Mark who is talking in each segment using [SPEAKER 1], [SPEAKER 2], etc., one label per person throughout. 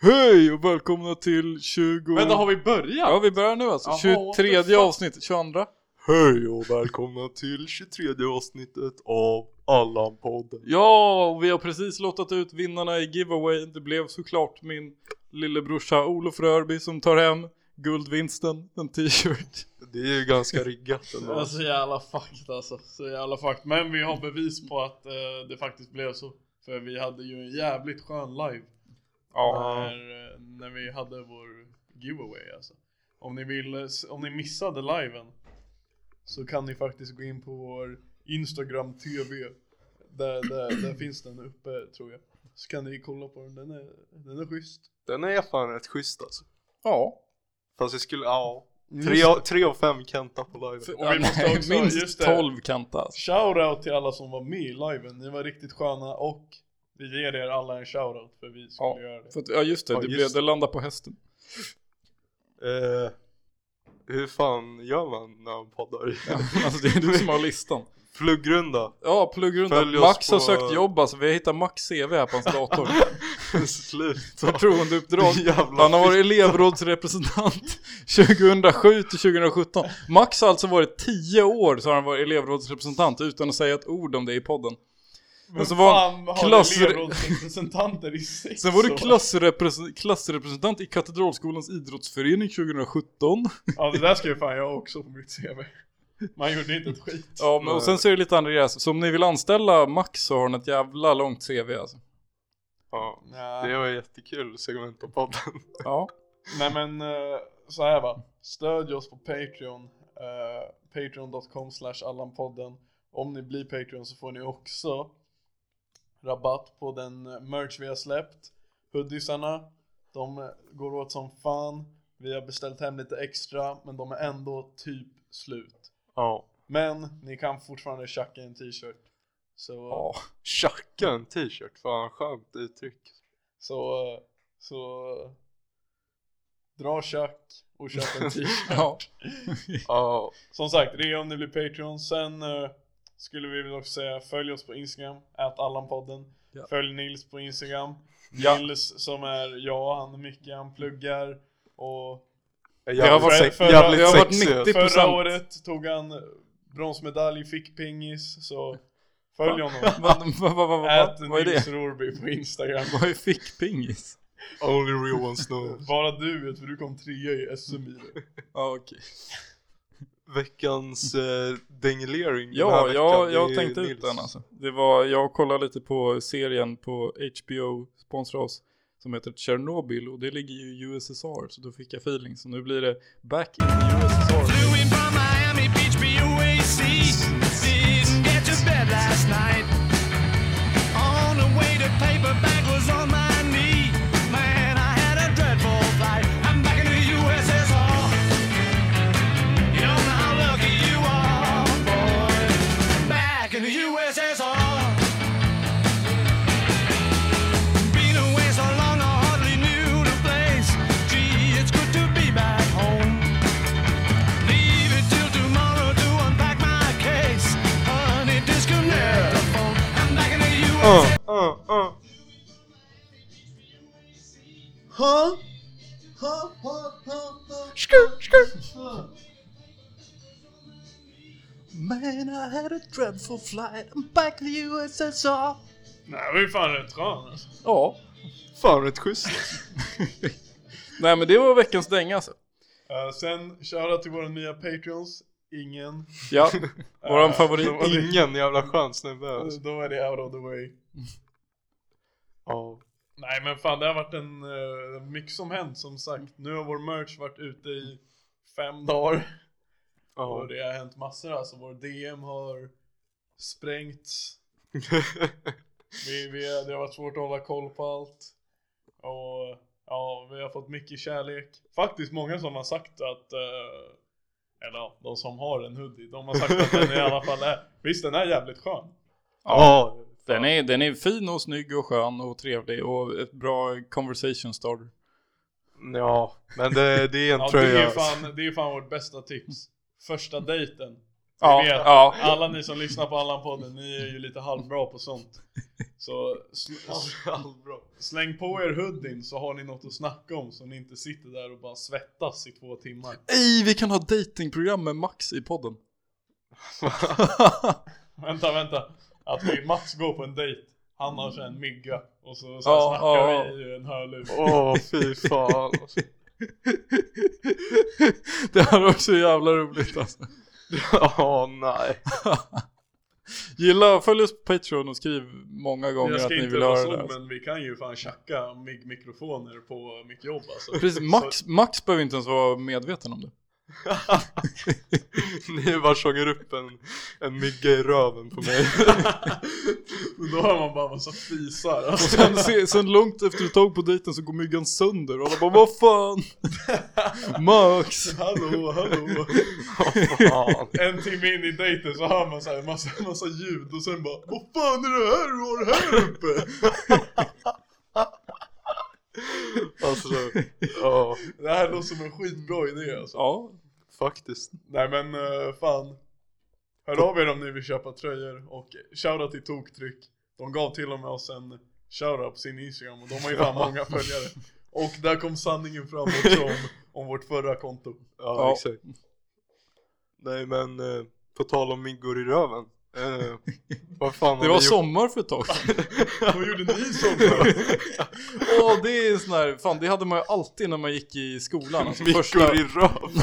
[SPEAKER 1] Hej och välkomna till 20...
[SPEAKER 2] Vänta, har vi börjat?
[SPEAKER 1] Ja vi börjar nu alltså,
[SPEAKER 2] Jaha, what the
[SPEAKER 1] 23
[SPEAKER 2] fuck?
[SPEAKER 1] avsnitt, 22
[SPEAKER 3] Hej och välkomna till 23 avsnittet av Allan-podden.
[SPEAKER 1] Ja, och vi har precis lottat ut vinnarna i giveaway Det blev såklart min lillebrorsa Olof Rörby som tar hem guldvinsten, en t-shirt
[SPEAKER 3] Det är ju ganska riggat
[SPEAKER 2] Ja, Så
[SPEAKER 3] ändå.
[SPEAKER 2] jävla fucked alltså, så jävla fucked. Men vi har bevis på att eh, det faktiskt blev så. För vi hade ju en jävligt skön live
[SPEAKER 1] Ja,
[SPEAKER 2] när, eh, när vi hade vår giveaway alltså. Om ni, vill, eh, s- om ni missade liven så kan ni faktiskt gå in på vår Instagram TV. Där, där, där finns den uppe tror jag. Så kan ni kolla på den, den är, den är schysst.
[SPEAKER 3] Den är fan rätt schysst alltså.
[SPEAKER 1] ja.
[SPEAKER 3] Fast jag skulle, ja.
[SPEAKER 2] Just
[SPEAKER 3] 3 av, tre av fem Kenta på live.
[SPEAKER 2] Och vi måste också- just
[SPEAKER 1] minst
[SPEAKER 2] det.
[SPEAKER 1] 12 kanta alltså.
[SPEAKER 2] Shoutout till alla som var med i liven, ni var riktigt sköna och vi ger er alla en shoutout för vi skulle
[SPEAKER 1] Ja.
[SPEAKER 2] göra det.
[SPEAKER 1] För att, ja just det,
[SPEAKER 3] Ja,
[SPEAKER 1] det,
[SPEAKER 3] just
[SPEAKER 1] blev,
[SPEAKER 3] det.
[SPEAKER 1] det landade på hästen
[SPEAKER 3] Eh, hur fan gör man när man poddar?
[SPEAKER 1] Alltså det är du som har listan
[SPEAKER 3] Pluggrunda.
[SPEAKER 1] Ja, pluggrunda,
[SPEAKER 3] Följ oss
[SPEAKER 1] Max har
[SPEAKER 3] på-
[SPEAKER 1] sökt jobb alltså, vi har hittat Max CV här på hans dator
[SPEAKER 3] Sluta.
[SPEAKER 1] Förtroendeuppdrag
[SPEAKER 3] Jävla
[SPEAKER 1] Han har varit elevrådsrepresentant 2007 till 2017. Max har alltså varit 10 år så har han varit elevrådsrepresentant utan att säga ett ord om det i podden.
[SPEAKER 2] Men
[SPEAKER 1] så
[SPEAKER 2] så
[SPEAKER 1] var
[SPEAKER 2] fan har
[SPEAKER 1] klass-
[SPEAKER 2] elevrådsrepresentanter i sex
[SPEAKER 1] Sen var du
[SPEAKER 2] år?
[SPEAKER 1] klassrepresen- klassrepresentant i Katedralskolans idrottsförening 2017.
[SPEAKER 2] Ja det där ska ju fan jag också på mitt CV. Man gjorde inte ett skit.
[SPEAKER 1] Ja, men, och sen så är det lite Andreas. Så om ni vill anställa Max så har han ett jävla långt CV alltså.
[SPEAKER 3] Ja,
[SPEAKER 2] Nej,
[SPEAKER 3] det var jättekul segment på podden.
[SPEAKER 1] Ja.
[SPEAKER 2] Nej men eh, så här va, stödj oss på Patreon, eh, patreon.com slash allanpodden. Om ni blir Patreon så får ni också rabatt på den eh, merch vi har släppt. Hoodiesarna, de eh, går åt som fan. Vi har beställt hem lite extra, men de är ändå typ slut.
[SPEAKER 3] Ja.
[SPEAKER 2] Men ni kan fortfarande tjacka en t-shirt. Så,
[SPEAKER 1] ja.
[SPEAKER 3] Tjacka en t-shirt, fan skönt uttryck.
[SPEAKER 2] så, eh, så eh, dra tjack och köp en t-shirt.
[SPEAKER 1] ja.
[SPEAKER 3] Ja,
[SPEAKER 2] Som sagt, det är om ni blir Patreon. Sen eh, skulle vi väl också säga följ oss på Instagram, ät Allanpodden.
[SPEAKER 1] Ja.
[SPEAKER 2] Följ Nils på Instagram.
[SPEAKER 1] Ja.
[SPEAKER 2] Nils som är jag, han är Micke, han pluggar. Och
[SPEAKER 3] jävligt,
[SPEAKER 1] har varit-
[SPEAKER 3] sex-
[SPEAKER 2] förra-
[SPEAKER 3] jävligt
[SPEAKER 1] det har varit
[SPEAKER 3] sexigt.
[SPEAKER 1] 90
[SPEAKER 2] förra
[SPEAKER 1] procent.
[SPEAKER 2] året tog han bronsmedalj, fick pingis. Så följ honom.
[SPEAKER 1] Vad vad- vad- vad-
[SPEAKER 2] Ät
[SPEAKER 1] vad- vad är
[SPEAKER 2] Nils
[SPEAKER 1] det?
[SPEAKER 2] Rorby på Instagram.
[SPEAKER 1] Vad är fickpingis?
[SPEAKER 3] Only real ones know.
[SPEAKER 2] Bara du vet för du kom trea i SMI.
[SPEAKER 1] Ja, okej.
[SPEAKER 3] Veckans eh, dengelering den här
[SPEAKER 1] Ja,
[SPEAKER 3] veckan,
[SPEAKER 1] jag,
[SPEAKER 3] det
[SPEAKER 1] jag
[SPEAKER 3] är
[SPEAKER 1] tänkte ut
[SPEAKER 3] Nils.
[SPEAKER 1] den alltså. Det var, jag kollade lite på serien på HBO, sponsrar oss, som heter Chernobyl och det ligger ju i USSR så då fick jag feeling. Så nu blir det back in the USSR.
[SPEAKER 4] Flew in from Miami Beach, BUAC. Didn't get to bed last night. On the way to paperback was on my knee. Man, I had a dreadful flight. I'm back in the USSR. You don't know how lucky you are, boy. Back in the USSR. Been away so long, I hardly knew the place. Gee, it's good to be back home. Leave it till tomorrow to unpack my case. Honey, disconnect the phone. I'm back in the
[SPEAKER 3] Uh.
[SPEAKER 4] U.S.
[SPEAKER 3] Ja, ja.
[SPEAKER 4] Man, I had a dreadful flight. I'm back in the USSR.
[SPEAKER 2] Nej, det var ju fan rätt skön alltså.
[SPEAKER 1] Ja.
[SPEAKER 3] Fan rätt schysst.
[SPEAKER 1] Nej men det var veckans dänga alltså.
[SPEAKER 2] Eh, sen shoutout till våra nya Patreons. Ingen.
[SPEAKER 1] Ja, våran
[SPEAKER 2] Eh,
[SPEAKER 1] favorit.
[SPEAKER 2] det var det.
[SPEAKER 3] Ingen jävla skön snubbe. alltså.
[SPEAKER 2] Då är det out of the way.
[SPEAKER 3] Ja.
[SPEAKER 2] Nej men fan det har varit en eh, mycket som hänt som sagt. Nu har vår merch varit ute i fem dagar.
[SPEAKER 3] Ja.
[SPEAKER 2] Och det har hänt massor alltså. Vår DM har sprängts. Vi, vi, det har varit svårt att hålla koll på allt. Och ja, vi har fått mycket kärlek. Faktiskt många som har sagt att eh, eller ja, de som har en hoodie, de har sagt att den i alla fall är, visst den är jävligt skön.
[SPEAKER 3] Ja.
[SPEAKER 1] Den är, den är fin och snygg och skön och trevlig och ett bra conversation starter.
[SPEAKER 3] Ja, men det, det är en
[SPEAKER 2] Ja, det
[SPEAKER 3] tröja.
[SPEAKER 2] är
[SPEAKER 3] alltså.
[SPEAKER 2] fan, det är fan vårt bästa tips. Första dejten,
[SPEAKER 1] Ja,
[SPEAKER 2] vet.
[SPEAKER 1] ja.
[SPEAKER 2] Alla ni som lyssnar på Allan-podden, ni är ju lite halvbra på sånt. Så sl-
[SPEAKER 3] Allbra.
[SPEAKER 2] släng på er hoodien så har ni något att snacka om så ni inte sitter där och bara svettas i två timmar.
[SPEAKER 1] Ej, vi kan ha datingprogram med Max i podden.
[SPEAKER 2] Vänta, vänta. Att vi Mats går på en dejt, han har så här en mygga och så, så
[SPEAKER 1] Ja,
[SPEAKER 2] snackar
[SPEAKER 1] ja, ja.
[SPEAKER 2] vi i en hörlur.
[SPEAKER 3] Åh fy fan. alltså.
[SPEAKER 1] det här är också jävla roligt alltså.
[SPEAKER 3] Åh nej.
[SPEAKER 1] Gilla och följ oss på Patreon och skriv många gånger
[SPEAKER 2] Jag
[SPEAKER 1] att
[SPEAKER 2] ska
[SPEAKER 1] ni
[SPEAKER 2] inte
[SPEAKER 1] vill
[SPEAKER 2] vara
[SPEAKER 1] höra
[SPEAKER 2] sån
[SPEAKER 1] det. här.
[SPEAKER 2] men vi kan ju fan tjacka mig- mikrofoner på mitt jobb alltså.
[SPEAKER 1] Precis, Max, Max behöver inte ens vara medveten om det.
[SPEAKER 3] Ni bara sjunger upp en, en mygga i röven på mig.
[SPEAKER 2] Så, då har man bara massa fisar.
[SPEAKER 1] Och
[SPEAKER 2] Alltså.
[SPEAKER 1] sen, se, sen långt efter ett tag på dejten så går myggan sönder och alla bara vad fan? Max!
[SPEAKER 2] Hallå, hallå.
[SPEAKER 3] Fan.
[SPEAKER 2] En timme in i dejten så hör man så här massa, massa ljud och sen bara Vad fan är det här du har här uppe?
[SPEAKER 3] Alltså, ja.
[SPEAKER 2] Det här låter som en skitbra idé alltså.
[SPEAKER 1] Ja,
[SPEAKER 3] Faktiskt.
[SPEAKER 2] Nej men eh, fan. Hör av er om ni vill köpa tröjor och shoutout till Toktryck. De gav till och med oss en shoutout på sin Instagram och de har ju fan många följare. Och där kom sanningen fram också om, om vårt förra konto.
[SPEAKER 3] Ja,
[SPEAKER 1] Ja.
[SPEAKER 3] exakt. Nej men, eh, på tal om myggor i röven. Eh, vad fan har
[SPEAKER 1] det
[SPEAKER 3] vi
[SPEAKER 1] var
[SPEAKER 3] gjort?
[SPEAKER 1] sommar för ett tag sedan.
[SPEAKER 2] Vad gjorde ni som då?
[SPEAKER 1] Åh, det är en sån här, fan det hade man ju alltid när man gick i skolan. Alltså,
[SPEAKER 3] Myggor
[SPEAKER 1] första,
[SPEAKER 3] i röven.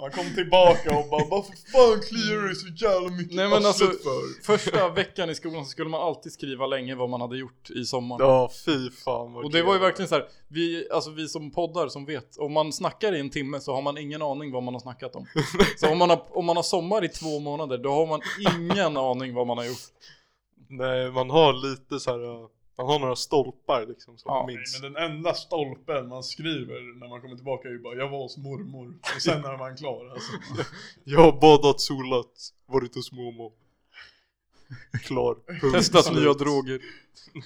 [SPEAKER 2] Man kom tillbaka och bara varför fan kliar det så jävla mycket
[SPEAKER 1] Nej, men
[SPEAKER 2] i arslet
[SPEAKER 1] alltså-
[SPEAKER 2] för?
[SPEAKER 1] första veckan i skolan så skulle man alltid skriva länge vad man hade gjort i sommar.
[SPEAKER 3] Ja, fy fan vad
[SPEAKER 1] Och det var ju
[SPEAKER 3] kul.
[SPEAKER 1] verkligen så här, vi, alltså vi som poddar som vet, om man snackar i en timme så har man ingen aning vad man har snackat om. Så om man har, om man har sommar i två månader, då har man ingen aning vad man har gjort.
[SPEAKER 3] Nej, man har lite så här. eh, Man har några stolpar liksom som
[SPEAKER 1] Ja,
[SPEAKER 3] man
[SPEAKER 2] Nej,
[SPEAKER 3] minns.
[SPEAKER 2] men den enda stolpen man skriver när man kommer tillbaka är ju bara jag var hos mormor och sen är man klar alltså.
[SPEAKER 3] Jag har badat, solat, varit hos mormor. Klar. Punkt.
[SPEAKER 1] Testat
[SPEAKER 3] Slut.
[SPEAKER 1] nya droger.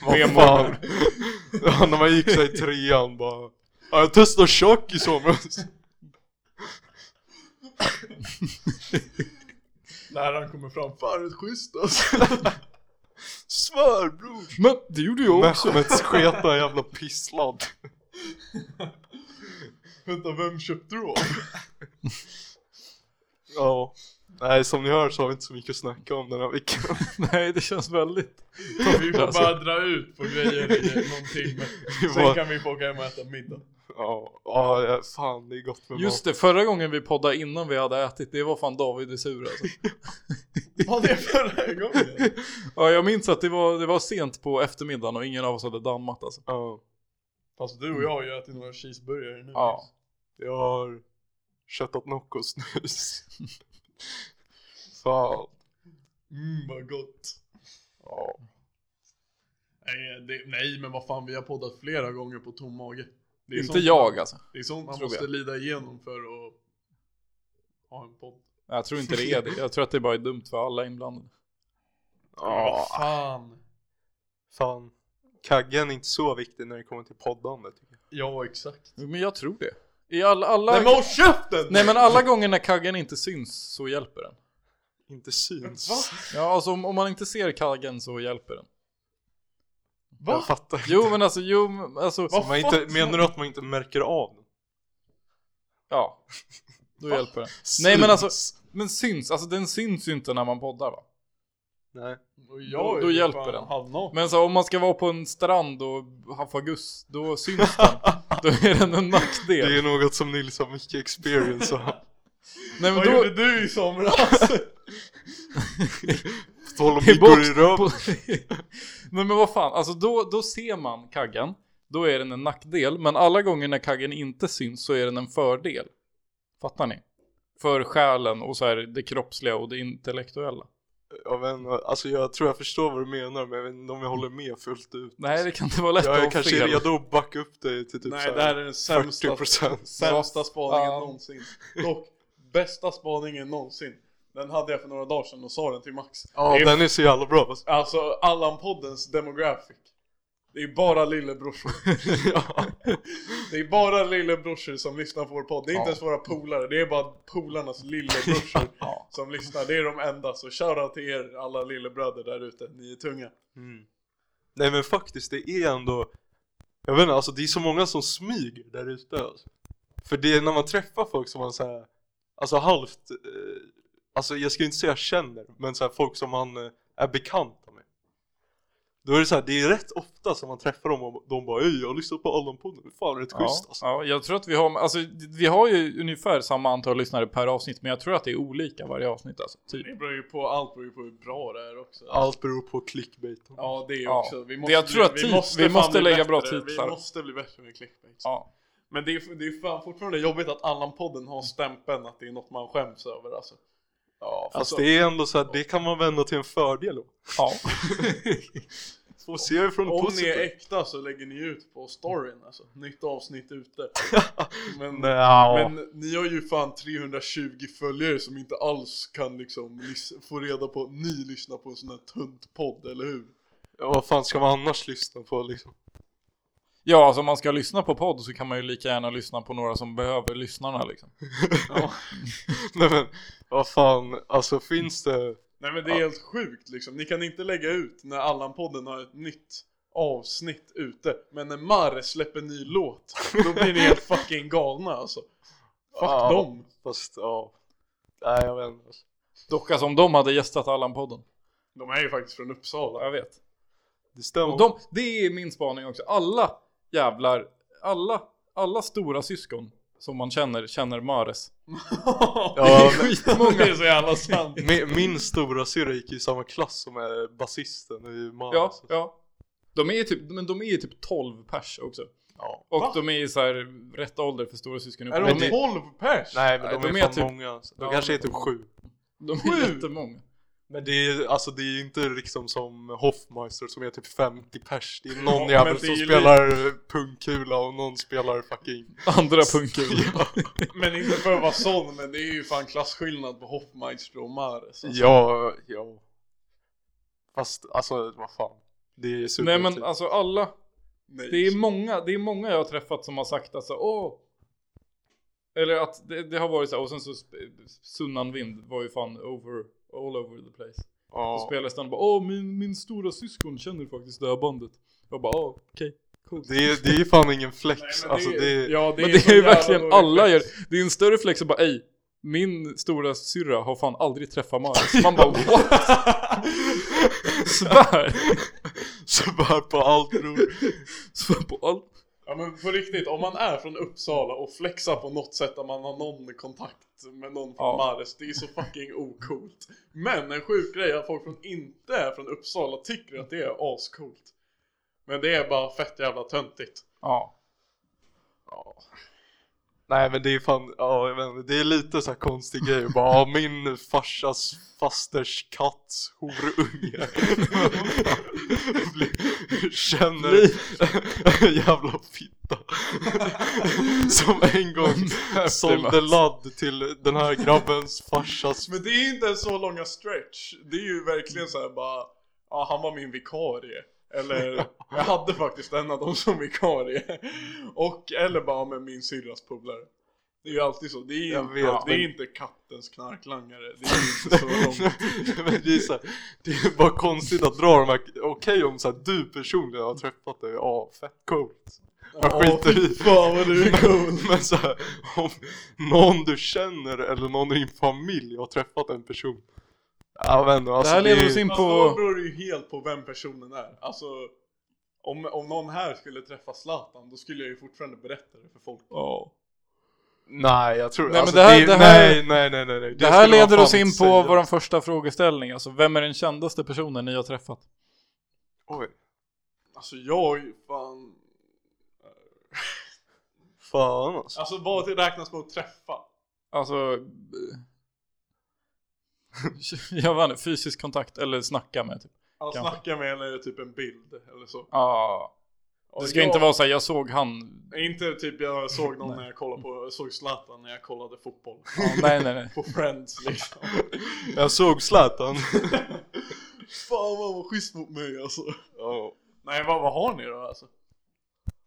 [SPEAKER 3] Vad fan. Ja, när man gick sig i trean bara. Ja, jag testade kök i somras.
[SPEAKER 2] Läraren kommer fram, fan det är schysst alltså.
[SPEAKER 3] Svär bror.
[SPEAKER 1] Men det gjorde jag också.
[SPEAKER 3] Mehmet sket en jävla pissladd.
[SPEAKER 2] Vänta, vem köpte du av?
[SPEAKER 3] Ja. Nej, som ni hör så har vi inte så mycket att snacka om den här veckan.
[SPEAKER 1] Nej, det känns väldigt.
[SPEAKER 2] Vi får
[SPEAKER 1] Alltså.
[SPEAKER 2] bara dra ut på grejer i någon timme. Sen kan vi få åka hem och äta middag.
[SPEAKER 3] Ja, ja, ja, fan det är gott med
[SPEAKER 1] Just det, förra gången vi poddade innan vi hade ätit, det var fan David är sur alltså.
[SPEAKER 2] Var det förra gången?
[SPEAKER 1] Ja, jag minns att det var, det var sent på eftermiddagen och ingen av oss hade dammat alltså.
[SPEAKER 3] mat. Ja,
[SPEAKER 2] Fast du och jag har ju ätit några cheeseburgare nu.
[SPEAKER 1] Ja.
[SPEAKER 3] jag har köttat Nocco och snus. fan.
[SPEAKER 2] Mm, vad gott.
[SPEAKER 3] Ja.
[SPEAKER 2] Nej, det, nej, men vad fan, vi har poddat flera gånger på tom mage. Det är
[SPEAKER 1] Inte
[SPEAKER 2] sånt-
[SPEAKER 1] jag alltså.
[SPEAKER 2] Det är sånt man
[SPEAKER 1] tror
[SPEAKER 2] måste
[SPEAKER 1] jag.
[SPEAKER 2] lida igenom för att ha en podd.
[SPEAKER 1] Jag tror inte det är det. Jag tror att det bara är dumt för alla inblandade.
[SPEAKER 3] Ja,
[SPEAKER 2] Fan.
[SPEAKER 3] fan. Kaggen är inte så viktig när det kommer till poddande tycker jag.
[SPEAKER 2] Ja, exakt.
[SPEAKER 1] Men jag tror det. I alla, alla...
[SPEAKER 2] Nej men håll käften!
[SPEAKER 1] Nej men alla gånger när kaggen inte syns så hjälper den.
[SPEAKER 3] Inte syns.
[SPEAKER 2] Va?
[SPEAKER 1] Ja alltså om, om man inte ser kaggen så hjälper den.
[SPEAKER 2] Va?
[SPEAKER 3] Jag fattar inte.
[SPEAKER 1] Jo men alltså, jo men alltså,
[SPEAKER 3] Så man inte, menar du att man inte märker av den?
[SPEAKER 1] ja. Då hjälper den. Nej men alltså, men syns, alltså den syns ju inte när man poddar va?
[SPEAKER 3] Nej.
[SPEAKER 2] Och jag är
[SPEAKER 1] Då
[SPEAKER 2] ju
[SPEAKER 1] hjälper
[SPEAKER 2] fan
[SPEAKER 1] den.
[SPEAKER 2] halvnaken.
[SPEAKER 1] Men så om man ska vara på en strand och haffa guss, då syns den. Då är den en nackdel.
[SPEAKER 3] Det är något som Nils har mycket experience av.
[SPEAKER 1] Nej men
[SPEAKER 2] Vad
[SPEAKER 1] då...
[SPEAKER 2] gjorde du i somras?
[SPEAKER 3] På tal om
[SPEAKER 1] Det är
[SPEAKER 3] myggor i
[SPEAKER 1] box-
[SPEAKER 3] röven.
[SPEAKER 1] på- Nej men vad fan, alltså då, då ser man kaggen, då är den en nackdel, men alla gånger när kaggen inte syns så är den en fördel. Fattar ni? För själen och så här det kroppsliga och det intellektuella.
[SPEAKER 3] Jag, vet, inte, alltså jag tror jag förstår vad du menar men jag vet inte om jag håller med fullt ut.
[SPEAKER 1] Nej det kan inte vara lätt
[SPEAKER 3] jag
[SPEAKER 1] att
[SPEAKER 3] är
[SPEAKER 1] ha
[SPEAKER 3] kanske
[SPEAKER 1] fel.
[SPEAKER 3] redo att backa upp dig till typ
[SPEAKER 2] Nej,
[SPEAKER 3] så
[SPEAKER 2] det här
[SPEAKER 3] här
[SPEAKER 2] är den sämsta,
[SPEAKER 3] 40%.
[SPEAKER 2] sämsta spaningen
[SPEAKER 1] Ja.
[SPEAKER 2] någonsin. Dock, bästa spaningen någonsin. Den hade jag för några dagar sedan och sa den till Max.
[SPEAKER 3] Ja,
[SPEAKER 2] det är
[SPEAKER 3] den är så jävla bra. alltså.
[SPEAKER 2] Alltså Allan-poddens demographic. Det är bara lillebrorsor. Det är bara lillebrorsor som lyssnar på vår podd. Det är inte
[SPEAKER 1] Ja.
[SPEAKER 2] ens våra polare. Det är bara polarnas lillebrorsor som lyssnar. Det är de enda. Så shoutout till er alla lillebröder där ute. Ni är tunga.
[SPEAKER 3] Mm. Nej men faktiskt, det är ändå Jag vet inte, alltså det är så många som smyger där ute alltså. För det är när man träffar folk som man såhär Alltså halvt eh, Alltså jag ska inte säga känner Men såhär folk som man eh, är bekant med Då är det såhär, det är rätt ofta som man träffar dem och de bara Ey jag har lyssnat på Allan-podden, fan rätt
[SPEAKER 1] Ja,
[SPEAKER 3] schysst alltså.
[SPEAKER 1] ja, jag tror att vi har, alltså, vi har ju ungefär samma antal lyssnare per avsnitt, men jag tror att det är olika varje avsnitt alltså. Typ.
[SPEAKER 2] Det beror ju på, allt beror ju på hur bra det är också.
[SPEAKER 3] Allt beror på clickbait
[SPEAKER 2] Ja, det är
[SPEAKER 1] Ja.
[SPEAKER 2] också. Vi
[SPEAKER 1] Det- jag tror att tit- vi
[SPEAKER 2] fan
[SPEAKER 1] måste
[SPEAKER 2] bli
[SPEAKER 1] lägga bra
[SPEAKER 2] bättre.
[SPEAKER 1] titlar.
[SPEAKER 2] Vi måste bli bättre med clickbait.
[SPEAKER 1] Ja.
[SPEAKER 2] Men det är, det är fan fortfarande jobbigt att Allan-podden har stämpeln att det är något man skäms över alltså. Ja,
[SPEAKER 3] Fast
[SPEAKER 1] Alltså,
[SPEAKER 3] det är ändå såhär, det kan man vända till en fördel då.
[SPEAKER 1] ja.
[SPEAKER 3] Och se det från
[SPEAKER 2] Om ni är
[SPEAKER 3] positivt
[SPEAKER 2] äkta så lägger ni ut på storyn alltså. Nytt avsnitt ute. Men,
[SPEAKER 3] Nja.
[SPEAKER 2] men ni har ju fan 320 följare som inte alls kan liksom lys- få reda på att ni lyssnar på en sån här tunt podd, eller hur?
[SPEAKER 3] Ja, vad fan ska man annars lyssna på liksom?
[SPEAKER 1] ja, alltså om man ska lyssna på podd så kan man ju lika gärna lyssna på några som behöver lyssnarna liksom.
[SPEAKER 3] Nej men, vad fan, alltså finns det...
[SPEAKER 2] Nej men det är helt sjukt liksom. Ni kan inte lägga ut när Allan-podden har ett nytt avsnitt ute. Men när Marre släpper ny låt, då blir ni helt fucking galna alltså. Fuck
[SPEAKER 3] Ja.
[SPEAKER 2] dem.
[SPEAKER 3] Fast ja, nej jag vet inte. alltså.
[SPEAKER 1] Dock alltså om de hade gästat Allan-podden.
[SPEAKER 2] De är ju faktiskt från
[SPEAKER 1] Ja,
[SPEAKER 2] Uppsala.
[SPEAKER 1] Jag vet.
[SPEAKER 3] Det stämmer.
[SPEAKER 1] Och de, det är min spaning också. Alla jävlar, alla, alla stora syskon som man känner, känner Mares.
[SPEAKER 3] Ja,
[SPEAKER 1] Skitmånga.
[SPEAKER 2] Det är så jävla sant.
[SPEAKER 3] men, min, min stora syrra gick i samma klass som är basisten i Mars.
[SPEAKER 1] Ja, ja. De är ju typ, men de är ju typ 12 pers också.
[SPEAKER 3] Ja.
[SPEAKER 1] Och
[SPEAKER 2] Va?
[SPEAKER 1] de är i så här rätt ålder för stora syskon.
[SPEAKER 2] Är
[SPEAKER 1] de
[SPEAKER 2] de 12 pers?
[SPEAKER 3] Nej men
[SPEAKER 1] Nej,
[SPEAKER 3] de,
[SPEAKER 1] de
[SPEAKER 3] är,
[SPEAKER 1] är
[SPEAKER 3] fan
[SPEAKER 1] typ-
[SPEAKER 3] många. alltså. De
[SPEAKER 1] Ja,
[SPEAKER 3] kanske
[SPEAKER 1] de
[SPEAKER 3] är
[SPEAKER 1] är
[SPEAKER 3] typ
[SPEAKER 1] många.
[SPEAKER 3] sju.
[SPEAKER 1] de
[SPEAKER 2] Sju?
[SPEAKER 1] är jättemånga.
[SPEAKER 3] Men det är, alltså det är inte liksom som Hoffmeister som är typ 50 pers. Det är någon
[SPEAKER 2] men
[SPEAKER 3] jävel
[SPEAKER 2] det är
[SPEAKER 3] som
[SPEAKER 2] ju
[SPEAKER 3] spelar pungkula och någon spelar fucking...
[SPEAKER 1] Andra punker.
[SPEAKER 2] Men inte för att vara sån, men det är ju fan klasskillnad på Hoffmeister och Mares. Alltså.
[SPEAKER 3] Ja, ja. Fast alltså vad fan. Det är super typ.
[SPEAKER 1] Nej men alltså alla,
[SPEAKER 2] Nej.
[SPEAKER 1] det är många, det är många jag har träffat som har sagt alltså åh. Eller att det, det har varit så här, och sen så sp- Sunnan Vind var ju fan over, all over the place.
[SPEAKER 3] ja.
[SPEAKER 1] Och spellistan bara åh min, min stora syskon känner faktiskt det här bandet. Jag bara åh okej, coolt.
[SPEAKER 3] Det är, det är fan ingen flex,
[SPEAKER 2] Nej, men
[SPEAKER 3] alltså det är...
[SPEAKER 2] ja,
[SPEAKER 1] Men det är ju
[SPEAKER 2] så jävla
[SPEAKER 1] verkligen
[SPEAKER 2] dålig
[SPEAKER 1] alla gör,
[SPEAKER 2] flex.
[SPEAKER 1] det är en större flex att bara ej, min stora syrra har fan aldrig träffat Maris. Man bara what? Svär!
[SPEAKER 3] Så bara på allt bror.
[SPEAKER 1] Svär på allt.
[SPEAKER 2] Ja men på riktigt, om man är från Uppsala och flexar på något sätt att man har någon kontakt med någon från
[SPEAKER 1] Ja.
[SPEAKER 2] Mares, det är så fucking ocoolt. Men en sjuk grej är att folk som inte är från Uppsala tycker att det är ascoolt. Men det är bara fett jävla töntigt.
[SPEAKER 1] Ja.
[SPEAKER 3] Nej men det är fan, ja jag vet inte, det är lite så här konstig grej bara ja, min farsas fasters katts horunge. Blir- Känner en jävla fitta. Som en gång sålde ladd till den här grabbens farsas
[SPEAKER 2] Men det är inte en så långa stretch. Det är ju verkligen så här bara, ja han var min vikarie. Eller, jag hade faktiskt en av dem som vikarie. Och, eller bara med min syrras polare. Det är ju alltid så. Det är,
[SPEAKER 3] Jag
[SPEAKER 2] inte-
[SPEAKER 3] vet,
[SPEAKER 2] det är
[SPEAKER 3] men-
[SPEAKER 2] inte kattens knarklangare. Det är inte så långt.
[SPEAKER 3] men det är så här, det är bara konstigt att dra de här, okej om så här, du personligen har träffat dig, ja fett coolt. Jag
[SPEAKER 2] Ja,
[SPEAKER 3] skiter i.
[SPEAKER 2] Fan vad du är cool.
[SPEAKER 3] Men så här, om någon du känner eller någon i din familj har träffat en person. Jag vet inte, alltså,
[SPEAKER 1] det här lever
[SPEAKER 3] är-
[SPEAKER 1] oss in
[SPEAKER 2] Fast då
[SPEAKER 1] på...
[SPEAKER 2] beror det ju helt på vem personen är. Alltså, om, om någon här skulle träffa Zlatan, då skulle jag ju fortfarande berätta det för folk.
[SPEAKER 1] Ja.
[SPEAKER 3] Nej jag tror,
[SPEAKER 1] Nej, men
[SPEAKER 3] alltså,
[SPEAKER 1] det här-
[SPEAKER 3] är-
[SPEAKER 1] det här-
[SPEAKER 3] nej nej nej nej. nej.
[SPEAKER 1] Det här
[SPEAKER 3] skulle man
[SPEAKER 1] leder oss
[SPEAKER 3] fan
[SPEAKER 1] in
[SPEAKER 3] inte
[SPEAKER 1] på
[SPEAKER 3] säga.
[SPEAKER 1] vår första frågeställning, alltså vem är den kändaste personen ni har träffat?
[SPEAKER 3] Oj,
[SPEAKER 2] Alltså jag är ju fan...
[SPEAKER 3] fan alltså.
[SPEAKER 2] Alltså vad det räknas med att träffa?
[SPEAKER 1] Alltså... eh, Jag vet inte, fysisk kontakt eller snacka med typ.
[SPEAKER 2] Att
[SPEAKER 1] Kanske.
[SPEAKER 2] snacka med eller typ en bild eller så.
[SPEAKER 1] Ja. Det
[SPEAKER 2] Och
[SPEAKER 1] ska
[SPEAKER 2] jag-
[SPEAKER 1] inte vara såhär, jag såg han...
[SPEAKER 2] Inte typ jag såg någon när jag kollade på, såg Zlatan när jag kollade fotboll.
[SPEAKER 1] Ja, nej nej nej.
[SPEAKER 2] På Friends liksom.
[SPEAKER 3] Jag såg Zlatan.
[SPEAKER 2] Fan vad han var schysst mot mig alltså.
[SPEAKER 3] Ja.
[SPEAKER 2] Nej, vad, vad har ni då alltså?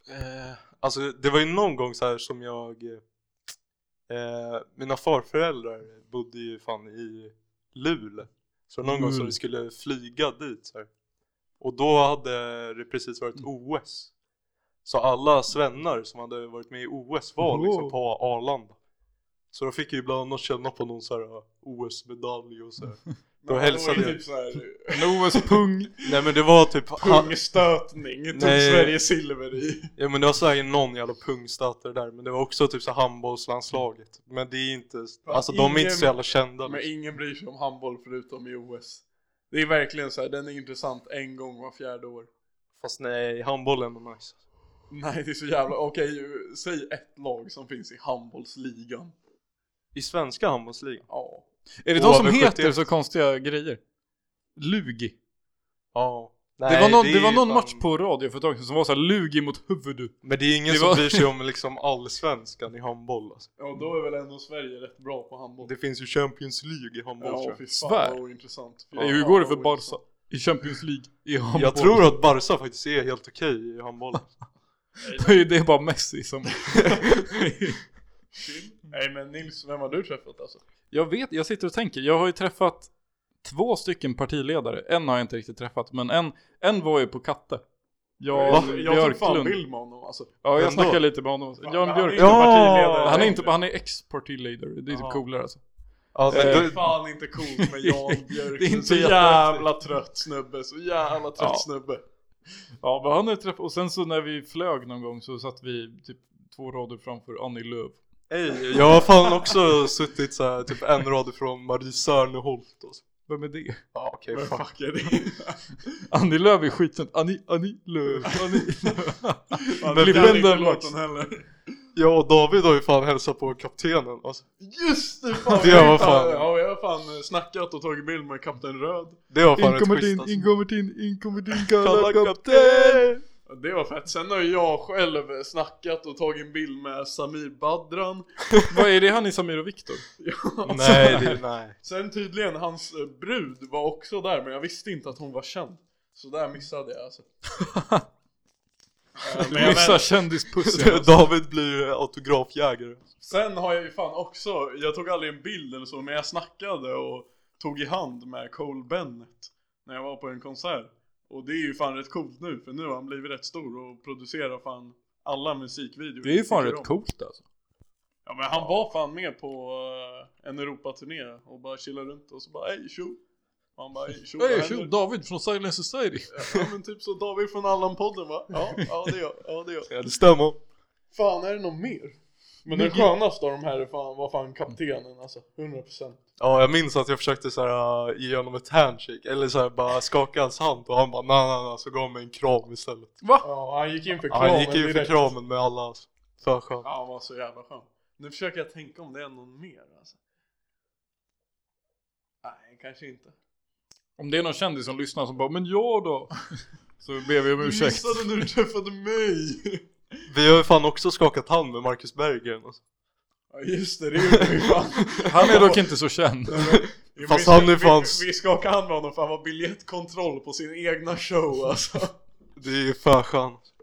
[SPEAKER 3] Eh, alltså det var ju någon gång så här som jag eh, Mina farföräldrar bodde ju fan i Luleå Så någon gång så vi skulle flyga dit så här. Och då hade det precis varit OS Så alla svennar som hade varit med i OS var liksom
[SPEAKER 1] Wow.
[SPEAKER 3] på Arlanda Så de fick ju ibland annat känna på någon så här OS-medalj och så här. Då hälsade
[SPEAKER 2] jag.
[SPEAKER 3] jag
[SPEAKER 2] Typ så här,
[SPEAKER 1] Loves pung.
[SPEAKER 3] Nej men det var typ ha-
[SPEAKER 2] Pungstötning, tog
[SPEAKER 3] Nej.
[SPEAKER 2] Sverige typ silver i.
[SPEAKER 3] Ja men det var säkert någon jävla pungstötare där men det var också typ så här handbollslandslaget Men det är inte, alltså de är inte så jävla kända liksom.
[SPEAKER 2] Men ingen bryr sig om handboll förutom i OS. Det är verkligen så här, den är intressant en gång var fjärde år.
[SPEAKER 3] Fast nej, handbollen är nice
[SPEAKER 2] Nej, det är så jävla... Okej, ju- säg ett lag som finns i handbollsligan.
[SPEAKER 3] I svenska handbollsligan?
[SPEAKER 2] Ja.
[SPEAKER 1] Är det
[SPEAKER 3] Och
[SPEAKER 1] de som
[SPEAKER 3] över
[SPEAKER 1] heter
[SPEAKER 3] 71.
[SPEAKER 1] så konstiga grejer? Lugi.
[SPEAKER 3] Ja
[SPEAKER 1] det var någon, det
[SPEAKER 3] är
[SPEAKER 1] var någon
[SPEAKER 3] fan-
[SPEAKER 1] match på radio för ett tag sedan som var så här Lugi mot huvud.
[SPEAKER 3] Men det är ingen
[SPEAKER 1] det
[SPEAKER 3] som
[SPEAKER 1] var-
[SPEAKER 3] bryr sig om liksom allsvenskan i handboll alltså.
[SPEAKER 2] Ja, då är väl ändå Sverige rätt bra på handboll.
[SPEAKER 3] Det finns ju Champions League i handboll
[SPEAKER 2] ja,
[SPEAKER 3] tror
[SPEAKER 2] fy fan
[SPEAKER 3] jag
[SPEAKER 1] Svär.
[SPEAKER 2] vad ointressant. Fy
[SPEAKER 1] Ja, Hur
[SPEAKER 2] fan,
[SPEAKER 1] går det för
[SPEAKER 2] vad
[SPEAKER 1] Barca?
[SPEAKER 2] ointressant.
[SPEAKER 1] I Champions League? I handboll?
[SPEAKER 3] Jag tror att Barca faktiskt är helt okej i handbollen
[SPEAKER 1] det. är- Det är bara Messi som...
[SPEAKER 2] Chill. Nej men Nils, vem har du träffat alltså?
[SPEAKER 1] jag vet, jag sitter och tänker. Jag har ju träffat två stycken partiledare. En har jag inte riktigt träffat, men en, en var ju på Katte. Jan
[SPEAKER 2] jag jag tog fan
[SPEAKER 1] Björklund.
[SPEAKER 2] bild med honom alltså.
[SPEAKER 1] Ja,
[SPEAKER 3] Vem
[SPEAKER 1] jag
[SPEAKER 3] då?
[SPEAKER 1] snackade lite med honom.
[SPEAKER 2] Fan,
[SPEAKER 1] Jan
[SPEAKER 2] men han är
[SPEAKER 1] Björklund.
[SPEAKER 2] inte
[SPEAKER 3] Ja!
[SPEAKER 2] partiledare
[SPEAKER 1] Han är
[SPEAKER 2] längre.
[SPEAKER 1] inte, han är ex-partileader. Det är typ
[SPEAKER 2] Jaha.
[SPEAKER 1] coolare alltså.
[SPEAKER 3] ja, men
[SPEAKER 2] Det är
[SPEAKER 3] då-
[SPEAKER 2] fan inte coolt med Jan Björklund.
[SPEAKER 1] Det är inte
[SPEAKER 2] så
[SPEAKER 1] jätte-
[SPEAKER 2] jävla trött snubbe, så jävla trött
[SPEAKER 1] Ja.
[SPEAKER 2] snubbe.
[SPEAKER 1] Ja, men han är träff... Och sen så när vi flög någon gång så satt vi typ två rader framför Annie Lööf.
[SPEAKER 3] Ey, jag har fan också suttit så här, typ en rad ifrån Marie Serneholt och så.
[SPEAKER 1] Vem är det?
[SPEAKER 3] Ja okej,
[SPEAKER 2] Men
[SPEAKER 3] fan.
[SPEAKER 2] fuck är det?
[SPEAKER 1] Annie Lööf är skiten. Annie, Annie Lööf, Annie
[SPEAKER 2] Fan,
[SPEAKER 1] Klipp
[SPEAKER 2] kan
[SPEAKER 1] in
[SPEAKER 2] inte
[SPEAKER 1] den,
[SPEAKER 2] låten
[SPEAKER 1] Max.
[SPEAKER 2] heller.
[SPEAKER 3] Ja, och David har ju fan hälsat på kaptenen alltså.
[SPEAKER 2] Just det! Fan,
[SPEAKER 3] Det
[SPEAKER 2] jag
[SPEAKER 3] var
[SPEAKER 2] har
[SPEAKER 3] fan-
[SPEAKER 2] Ja, jag har fan eh, snackat och tagit bild med Kapten Röd.
[SPEAKER 3] Det var fan
[SPEAKER 1] Inkommer
[SPEAKER 3] rätt
[SPEAKER 1] din,
[SPEAKER 3] schysst alltså.
[SPEAKER 1] inkommer din, inkommer din
[SPEAKER 3] Kalla
[SPEAKER 1] kalla kapten!
[SPEAKER 3] kapten!
[SPEAKER 2] Ja, Det var fett. Sen har ju jag själv snackat och tagit en bild med Samir Badran.
[SPEAKER 1] Vad är det han i Samir och Viktor?
[SPEAKER 2] Ja.
[SPEAKER 3] Nej, det, nej.
[SPEAKER 2] Sen tydligen, hans eh, brud var också där men jag visste inte att hon var känd. Så där missade jag alltså. Eh, men jag
[SPEAKER 1] Missa
[SPEAKER 2] vänt-
[SPEAKER 1] kändispussen.
[SPEAKER 3] David blir ju autografjägare.
[SPEAKER 2] Sen har jag ju fan också, jag tog aldrig en bild eller så men jag snackade och tog i hand med Cole Bennett. När jag var på en konsert. Och det är ju fan rätt coolt nu för nu har han blivit rätt stor och producerar fan alla musikvideor.
[SPEAKER 1] Det är ju fan
[SPEAKER 2] Tycker
[SPEAKER 1] rätt
[SPEAKER 2] om.
[SPEAKER 1] coolt alltså.
[SPEAKER 2] Ja men han var fan med på eh, en Europaturné och bara chillade runt och så bara ey tjo. Och han bara ey tjo, vad
[SPEAKER 1] Hej,
[SPEAKER 2] händer?"
[SPEAKER 1] tjo, David från Silent Society.
[SPEAKER 2] Ja men typ så David från Allan-podden va? Ja, ja det gör ja det gör
[SPEAKER 3] Ja, det stämmer.
[SPEAKER 2] Fan är det någon mer? Men den skönaste av de här är fan, var fan kaptenen alltså, 100%
[SPEAKER 3] Ja, jag minns att jag försökte så här, äh, ge honom ett handshake, eller så här, bara skaka hans hand och han bara nej nej nej, så gav han mig en kram istället.
[SPEAKER 2] Ja han gick in för
[SPEAKER 3] Ja,
[SPEAKER 2] kramen
[SPEAKER 3] han gick ju för
[SPEAKER 2] direkt.
[SPEAKER 3] kramen med alla alltså. För skönt.
[SPEAKER 2] Ja han var så jävla skön Nu försöker jag tänka om det är någon mer alltså Nej kanske inte
[SPEAKER 1] Om det är någon kändis som lyssnar som bara 'Men jag då?' Så ber vi om
[SPEAKER 2] Du
[SPEAKER 1] ursäkt.
[SPEAKER 2] missade när du träffade mig!
[SPEAKER 3] Vi har ju fan också skakat hand med Marcus Berggren alltså.
[SPEAKER 2] Ja just det, det gjorde vi fan
[SPEAKER 1] Han är dock inte så känd.
[SPEAKER 2] Jo,
[SPEAKER 3] Fast
[SPEAKER 2] vi-
[SPEAKER 3] han är
[SPEAKER 2] vi-
[SPEAKER 3] fan-
[SPEAKER 2] Vi skakade hand med honom för han var biljettkontroll på sin egna show alltså
[SPEAKER 3] Det är ju för skönt.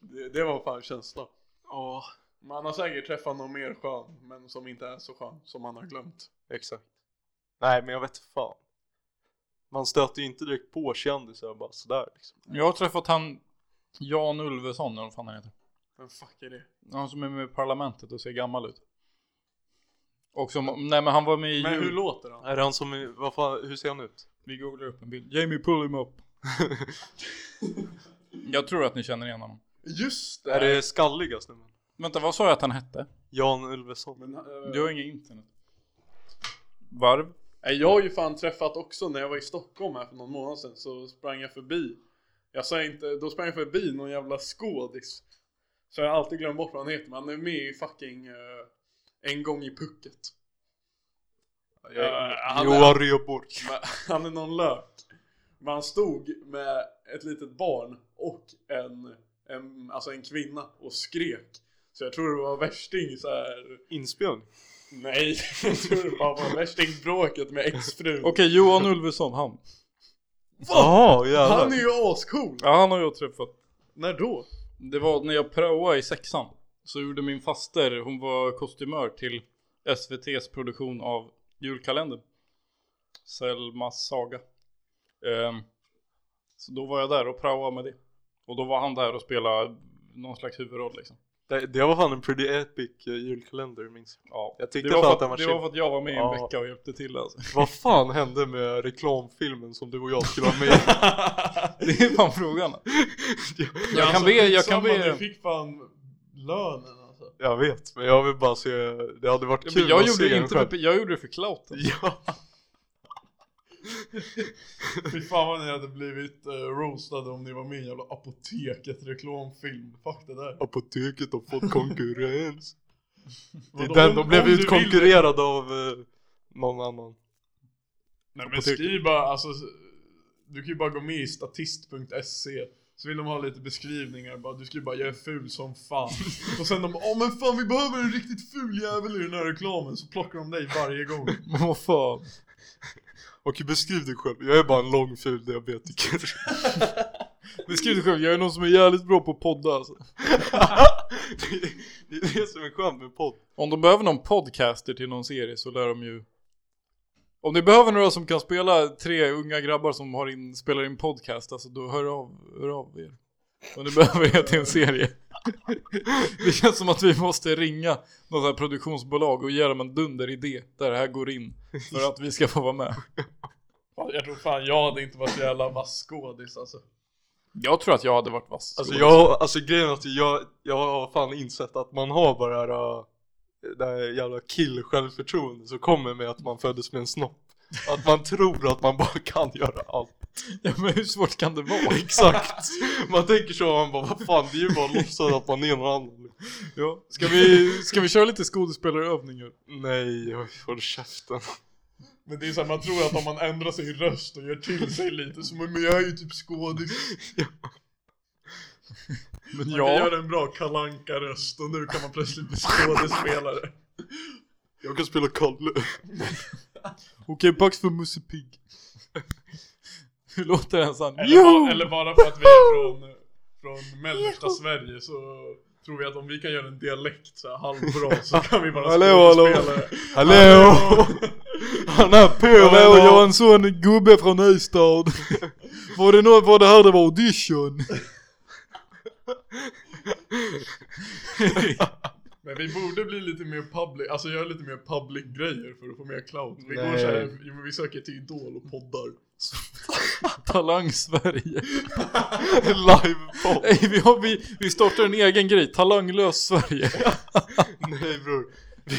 [SPEAKER 2] Det, det var fan känslan
[SPEAKER 3] Ja,
[SPEAKER 2] Man har säkert träffat någon mer skön, men som inte är så skön, som man har glömt.
[SPEAKER 3] exakt. Nej men jag vet fan. Man stöter ju inte direkt på kändisar bara sådär liksom.
[SPEAKER 1] Jag har träffat han Jan Ulveson, eller vad fan han heter.
[SPEAKER 2] Vem fuck är det?
[SPEAKER 1] Han som är med i Parlamentet och ser gammal ut. Och som, nej men han var med i
[SPEAKER 2] Men hur
[SPEAKER 1] jul.
[SPEAKER 2] låter han?
[SPEAKER 3] Är det han som, är- vad fan, hur ser han ut?
[SPEAKER 1] Vi googlar upp en bild. Jamie pull him up. jag tror att ni känner igen honom.
[SPEAKER 2] Just
[SPEAKER 3] Är det skalliga snubben?
[SPEAKER 1] Vänta, vad sa jag att han hette?
[SPEAKER 3] Jan Ulveson?
[SPEAKER 2] Men, eh,
[SPEAKER 1] Jag har inget internet. Varv?
[SPEAKER 2] nej, jag har ju fan träffat också, när jag var i Stockholm här för någon månad sedan, så sprang jag förbi. Jag sa inte, då sprang jag förbi någon jävla skådis. Så jag har alltid glömt bort vad han heter, men han är med i fucking eh, En gång i pucket. Eh, Ja, han-
[SPEAKER 3] Johan Rheborg.
[SPEAKER 2] Men, han är någon lök. Men han stod med ett litet barn och en, en, alltså en kvinna och skrek. Så jag tror det var värsting så här.
[SPEAKER 3] Inspelning?
[SPEAKER 2] Nej, jag tror det bara var värstingbråket med exfrun.
[SPEAKER 1] Okej, Johan Ulveson, han.
[SPEAKER 3] Jaha, jävlar.
[SPEAKER 2] Han är ju ascool!
[SPEAKER 1] Ja, han har jag träffat.
[SPEAKER 2] När då?
[SPEAKER 1] Det var när jag praoade i sexan. Så gjorde min faster, hon var kostymör till SVT's produktion av julkalendern. Selmas saga. Ehm, så då var jag där och praoade med det. Och då var han där och spelade någon slags huvudroll liksom.
[SPEAKER 3] Det, det var fan en pretty epic eh, julkalender minns jag.
[SPEAKER 1] Ja,
[SPEAKER 3] Jag tyckte
[SPEAKER 1] det var
[SPEAKER 3] fan
[SPEAKER 1] för
[SPEAKER 3] att den var
[SPEAKER 1] det
[SPEAKER 3] chill.
[SPEAKER 1] var för att jag var med i en
[SPEAKER 3] Ja.
[SPEAKER 1] vecka och hjälpte till alltså.
[SPEAKER 3] Vad fan hände med reklamfilmen som du och jag skulle ha med?
[SPEAKER 1] Det är fan frågan. Jag kan
[SPEAKER 2] Alltså,
[SPEAKER 1] be, jag kan
[SPEAKER 2] skitsamma, Du
[SPEAKER 1] be.
[SPEAKER 2] fick fan lönen alltså.
[SPEAKER 3] jag vet, men jag vill bara se, det hade varit
[SPEAKER 1] Ja,
[SPEAKER 3] kul
[SPEAKER 1] men jag
[SPEAKER 3] att se
[SPEAKER 1] gjorde,
[SPEAKER 3] en
[SPEAKER 1] inte
[SPEAKER 3] själv.
[SPEAKER 1] för, jag gjorde det för clouten.
[SPEAKER 3] Ja,
[SPEAKER 2] Fy fan vad ni hade blivit uh, roastade om ni var med i en jävla apoteket reklamfilm. Fuck det där.
[SPEAKER 3] apoteket har fått konkurrens. det
[SPEAKER 2] Vadå,
[SPEAKER 3] är
[SPEAKER 2] om-
[SPEAKER 3] den, de blev
[SPEAKER 2] om du vill-
[SPEAKER 3] utkonkurrerade av eh, någon annan.
[SPEAKER 2] Nej men
[SPEAKER 3] Apoteket.
[SPEAKER 2] skriv bara, alltså. Du kan ju bara gå med i statist.se. E. Så vill de ha lite beskrivningar bara, du skriver bara 'Jag är ful som fan' Och sen de bara 'Åh men fan vi behöver en riktigt ful jävel i den här reklamen' Så plockar de dig varje gång
[SPEAKER 1] Men vad fan.
[SPEAKER 3] Okej, beskriv dig själv. Jag är bara en lång ful diabetiker.
[SPEAKER 1] Beskriv dig själv, jag är någon som är jävligt bra på att podda alltså.
[SPEAKER 3] det, det är det som är skönt med podd.
[SPEAKER 1] Om de behöver någon podcaster till någon serie så lär de ju Om ni behöver några som kan spela tre unga grabbar som har in, spelar in podcast Alltså då hör av, hör av er Om ni behöver er till en serie Det känns som att vi måste ringa något här produktionsbolag och ge dem en dunderidé Där det här går in För att vi ska få vara med
[SPEAKER 2] Fan, Jag tror fan jag hade inte varit så jävla vass skådis alltså
[SPEAKER 1] Jag tror att jag hade varit vass
[SPEAKER 3] Alltså, jag, alltså grejen är att jag, jag har fan insett att man har bara det här, äh, det här jävla kill-självförtroende som kommer med att man föddes med en snopp. Att man tror att man bara kan göra allt.
[SPEAKER 1] ja, Men hur svårt kan det vara?
[SPEAKER 3] Exakt! Man tänker så och man bara vad fan det är ju bara att låtsas att man är någon annan.
[SPEAKER 1] Ja. Ska, vi, ska vi köra lite skådespelarövningar?
[SPEAKER 3] Nej, oj, håll käften.
[SPEAKER 2] Men det är såhär, man tror att om man ändrar sin röst och gör till sig lite så men jag är ju typ skådis
[SPEAKER 1] Men
[SPEAKER 2] Man kan göra en bra kalanka röst och nu kan man plötsligt bli skådespelare
[SPEAKER 3] Jag kan spela Kalle.
[SPEAKER 1] Okej, Pax för Musse Pigg. Hur låter den sån?
[SPEAKER 2] Eller, bara, eller bara för att vi är från, från mellersta Sverige så tror vi att om vi kan göra en dialekt så här halvbra så kan vi vara
[SPEAKER 1] Hallå, hallå.
[SPEAKER 2] skådespelare
[SPEAKER 3] Hallå! Han är på
[SPEAKER 1] Hallå, jag är en sån gubbe från Ystad. Var det någon, var det här det var audition?
[SPEAKER 2] Men vi borde bli lite mer public, alltså göra lite mer public grejer för att få mer clout Vi går
[SPEAKER 3] Nej.
[SPEAKER 2] såhär, jo, men vi söker till Idol och poddar
[SPEAKER 1] Talang Sverige.
[SPEAKER 3] Live-podd.
[SPEAKER 1] Nej, vi, har, vi, vi startar en egen grej, Talanglös Sverige.
[SPEAKER 3] Nej bror,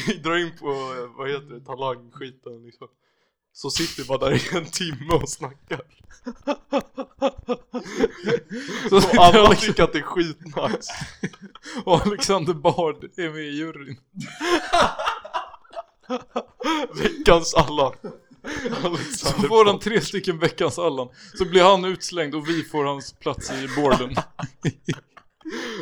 [SPEAKER 3] vi drar in på, eh, vad heter det, talangskiten liksom. Så sitter vi bara där i en timme och snackar.
[SPEAKER 1] Så
[SPEAKER 3] Och
[SPEAKER 1] sitter
[SPEAKER 3] alla
[SPEAKER 1] Alex
[SPEAKER 3] tycker att det är skitnice.
[SPEAKER 1] och Alexander Bard är med i juryn.
[SPEAKER 3] Veckans alla.
[SPEAKER 1] Så
[SPEAKER 3] Alexander
[SPEAKER 1] får han tre stycken veckans Allan. Så blir han utslängd och vi får hans plats i boarden.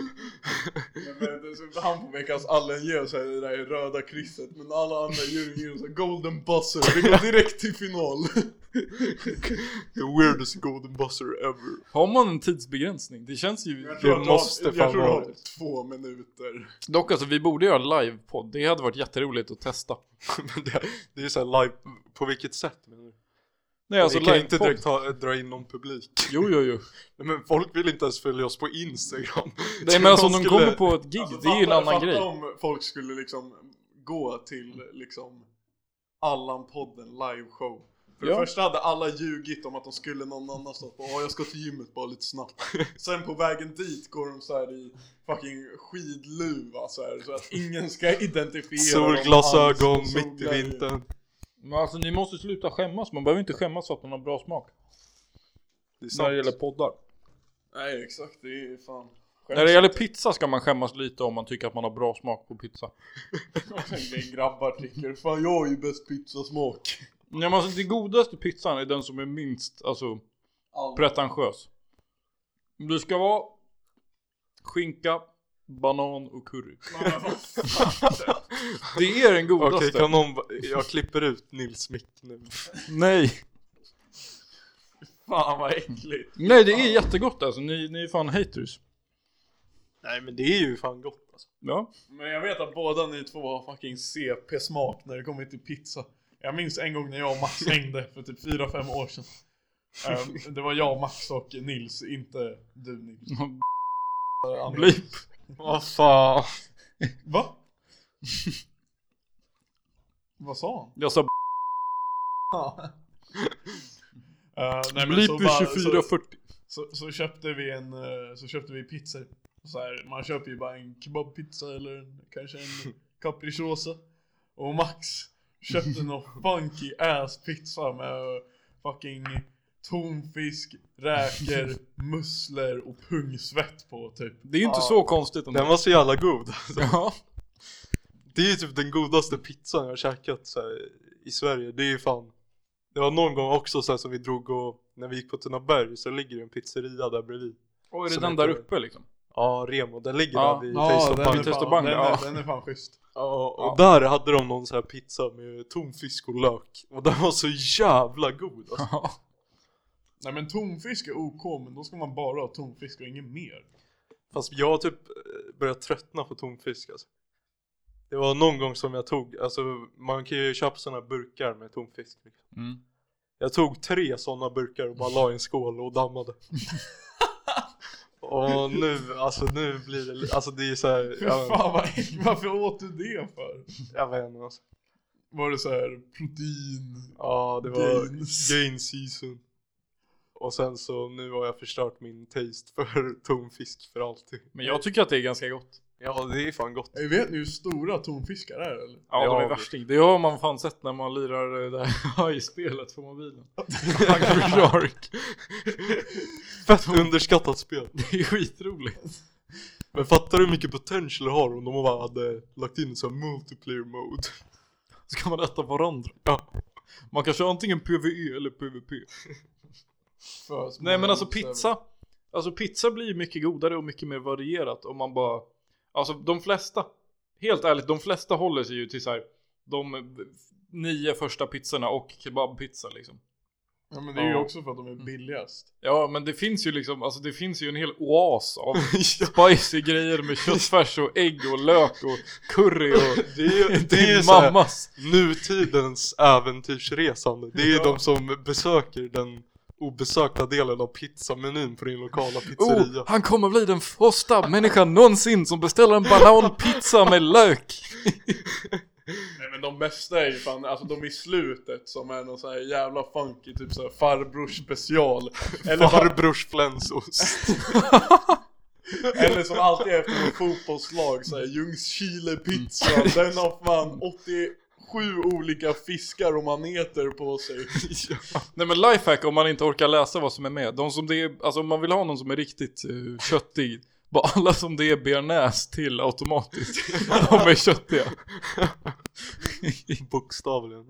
[SPEAKER 2] Men det är så- Han på veckans Allen ger sig det där röda krysset men alla andra djur ger sig golden buzzer, vi går direkt till final.
[SPEAKER 3] The weirdest golden buzzer ever.
[SPEAKER 1] Har man en tidsbegränsning? Det känns ju...
[SPEAKER 2] Jag tror att
[SPEAKER 3] måste
[SPEAKER 2] jag,
[SPEAKER 3] fan
[SPEAKER 2] jag tror
[SPEAKER 3] vara
[SPEAKER 2] jag har
[SPEAKER 3] det.
[SPEAKER 2] typ två minuter.
[SPEAKER 1] Dock alltså, vi borde göra livepodd. Det hade varit jätteroligt att testa.
[SPEAKER 3] Men det, det är ju såhär live, på vilket sätt menar du?
[SPEAKER 1] Nej alltså
[SPEAKER 3] vi kan ju inte
[SPEAKER 1] livepodd.
[SPEAKER 3] direkt ha, dra in någon publik.
[SPEAKER 1] Jo jo jo.
[SPEAKER 3] Nej, men folk vill inte ens följa oss på Instagram.
[SPEAKER 1] Nej
[SPEAKER 3] Så
[SPEAKER 1] men alltså om de
[SPEAKER 3] skulle-
[SPEAKER 1] kommer på ett gig,
[SPEAKER 2] Alltså,
[SPEAKER 1] det är ju en
[SPEAKER 2] fatta-
[SPEAKER 1] annan
[SPEAKER 2] fatta
[SPEAKER 1] grej.
[SPEAKER 2] om folk skulle liksom gå till liksom Allan-podden liveshow. För
[SPEAKER 1] Ja.
[SPEAKER 2] det första hade alla ljugit om att de skulle någon annanstans. Bara, "Åh, jag ska till gymmet bara lite snabbt. Sen på vägen dit går de så här i fucking skidluva så här. Så att ingen ska identifiera dem
[SPEAKER 3] Solglasögon
[SPEAKER 2] alls.
[SPEAKER 3] mitt i
[SPEAKER 2] Solglasögon.
[SPEAKER 3] vintern.
[SPEAKER 1] Men alltså ni måste sluta skämmas, man behöver inte skämmas för att man har bra smak.
[SPEAKER 3] Det är
[SPEAKER 1] När det
[SPEAKER 3] sant.
[SPEAKER 1] gäller poddar.
[SPEAKER 2] Nej exakt, det är fan.
[SPEAKER 1] När det gäller pizza ska man skämmas lite om man tycker att man har bra smak på pizza.
[SPEAKER 2] pizza. grabbar tycker fan jag har ju bäst pizzasmak.
[SPEAKER 1] Nej men alltså den godaste pizzan är den som är minst, alltså
[SPEAKER 2] Allt.
[SPEAKER 1] pretentiös. Det ska vara skinka, banan och curry. Det är den
[SPEAKER 3] Okej,
[SPEAKER 1] godaste.
[SPEAKER 3] kan någon... Jag klipper ut Nils mick nu.
[SPEAKER 1] Nej.
[SPEAKER 2] Fan vad äckligt.
[SPEAKER 1] Nej det är jättegott alltså, ni, ni är fan haters.
[SPEAKER 3] Nej men det är ju fan gott alltså.
[SPEAKER 1] Ja.
[SPEAKER 2] Men jag vet att båda ni två har fucking CP-smak när det kommer till pizza. Jag minns en gång när jag och Max hängde för typ 4-5 år sedan. Ehm, det var jag, Max och Nils, inte du Nils.
[SPEAKER 1] Blip.
[SPEAKER 3] Vad fan.
[SPEAKER 2] Va? Vad sa han?
[SPEAKER 1] Jag sa
[SPEAKER 2] Eh, nej, men
[SPEAKER 1] blip
[SPEAKER 2] så
[SPEAKER 1] vid
[SPEAKER 2] bara-
[SPEAKER 1] 24.40.
[SPEAKER 2] Så, så köpte vi en, eh, så köpte vi pizzor. Så här, man köper ju bara en kebabpizza eller en- kanske en capricciosa. Och Max köpte någon funky ass pizza med eh, fucking tonfisk, räkor, musslor och pungsvett på typ.
[SPEAKER 1] Det är ju inte
[SPEAKER 3] Ja.
[SPEAKER 1] så konstigt ändå.
[SPEAKER 3] Den var så jävla god. alltså.
[SPEAKER 1] Ja.
[SPEAKER 3] Det är ju typ den godaste pizzan jag har käkat så här, i Sverige. Det är ju fan. Det var någon gång också så här, som vi drog och när vi gick på Tunaberg så ligger det en pizzeria där bredvid.
[SPEAKER 1] Och är det
[SPEAKER 3] Som
[SPEAKER 1] den
[SPEAKER 3] heter-
[SPEAKER 1] där uppe liksom?
[SPEAKER 3] Ja, Remo. Den ligger
[SPEAKER 1] Ja.
[SPEAKER 3] där vid
[SPEAKER 2] Ja,
[SPEAKER 3] Taste of
[SPEAKER 2] den
[SPEAKER 3] Pine.
[SPEAKER 2] är
[SPEAKER 1] Taste of
[SPEAKER 2] fan-
[SPEAKER 1] Bangla,
[SPEAKER 2] den
[SPEAKER 1] ja.
[SPEAKER 2] är- Den är fan schysst.
[SPEAKER 3] Ja, och
[SPEAKER 1] Ja.
[SPEAKER 3] där hade de någon så här pizza med tonfisk och lök. Och den var så jävla god alltså.
[SPEAKER 1] Ja.
[SPEAKER 2] Nej men tonfisk är OK men då ska man bara ha tonfisk och inget mer.
[SPEAKER 3] Fast jag har typ eh, börjat tröttna på tonfisk alltså. Det var någon gång som jag tog, alltså man kan ju köpa sådana burkar med tonfisk. Liksom.
[SPEAKER 1] Mm.
[SPEAKER 3] Jag tog tre sådana burkar och bara la i en skål och dammade. och nu, alltså nu blir det, li- alltså det är såhär,
[SPEAKER 2] Fy
[SPEAKER 3] jag, vet-
[SPEAKER 2] fan vad äck- varför åt du det för?
[SPEAKER 3] jag vet inte alltså.
[SPEAKER 2] Var det så här protein?
[SPEAKER 3] Ja det var
[SPEAKER 2] Gains.
[SPEAKER 3] gain season. Och sen så nu har jag förstört min taste för tonfisk för alltid.
[SPEAKER 1] Men jag tycker att det är ganska gott.
[SPEAKER 3] Ja det är fan gott.
[SPEAKER 2] Ey, Vet ni hur stora tonfiskar är eller?
[SPEAKER 1] Ja,
[SPEAKER 3] Ja,
[SPEAKER 1] de är
[SPEAKER 3] det-
[SPEAKER 1] värsting. Det har man fan sett när man lirar eh, det här i spelet på mobilen. Hungry Shark.
[SPEAKER 3] Fett underskattat spel.
[SPEAKER 1] Det är skitroligt.
[SPEAKER 3] Men fattar du hur mycket potential det har om de bara hade lagt in så här multiplayer mode?
[SPEAKER 1] Ska man äta varandra?
[SPEAKER 3] Ja.
[SPEAKER 1] Man kan köra antingen PVE eller PVP.
[SPEAKER 2] För små
[SPEAKER 1] Nej men alltså
[SPEAKER 2] bokstäver.
[SPEAKER 1] pizza. Alltså pizza blir mycket godare och mycket mer varierat om man bara. Alltså de flesta. Helt ärligt, de flesta håller sig ju till så här. De eh, nio första pizzorna och kebabpizza liksom.
[SPEAKER 2] Ja men det är ju
[SPEAKER 1] Ja. Mm.
[SPEAKER 2] också för att de är billigast.
[SPEAKER 1] Ja men det finns ju liksom, alltså det finns ju en hel oas av
[SPEAKER 3] ja,
[SPEAKER 1] spicy grejer med köttfärs och ägg och lök och curry och
[SPEAKER 3] det är ju, det är ju
[SPEAKER 1] din
[SPEAKER 3] så här
[SPEAKER 1] mammas.
[SPEAKER 3] nutidens äventyrsresande. Det är ju
[SPEAKER 2] Ja.
[SPEAKER 3] de som besöker den obesökta delen av pizzamenyn på din lokala pizzeria.
[SPEAKER 1] Oh, han kommer bli den första människan någonsin som beställer en bananpizza med lök.
[SPEAKER 2] Nej men de bästa är ju fan, alltså de i slutet som är någon så här jävla funky typ så här farbrors special. Eller, bara,
[SPEAKER 3] Farbrors flänsost.
[SPEAKER 2] eller som alltid är efter något fotbollslag så här Ljungskile pizza.
[SPEAKER 1] Mm.
[SPEAKER 2] Den har fan 87 olika fiskar och maneter på sig.
[SPEAKER 1] Nej men lifehack om man inte orkar läsa vad som är med. De som det är, alltså om man vill ha någon som är riktigt eh, köttig. Bara alla som det är bearnaise till automatiskt. De är köttiga.
[SPEAKER 3] Bokstavligen.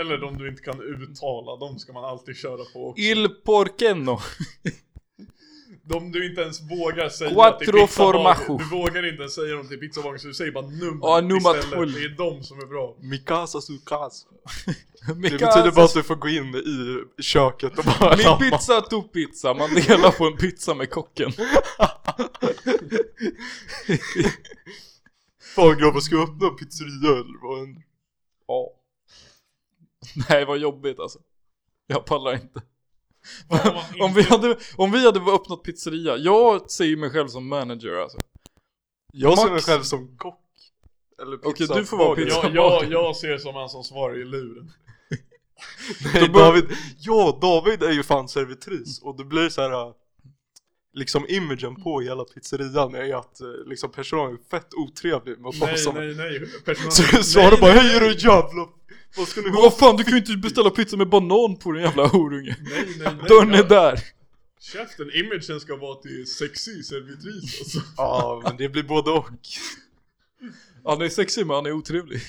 [SPEAKER 2] Eller de du inte kan uttala, de ska man alltid köra på.
[SPEAKER 1] Il porceno.
[SPEAKER 2] De du inte ens vågar säga
[SPEAKER 1] Quattro
[SPEAKER 2] till pizza
[SPEAKER 1] formaggio.
[SPEAKER 2] Bang. Du vågar inte ens säga dem till pizzabagen så du säger bara nummer
[SPEAKER 1] Ja, nummer tolv.
[SPEAKER 2] istället. Det är de som är bra.
[SPEAKER 3] Mikasa sukasa.
[SPEAKER 1] Det
[SPEAKER 3] Det betyder bara att du får gå in i köket och bara
[SPEAKER 1] Min
[SPEAKER 3] damma.
[SPEAKER 1] pizza to pizza. Man delar på en pizza med kocken.
[SPEAKER 3] Fan grabbar, ska vi öppna en pizzeria eller vad händer?
[SPEAKER 1] Ja. Nej vad jobbigt alltså. Jag pallar inte.
[SPEAKER 2] Fan, vad
[SPEAKER 1] Om vi hade, om vi hade öppnat pizzeria. Jag ser mig själv som manager alltså.
[SPEAKER 3] Jag ser mig
[SPEAKER 1] Max-
[SPEAKER 3] själv som kock. Eller
[SPEAKER 1] Okej,
[SPEAKER 3] pizza.
[SPEAKER 1] du får vara
[SPEAKER 3] bagare.
[SPEAKER 1] pizza-
[SPEAKER 2] jag, jag, jag ser som han som svarar i luren.
[SPEAKER 3] Nej,
[SPEAKER 1] Då bör-
[SPEAKER 3] David, ja David är ju fan servitris och det blir så här äh, liksom imagen på hela pizzerian är ju att äh, liksom personalen är fett otrevlig mot
[SPEAKER 2] Nej,
[SPEAKER 3] oss som...
[SPEAKER 2] nej, nej. Personal...
[SPEAKER 3] Så du svarar bara hej är du jävla... Vad ska ni
[SPEAKER 1] Men
[SPEAKER 3] ha?
[SPEAKER 1] vad fan du kan ju inte beställa pizza med banan på den jävla horunge.
[SPEAKER 2] Nej, nej, nej.
[SPEAKER 1] Dörren
[SPEAKER 2] Ja,
[SPEAKER 1] är där.
[SPEAKER 2] Käften, imagen ska vara till sexy servitris alltså.
[SPEAKER 3] Ja men det blir både och.
[SPEAKER 1] Han är sexig men han är otrevlig.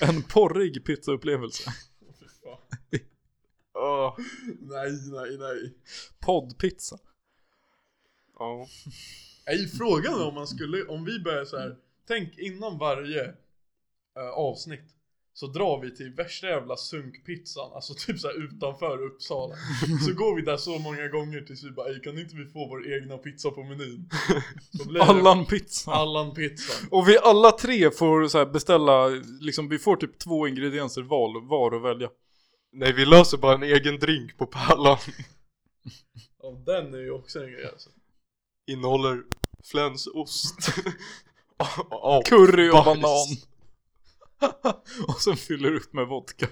[SPEAKER 1] En porrig pizzaupplevelse.
[SPEAKER 2] Fy fan.
[SPEAKER 3] Ja.
[SPEAKER 2] Nej, nej, nej.
[SPEAKER 1] Poddpizza.
[SPEAKER 3] Ja.
[SPEAKER 2] Nej, frågan är om man skulle, om vi börjar så här. Tänk innan varje eh, avsnitt Så drar vi till värsta jävla sunkpizzan, alltså typ så här utanför Uppsala. Så går vi där så många gånger tills vi bara "Ey, kan inte vi få vår egna pizza på menyn? Så blir det
[SPEAKER 1] Allan-pizza.
[SPEAKER 2] Allan-pizzan.
[SPEAKER 1] Och vi alla tre får så här beställa, liksom vi får typ två ingredienser val, var att välja.
[SPEAKER 3] Nej vi löser bara en egen drink på Pallan.
[SPEAKER 2] Ja, den är ju också en grej alltså.
[SPEAKER 3] Innehåller Ah, flänsost. A- a-
[SPEAKER 1] Curry och
[SPEAKER 3] bajs.
[SPEAKER 1] banan. och sen fyller du upp med vodka.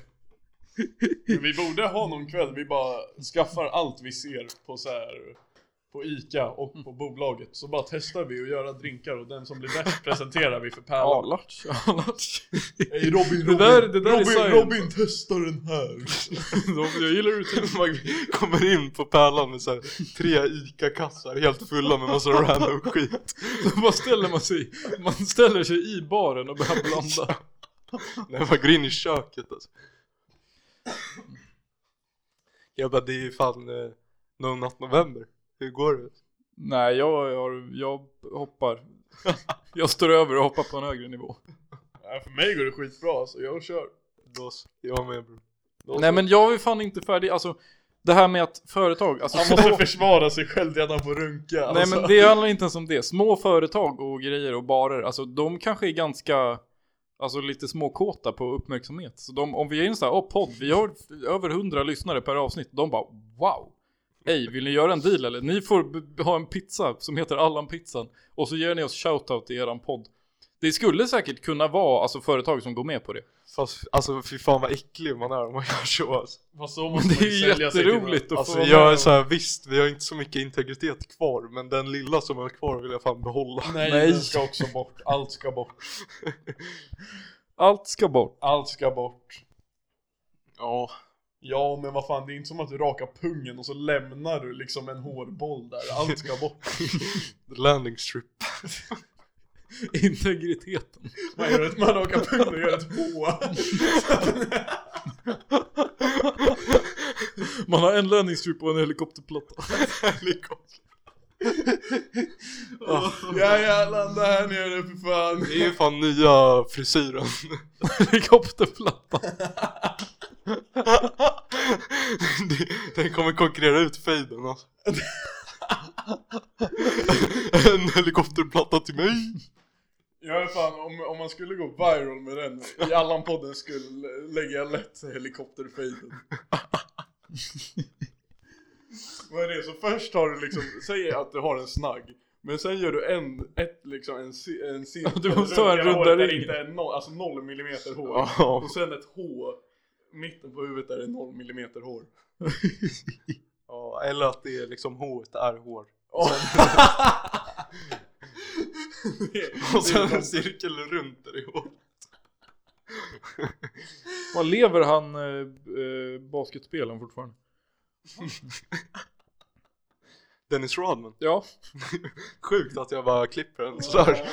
[SPEAKER 2] Men vi borde ha någon kväll, vi bara skaffar allt vi ser på så här på ICA och på bolaget. Så bara testar vi och göra drinkar och den som blir bäst presenterar vi för Pärlan.
[SPEAKER 1] Alarts, alarts.
[SPEAKER 2] Ey Robin, Robin,
[SPEAKER 1] där- det där är
[SPEAKER 2] Robin,
[SPEAKER 1] science.
[SPEAKER 2] Robin testar den här.
[SPEAKER 1] Jag gillar hur du tänker.
[SPEAKER 3] Man kommer in på Pärlan med så här tre ICA-kassar helt fulla med massa random skit.
[SPEAKER 1] Då bara ställer man sig, man ställer sig i baren och börjar blanda.
[SPEAKER 3] Nej man går in i köket alltså. Jag bara det är fan eh, No Not November. Hur går det?
[SPEAKER 1] Nej, jag, jag, jag hoppar. Jag står över och hoppar på en högre nivå.
[SPEAKER 2] Ja, för mig går det skitbra alltså, jag kör.
[SPEAKER 3] Då så. Jag med bror.
[SPEAKER 2] Då
[SPEAKER 1] Nej
[SPEAKER 2] så.
[SPEAKER 1] men jag är fan inte färdig, alltså det här med att företag, alltså
[SPEAKER 2] Han
[SPEAKER 1] små,
[SPEAKER 2] måste försvara sig själv redan på runka.
[SPEAKER 1] nej
[SPEAKER 2] alltså.
[SPEAKER 1] men det handlar inte ens om det. Små företag och grejer och barer, alltså de kanske är ganska, alltså lite småkåta på uppmärksamhet. Så de, om vi är en sån här, oh, podd, vi har över hundra lyssnare per avsnitt, de bara wow. Ej, vill ni göra en deal eller? Ni får b- b- ha en pizza som heter Allan-pizzan och så ger ni oss shoutout i eran podd. Det skulle säkert kunna vara alltså företag som går med på det.
[SPEAKER 3] Fast alltså fy fan vad äcklig man är om man gör så alltså.
[SPEAKER 2] Fast så
[SPEAKER 1] Men
[SPEAKER 2] måste
[SPEAKER 1] det
[SPEAKER 2] man
[SPEAKER 1] är
[SPEAKER 2] ju
[SPEAKER 1] ju
[SPEAKER 2] sälja sig till
[SPEAKER 1] jätteroligt att
[SPEAKER 3] Alltså
[SPEAKER 1] få vara
[SPEAKER 3] jag
[SPEAKER 1] med
[SPEAKER 3] är
[SPEAKER 1] och-
[SPEAKER 3] så här, visst vi har inte så mycket integritet kvar men den lilla som är kvar vill jag fan behålla.
[SPEAKER 2] varandra. Nej,
[SPEAKER 1] Nej.
[SPEAKER 2] den ska också bort. Allt ska bort.
[SPEAKER 1] Allt ska bort.
[SPEAKER 2] Allt ska bort.
[SPEAKER 3] Ja.
[SPEAKER 2] Ja, men vad fan, det är inte som att du rakar pungen och så lämnar du liksom en hårboll där. Allt ska bort.
[SPEAKER 3] The landing strip.
[SPEAKER 1] Integriteten.
[SPEAKER 2] Man, gör ett, man rakar pungen och gör ett H.
[SPEAKER 1] Man har en landningsstrip och en helikopterplatta.
[SPEAKER 3] Helikopter.
[SPEAKER 2] Ja, ja, landa här nere för fan.
[SPEAKER 3] Det är ju fan nya frisyren.
[SPEAKER 1] Helikopterplatta.
[SPEAKER 3] Det- Den kommer konkurrera ut fejden alltså. En helikopterplatta till mig.
[SPEAKER 2] Jag är fan, om, om man skulle gå viral med den i Allan-podden skulle lägga jag lätt helikopterfejden. Vad är det? Så först har du liksom, säg att du har en snagg. Men sen gör du en, ett liksom, en, ci- en cirkel.
[SPEAKER 1] Du måste ha en
[SPEAKER 2] runt hela
[SPEAKER 1] runda
[SPEAKER 2] håret där
[SPEAKER 1] ring.
[SPEAKER 2] det inte är noll, alltså noll millimeter hår.
[SPEAKER 3] Ja.
[SPEAKER 2] Och sen ett H, mitten på huvudet där det är noll millimeter hår.
[SPEAKER 3] Ja, Eller att det är liksom H är hår.
[SPEAKER 2] Det är-
[SPEAKER 3] Och
[SPEAKER 2] det är
[SPEAKER 3] sen en
[SPEAKER 2] de-
[SPEAKER 3] cirkel runt där i hår.
[SPEAKER 1] Vad lever han eh, b- eh, basketspelaren fortfarande?
[SPEAKER 3] Dennis Rodman.
[SPEAKER 1] Ja.
[SPEAKER 3] Sjukt att jag bara klipper den sådär.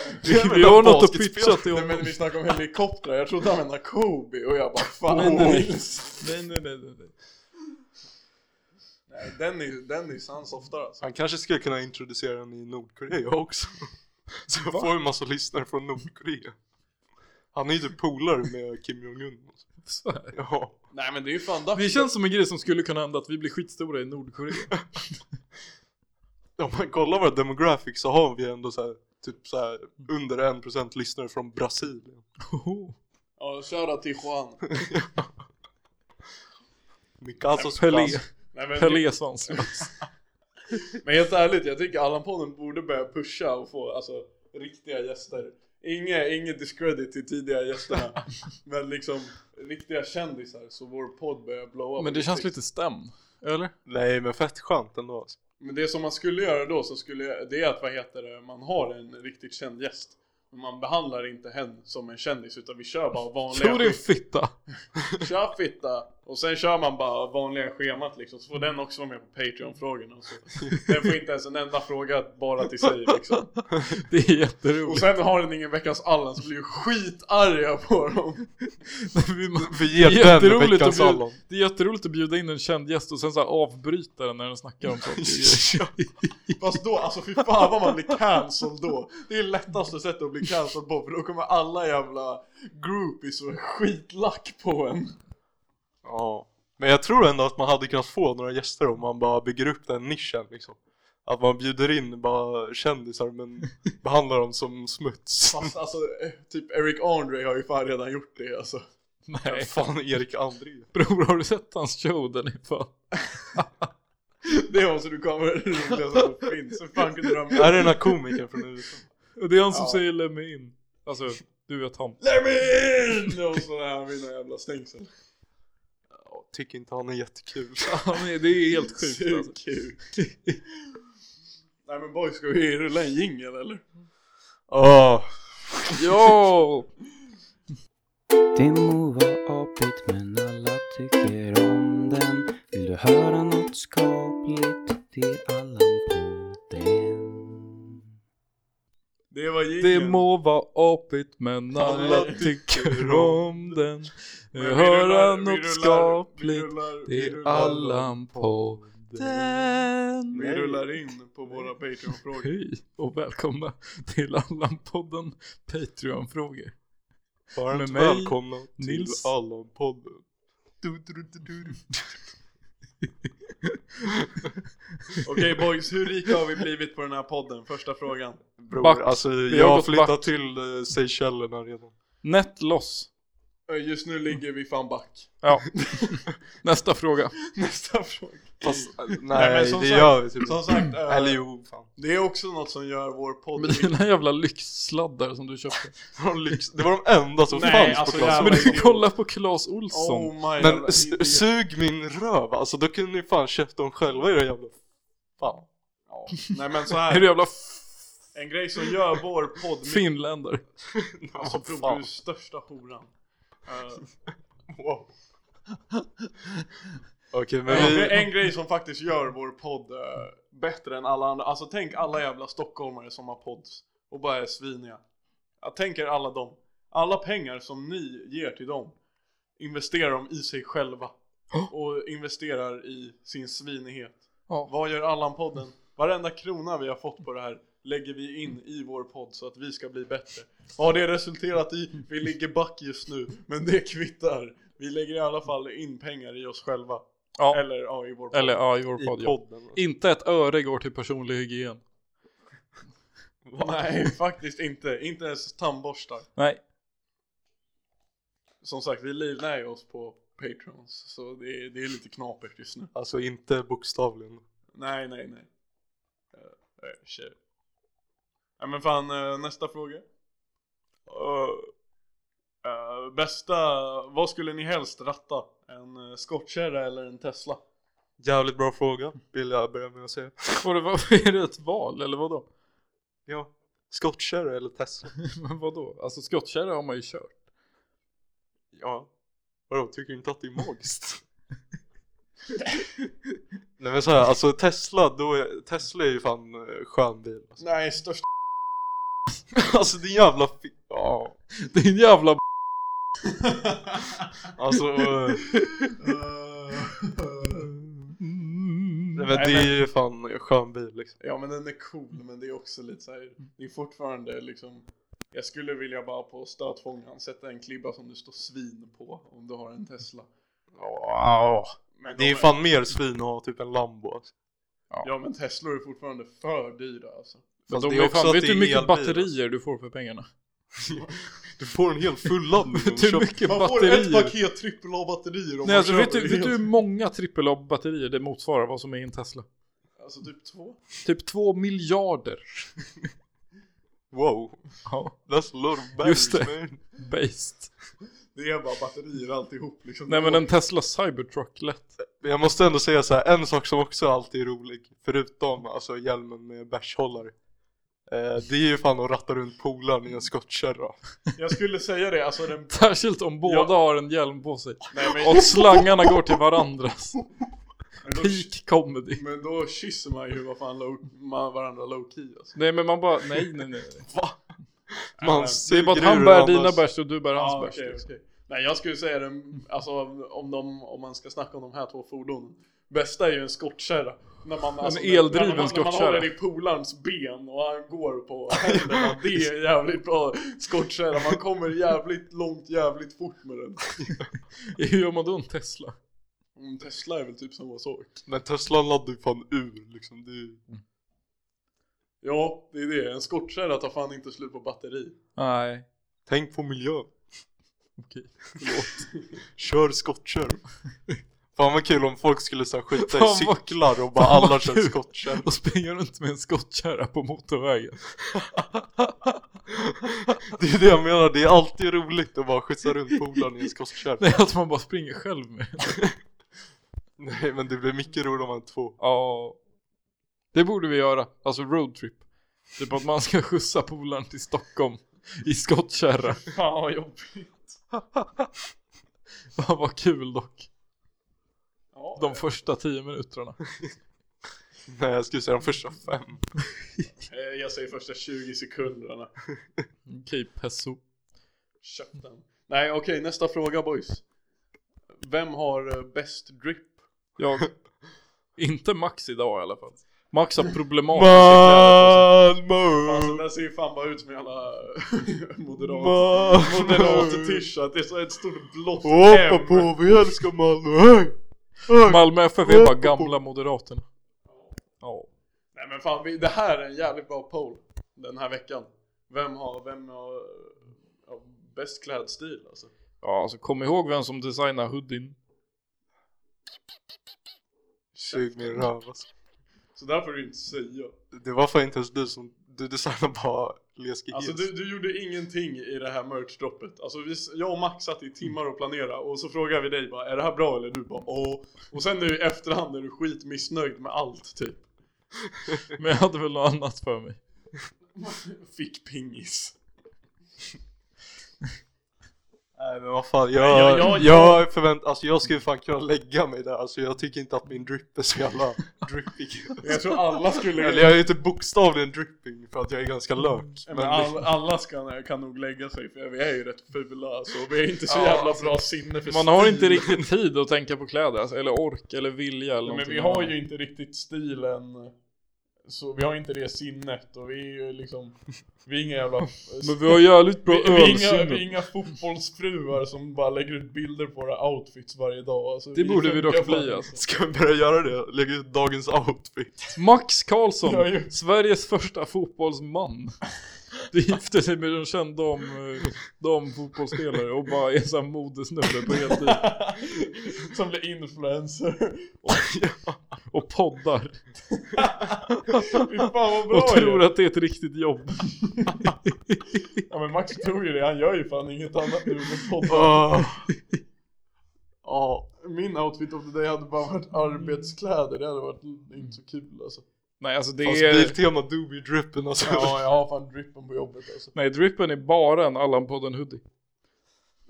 [SPEAKER 1] Vi har något att pitcha till
[SPEAKER 2] Nej
[SPEAKER 1] honom.
[SPEAKER 2] men vi snackade om helikoptrar, jag trodde han menade Kobe och jag bara fan
[SPEAKER 1] Nej, nej, nej.
[SPEAKER 2] Nils.
[SPEAKER 1] Nej, nej, nej, nej, nej.
[SPEAKER 2] Nej, den är, den är sans oftare alltså.
[SPEAKER 3] Han kanske skulle kunna introducera den i Nordkorea också. Så jag får en massa lyssnare från Nordkorea. Han är ju typ polare med Kim Jong-Un.
[SPEAKER 1] Så här.
[SPEAKER 3] Ja.
[SPEAKER 2] Nej men det är ju fan dags.
[SPEAKER 1] Det känns som en grej som skulle kunna hända att vi blir skitstora i Nordkorea.
[SPEAKER 3] Om man kollar våra demographics så har vi ändå så här, typ så här,
[SPEAKER 1] Mm.
[SPEAKER 3] under 1% lyssnare från Brasilien.
[SPEAKER 1] Oh.
[SPEAKER 2] Ja, shoutout till Juan.
[SPEAKER 3] Mikasos
[SPEAKER 1] Pelé.
[SPEAKER 3] Brasil.
[SPEAKER 2] Nej, men,
[SPEAKER 1] Pelé Svanslös.
[SPEAKER 2] men helt ärligt, jag tycker Allan-podden borde börja pusha och få alltså, riktiga gäster. Inget inge discredit till tidigare gästerna. men liksom riktiga kändisar så vår podd börjar blowa.
[SPEAKER 1] Men det känns lite stämd. Eller?
[SPEAKER 3] Nej men fett skönt ändå alltså.
[SPEAKER 2] Men det som man skulle göra då så skulle jag, det är att vad heter det, man har en riktigt känd gäst. Men man behandlar inte hen som en kändis utan vi kör bara vanliga
[SPEAKER 1] Tror din fitta.
[SPEAKER 2] Tja fitta! Och sen kör man bara vanliga schemat liksom, så får den också vara med på Patreon-frågorna och så. Den får inte ens en enda fråga bara till sig liksom.
[SPEAKER 1] Det är
[SPEAKER 2] Och
[SPEAKER 1] jätteroligt.
[SPEAKER 2] sen har den ingen veckans Allan så blir ju skitarga på dem.
[SPEAKER 3] Vi ger
[SPEAKER 1] Det är
[SPEAKER 3] den
[SPEAKER 1] jätteroligt
[SPEAKER 3] veckans
[SPEAKER 1] att
[SPEAKER 3] Allan.
[SPEAKER 1] bjuda, det är jätteroligt att bjuda in en känd gäst och sen så här avbryta den när den snackar om saker.
[SPEAKER 2] Fast då, alltså fy fan vad man blir cancelled då. Det är lättaste sättet att bli cancelled på för då kommer alla jävla groupies och är skitlack på en.
[SPEAKER 3] Ja. Men jag tror ändå att man hade kunnat få några gäster om man bara bygger upp den nischen liksom. Att man bjuder in bara kändisar men behandlar dem som smuts.
[SPEAKER 2] Fast alltså, eh, typ Eric Andre har ju fan redan gjort det alltså.
[SPEAKER 1] Nej,
[SPEAKER 3] Fan Erik André.
[SPEAKER 1] bror har du sett hans show? Den är fan...
[SPEAKER 2] Det var så du kommer det roligaste som finns. Hur fan kunde du ha
[SPEAKER 3] Är
[SPEAKER 2] med
[SPEAKER 3] det den här komikern från USA?
[SPEAKER 1] Det är han som
[SPEAKER 2] Ja.
[SPEAKER 1] säger lämna in. Alltså, du vet han.
[SPEAKER 2] Let me in! Och så är han vid någon jävla stängsel.
[SPEAKER 3] Ja, tycker inte han är jättekul.
[SPEAKER 1] Han är, det är helt sjukt
[SPEAKER 2] Så
[SPEAKER 1] alltså.
[SPEAKER 2] kul. Nej men boys, ska vi rulla en jingel eller?
[SPEAKER 3] Åh.
[SPEAKER 1] Ja!
[SPEAKER 5] Det må vara apigt men alla tycker om den. Vill du höra något skapligt? Det är Allan på den.
[SPEAKER 2] Det var
[SPEAKER 1] Det
[SPEAKER 2] jingeln.
[SPEAKER 1] må vara apigt men alla
[SPEAKER 2] Nej.
[SPEAKER 1] tycker om den.
[SPEAKER 2] Men vi
[SPEAKER 1] Nu hör
[SPEAKER 2] rullar-
[SPEAKER 1] han
[SPEAKER 2] vi
[SPEAKER 1] något
[SPEAKER 2] rullar- vi
[SPEAKER 1] skapligt.
[SPEAKER 2] rullar- vi
[SPEAKER 1] Det är
[SPEAKER 2] rullar-
[SPEAKER 1] Allan på den.
[SPEAKER 2] Vi rullar in på våra Patreon-frågor.
[SPEAKER 1] Hej och välkomna till Allan-podden Patreon-frågor.
[SPEAKER 3] Varmt
[SPEAKER 1] Med mig,
[SPEAKER 3] välkomna till
[SPEAKER 1] Nils.
[SPEAKER 3] Allan-podden. Du, du, du, du, du.
[SPEAKER 2] Okej boys, hur rika har vi blivit på den här podden? Första frågan.
[SPEAKER 3] Bror,
[SPEAKER 1] Back.
[SPEAKER 3] alltså
[SPEAKER 1] har
[SPEAKER 3] jag har
[SPEAKER 1] gått
[SPEAKER 3] flyttat
[SPEAKER 1] back.
[SPEAKER 3] till eh, Seychellerna redan.
[SPEAKER 1] Net loss.
[SPEAKER 2] Ö, Just nu ligger vi fan back.
[SPEAKER 1] Ja. Nästa fråga.
[SPEAKER 2] Nästa fråga.
[SPEAKER 3] Fast, eh, nej,
[SPEAKER 2] Nej, men
[SPEAKER 3] det
[SPEAKER 2] som sagt-
[SPEAKER 3] gör vi typ
[SPEAKER 2] Som
[SPEAKER 3] inte.
[SPEAKER 2] sagt, eh,
[SPEAKER 3] Eller jo, fan.
[SPEAKER 2] det är också något som gör vår podd
[SPEAKER 1] Med dina jävla lyxsladdar som du köpte.
[SPEAKER 3] De lyx- Det var de enda som
[SPEAKER 2] Nej,
[SPEAKER 3] fanns
[SPEAKER 2] alltså
[SPEAKER 3] på klassen.
[SPEAKER 1] Men
[SPEAKER 2] jävla
[SPEAKER 3] Men,
[SPEAKER 1] du
[SPEAKER 2] idiot.
[SPEAKER 1] kolla på Clas Olsson.
[SPEAKER 2] Oh my
[SPEAKER 3] men
[SPEAKER 2] jävla
[SPEAKER 3] s-
[SPEAKER 2] idiot.
[SPEAKER 3] sug min röv, alltså då kunde ni fan köpa dem själva era jävla... Fan.
[SPEAKER 2] Ja. Nej men så
[SPEAKER 1] Är du
[SPEAKER 2] här.
[SPEAKER 1] jävla f-
[SPEAKER 2] En grej som gör vår podd mycket-
[SPEAKER 1] finländare?
[SPEAKER 2] Alltså bror, du är största horan. Eh, wow.
[SPEAKER 3] Okej, men
[SPEAKER 2] en,
[SPEAKER 3] vi...
[SPEAKER 2] en grej som faktiskt gör vår podd eh, bättre än alla andra. Alltså tänk alla jävla stockholmare som har pods och bara är sviniga. Jag tänker alla dem. Alla pengar som ni ger till dem investerar de i sig själva. Och investerar i sin svinighet.
[SPEAKER 1] Ja.
[SPEAKER 2] Vad gör Allan-podden? Varenda krona vi har fått på det här lägger vi in i vår podd så att vi ska bli bättre. Vad har det resulterat i? Vi ligger back just nu, men det kvittar. Vi lägger i alla fall in pengar i oss själva.
[SPEAKER 1] ja.
[SPEAKER 2] Eller ja, i vår podd.
[SPEAKER 1] Eller ja, i vår podd.
[SPEAKER 3] I
[SPEAKER 1] Ja.
[SPEAKER 3] podden. alltså.
[SPEAKER 1] Inte ett öre går till personlig hygien.
[SPEAKER 2] Nej, faktiskt inte. Inte ens tandborstar.
[SPEAKER 1] Nej.
[SPEAKER 2] Som sagt, vi livnär ju oss på Patrons, så det är, det är lite knapert just nu.
[SPEAKER 3] Alltså inte bokstavligen.
[SPEAKER 2] Nej, nej, nej. Eh, eh, shit. Ja, men fan, eh, nästa fråga. Eh, eh, bästa, vad skulle ni helst ratta? En uh, skottkärra eller en Tesla?
[SPEAKER 3] Jävligt bra fråga, vill jag börja med att säga.
[SPEAKER 1] Och det var, är det ett val eller vadå?
[SPEAKER 3] Ja. Skottkärra eller Tesla?
[SPEAKER 1] Men vadå? Alltså skottkärra har man ju kört.
[SPEAKER 3] Ja. Vadå, tycker du inte att det är magiskt? Nej men såhär, alltså Tesla, då är, Tesla är ju fan eh, skön bil. Alltså,
[SPEAKER 2] Nej, störst
[SPEAKER 3] alltså din jävla fi- Ja.
[SPEAKER 1] Din jävla b-
[SPEAKER 3] Alltså, eh,
[SPEAKER 2] Eh.
[SPEAKER 3] nej, men det är ju fan en skön bil liksom.
[SPEAKER 2] Ja, men den är cool, men det är också lite så här, det är fortfarande liksom jag skulle vilja bara på stötfångaren sätta en klibba som du står svin på om du har en Tesla.
[SPEAKER 3] Ja.
[SPEAKER 2] Men
[SPEAKER 3] Det är ju
[SPEAKER 2] de
[SPEAKER 3] fan mer svin att ha typ en Lambo alltså.
[SPEAKER 2] Ja men Teslor är fortfarande för dyra alltså.
[SPEAKER 1] Men
[SPEAKER 3] Fast
[SPEAKER 1] de
[SPEAKER 3] det
[SPEAKER 1] är
[SPEAKER 3] är
[SPEAKER 1] ju
[SPEAKER 3] också
[SPEAKER 1] fan,
[SPEAKER 3] att
[SPEAKER 1] vet
[SPEAKER 3] det
[SPEAKER 1] du
[SPEAKER 3] är
[SPEAKER 1] hur mycket
[SPEAKER 3] elbil,
[SPEAKER 1] batterier du får för pengarna?
[SPEAKER 3] Du får en hel fulladdning om
[SPEAKER 1] Vet du hur
[SPEAKER 3] köper-
[SPEAKER 1] mycket
[SPEAKER 2] Man får ett
[SPEAKER 1] batterier?
[SPEAKER 2] paket AAA-batterier
[SPEAKER 1] Nej
[SPEAKER 2] om man
[SPEAKER 1] alltså
[SPEAKER 2] köper
[SPEAKER 1] vet du,
[SPEAKER 2] det
[SPEAKER 1] vet du hur
[SPEAKER 2] helt.
[SPEAKER 1] många AAA-batterier det motsvarar vad som är i en Tesla?
[SPEAKER 2] Alltså typ två.
[SPEAKER 1] Typ två miljarder.
[SPEAKER 3] Wow,
[SPEAKER 1] Ja,
[SPEAKER 3] that's a lot of batteries
[SPEAKER 1] Just det.
[SPEAKER 3] man.
[SPEAKER 1] based.
[SPEAKER 2] Det är bara batterier alltihop liksom.
[SPEAKER 1] Nej men en Tesla Cybertruck lätt.
[SPEAKER 3] Men jag måste ändå säga så här, en sak som också alltid är rolig, förutom alltså hjälmen med bärshållare. Eh, det är ju fan att ratta runt polaren i en skottkärra.
[SPEAKER 2] Jag skulle säga det, alltså den...
[SPEAKER 1] Särskilt om båda
[SPEAKER 2] Ja.
[SPEAKER 1] har en hjälm på sig.
[SPEAKER 2] Nej, men,
[SPEAKER 1] Och slangarna går till varandras.
[SPEAKER 2] men, då,
[SPEAKER 1] Peak comedy.
[SPEAKER 2] men då kysser man ju vad fan low, man varandra low key alltså.
[SPEAKER 1] Nej men man bara, nej nej nej. Det är
[SPEAKER 3] Man
[SPEAKER 1] bara att
[SPEAKER 3] suger ur
[SPEAKER 1] han bär
[SPEAKER 3] den
[SPEAKER 1] dina
[SPEAKER 3] andras.
[SPEAKER 1] bärs och du bär hans
[SPEAKER 2] Ja,
[SPEAKER 1] bärs.
[SPEAKER 2] okej,
[SPEAKER 1] liksom.
[SPEAKER 2] okej. Nej jag skulle säga den, alltså om, de, om man ska snacka om de här två fordonen Bästa är ju en skottkärra När man, alltså,
[SPEAKER 1] eldriven
[SPEAKER 2] när man, När
[SPEAKER 1] skottkärra.
[SPEAKER 2] man håller i polarns ben och han går på händerna Det är en jävligt bra skottkärra, man kommer jävligt långt jävligt fort med den
[SPEAKER 1] Hur gör man då en Tesla?
[SPEAKER 2] Mm, Tesla är väl typ samma sak
[SPEAKER 3] Men Teslan laddar ju fan ur liksom. Det är ju...
[SPEAKER 2] Ja, det är det, en skottkärra tar fan inte slut på batteri
[SPEAKER 1] Nej.
[SPEAKER 3] Tänk på miljön.
[SPEAKER 1] Okej.
[SPEAKER 3] Kör skottkärra. Fan vad kul om folk skulle så här, skita i
[SPEAKER 1] Fan vad-
[SPEAKER 3] cyklar och bara
[SPEAKER 1] fan vad
[SPEAKER 3] alla kör
[SPEAKER 1] kul.
[SPEAKER 3] skottkärra.
[SPEAKER 1] Och springer runt med en skottkärra på motorvägen.
[SPEAKER 3] Det är det jag menar, det är alltid roligt att bara skjutsa runt polaren i en skottkärra.
[SPEAKER 1] Nej att man bara springer själv med den.
[SPEAKER 3] Nej men det blir mycket roligare om man är två.
[SPEAKER 1] Ja. Det borde vi göra. Alltså roadtrip. Typ att man ska skjutsa polaren till Stockholm. I skottkärra.
[SPEAKER 2] Fan vad jobbigt
[SPEAKER 1] Fan vad kul dock.
[SPEAKER 2] ja,
[SPEAKER 1] De första tio minuterna.
[SPEAKER 3] Nej jag skulle säga de första fem.
[SPEAKER 2] eh, Jag säger första 20 sekunderna
[SPEAKER 1] Okej, peso.
[SPEAKER 2] Köp den. Nej okej, nästa fråga boys. Vem har eh, bäst drip?
[SPEAKER 1] Jag. Inte Max idag i alla fall. Max har problematiskt.
[SPEAKER 2] Alltså den
[SPEAKER 3] Malmö!
[SPEAKER 2] där ser ju fan bara ut som en jävla moderat,
[SPEAKER 3] Malmö!
[SPEAKER 2] moderat-t-shirt. Det är så ett stort blått
[SPEAKER 3] Hoppa
[SPEAKER 2] M.
[SPEAKER 3] på, vi älskar Malmö! Hej! Hej!
[SPEAKER 1] Malmö FF är bara gamla moderaterna. Ja.
[SPEAKER 2] Nej men fan, vi, det här är en jävligt bra poll den här veckan. Vem har, vem har eh, ja, bäst klädstil alltså?
[SPEAKER 1] Ja, alltså kom ihåg vem som designar hoodien.
[SPEAKER 3] Sug min röv alltså.
[SPEAKER 2] Så där får du inte säga.
[SPEAKER 3] Det var fan inte ens du som, du designade bara läskig
[SPEAKER 2] Alltså
[SPEAKER 3] hiss.
[SPEAKER 2] du, du gjorde ingenting i det här merch-droppet. Alltså vi, s- jag och Max satt i timmar och planerade och så frågade vi dig bara är det här bra eller du bara åh. Och sen nu i efterhand är du skitmissnöjd med allt typ.
[SPEAKER 1] Men jag hade väl något annat för mig.
[SPEAKER 2] Fick pingis.
[SPEAKER 3] Nej men vad fan,
[SPEAKER 2] jag-
[SPEAKER 3] jag,
[SPEAKER 2] jag-
[SPEAKER 3] jag, förvänt, alltså jag skulle fan kunna lägga mig där, alltså jag tycker inte att min drip är så jävla drippig.
[SPEAKER 2] Jag tror alla skulle...
[SPEAKER 3] Eller jag är ju inte bokstavligen dripping för att jag är ganska lök.
[SPEAKER 2] Nej,
[SPEAKER 3] Men
[SPEAKER 2] men
[SPEAKER 3] liksom-
[SPEAKER 2] all, alla ska, kan nog lägga sig för vi är ju rätt fula så vi är inte så
[SPEAKER 1] Ja,
[SPEAKER 2] jävla bra sinne för
[SPEAKER 1] Man har
[SPEAKER 2] stil.
[SPEAKER 1] inte riktigt tid att tänka på kläder, alltså, eller ork, eller vilja eller
[SPEAKER 2] Nej, men
[SPEAKER 1] någonting
[SPEAKER 2] vi har
[SPEAKER 1] annat.
[SPEAKER 2] ju inte riktigt stilen. Så vi har inte det sinnet och vi är ju liksom... Vi är inga jävla...
[SPEAKER 1] Men vi har jävligt bra
[SPEAKER 2] Vi, vi, är inga, vi är
[SPEAKER 1] ölsinne.
[SPEAKER 2] inga fotbollsfruar som bara lägger ut bilder på våra outfits varje dag. Alltså,
[SPEAKER 1] Det borde
[SPEAKER 2] är
[SPEAKER 1] vi dock
[SPEAKER 2] sjuka
[SPEAKER 1] bli,
[SPEAKER 2] fan.
[SPEAKER 1] alltså.
[SPEAKER 3] Ska vi börja göra det? Lägga ut dagens outfit?
[SPEAKER 1] Max Karlsson,
[SPEAKER 2] Ja, ju.
[SPEAKER 1] Sveriges första fotbollsman. Du gifte sig med en känd dam, eh, damfotbollsspelare och bara är sån modesnubbe på heltid.
[SPEAKER 2] som blir influencer.
[SPEAKER 1] Och poddar.
[SPEAKER 2] Fy fan vad bra
[SPEAKER 1] Och tror
[SPEAKER 2] ju.
[SPEAKER 1] att det är ett riktigt jobb.
[SPEAKER 2] Ja men Max tror ju det, han gör ju fan inget annat nu med poddar.
[SPEAKER 3] Ah. Ja,
[SPEAKER 2] Min outfit of the day hade bara varit arbetskläder, det hade varit inte så kul alltså.
[SPEAKER 1] Nej alltså det
[SPEAKER 3] fast
[SPEAKER 1] är...
[SPEAKER 3] Biltema doobie drippen alltså.
[SPEAKER 2] Ja, jag har fan drippen på jobbet alltså.
[SPEAKER 1] Nej, drippen är bara en Allan-podden hoodie.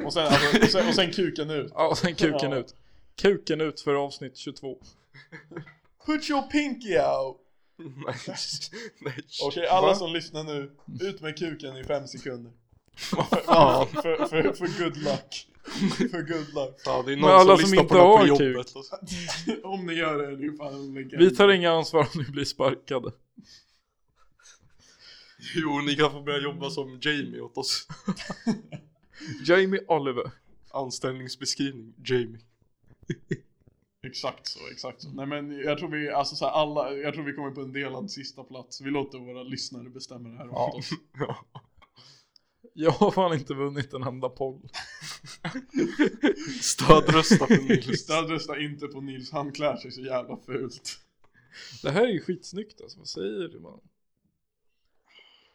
[SPEAKER 2] Och sen, alltså, och sen, och sen kuken ut.
[SPEAKER 1] Ja, och sen kuken
[SPEAKER 2] Ja.
[SPEAKER 1] ut. Kuken ut för avsnitt 22.
[SPEAKER 2] Put your pinky out!
[SPEAKER 3] Nej, nej.
[SPEAKER 2] Okej, alla
[SPEAKER 3] Va?
[SPEAKER 2] som lyssnar nu, ut med kuken i fem sekunder.
[SPEAKER 3] Fan.
[SPEAKER 2] För, för, för good luck. För good luck.
[SPEAKER 3] Fan, det är
[SPEAKER 1] Men
[SPEAKER 3] någon
[SPEAKER 1] alla
[SPEAKER 3] som
[SPEAKER 1] som
[SPEAKER 3] lyssnar
[SPEAKER 1] inte
[SPEAKER 3] på det här
[SPEAKER 1] har
[SPEAKER 3] på
[SPEAKER 1] kuk.
[SPEAKER 3] jobbet. Alltså.
[SPEAKER 2] Om ni gör det, det är ju fan en legend.
[SPEAKER 1] Vi tar inga ansvar om ni blir sparkade.
[SPEAKER 3] Jo, ni kan få börja jobba som Jamie åt oss.
[SPEAKER 1] Jamie Oliver.
[SPEAKER 3] Anställningsbeskrivning, Jamie.
[SPEAKER 2] Exakt så, exakt så. Nej men jag tror vi, alltså så här, alla, jag tror vi kommer på en delad sista plats. Vi låter våra lyssnare bestämma det här åt oss.
[SPEAKER 3] Ja.
[SPEAKER 1] Jag har fan inte vunnit en enda poll.
[SPEAKER 3] Stödrösta för Nils.
[SPEAKER 2] Stöd rösta inte på Nils, han klär sig så jävla fult.
[SPEAKER 1] Det här är ju skitsnyggt alltså, vad säger du man?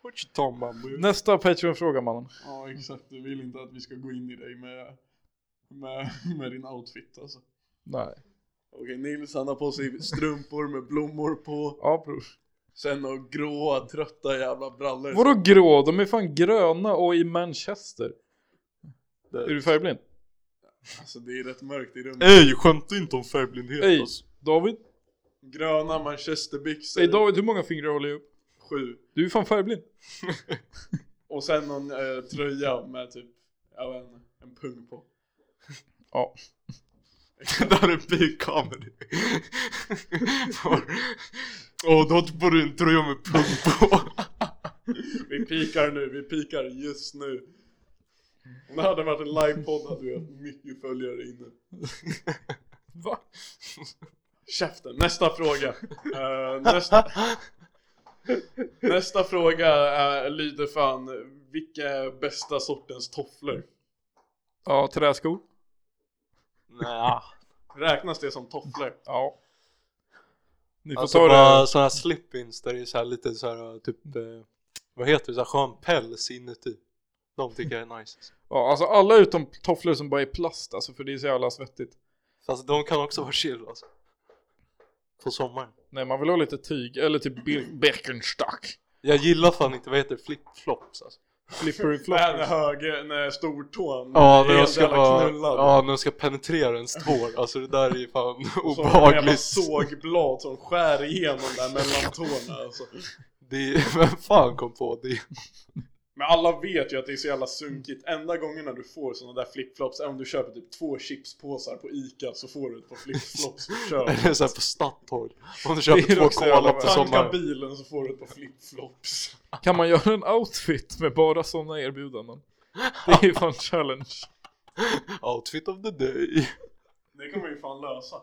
[SPEAKER 3] What you talking about, boy?
[SPEAKER 1] Nästa Patreon-fråga mannen.
[SPEAKER 2] Ja exakt, du vill inte att vi ska gå in i dig med, med, med din outfit alltså.
[SPEAKER 1] Nej.
[SPEAKER 2] Okej Nils han har på sig strumpor med blommor på.
[SPEAKER 1] Ja bror.
[SPEAKER 2] Sen några gråa, trötta jävla brallor.
[SPEAKER 1] Vadå grå? De är fan gröna och i Manchester. Är du färgblind?
[SPEAKER 2] Alltså det är rätt mörkt i rummet.
[SPEAKER 3] Ey, skämta inte om färgblindhet
[SPEAKER 1] Ey,
[SPEAKER 3] alltså.
[SPEAKER 1] David?
[SPEAKER 2] Gröna manchesterbyxor.
[SPEAKER 1] Ey, David, hur många fingrar håller jag upp?
[SPEAKER 2] Sju.
[SPEAKER 1] Du är fan färgblind.
[SPEAKER 2] Och sen någon eh, tröja med typ, jag vet inte, en pung på.
[SPEAKER 1] Ja.
[SPEAKER 3] Det där är peak comedy. Åh, då borde du en tröja med pung på.
[SPEAKER 2] Vi pikar nu, vi pikar just nu. Om det hade varit en livepodd hade vi haft mycket följare inne.
[SPEAKER 1] Va?
[SPEAKER 2] Käften, nästa fråga. Eh, nästa... nästa fråga eh, lyder fan, vilka är bästa sortens tofflor?
[SPEAKER 1] Ja, träskor.
[SPEAKER 3] Nja.
[SPEAKER 2] Räknas det som tofflor?
[SPEAKER 1] Ja. Ni får
[SPEAKER 3] Alltså
[SPEAKER 1] ta
[SPEAKER 3] bara
[SPEAKER 1] det.
[SPEAKER 3] sådana här slip-ins där det är så här lite så här typ, eh, vad heter det, så här skön päls inuti. De tycker jag är nice.
[SPEAKER 1] Ja, alltså alla utom tofflor som bara är plast alltså för det är så jävla svettigt.
[SPEAKER 3] Fast de kan också vara chill alltså. På sommaren.
[SPEAKER 1] Nej, man vill ha lite tyg eller typ Bir- Birkenstock.
[SPEAKER 3] Jag gillar fan inte, vad heter det, flip-flops alltså.
[SPEAKER 1] Flippery
[SPEAKER 2] När
[SPEAKER 1] floppers.
[SPEAKER 2] höger, när stortån
[SPEAKER 3] Ja, när
[SPEAKER 2] är
[SPEAKER 3] de
[SPEAKER 2] helt
[SPEAKER 3] ska,
[SPEAKER 2] jävla
[SPEAKER 3] vara,
[SPEAKER 2] knullad.
[SPEAKER 3] ja, när de ska penetrera ens tår. Alltså det där är ju fan
[SPEAKER 2] Som ett jävla
[SPEAKER 3] obehagligt.
[SPEAKER 2] sågblad som skär igenom där mellan tårna alltså.
[SPEAKER 3] Det är, vem fan kom på det?
[SPEAKER 2] Men alla vet ju att det är så jävla sunkigt. Enda gången när du får såna där flipflops är om du köper typ två chipspåsar på Ica så får du ett par flipflops på köpet.
[SPEAKER 3] Det är såhär på Statoil. Om du
[SPEAKER 1] Det är
[SPEAKER 3] köper två
[SPEAKER 1] också jävla
[SPEAKER 3] cola på
[SPEAKER 1] bra.
[SPEAKER 2] Tanka
[SPEAKER 3] sommaren.
[SPEAKER 2] bilen så får du ett par flipflops.
[SPEAKER 1] Kan man göra en outfit med bara sådana erbjudanden? Det är fan challenge.
[SPEAKER 3] Outfit of the day.
[SPEAKER 2] Det kommer ju fan lösa.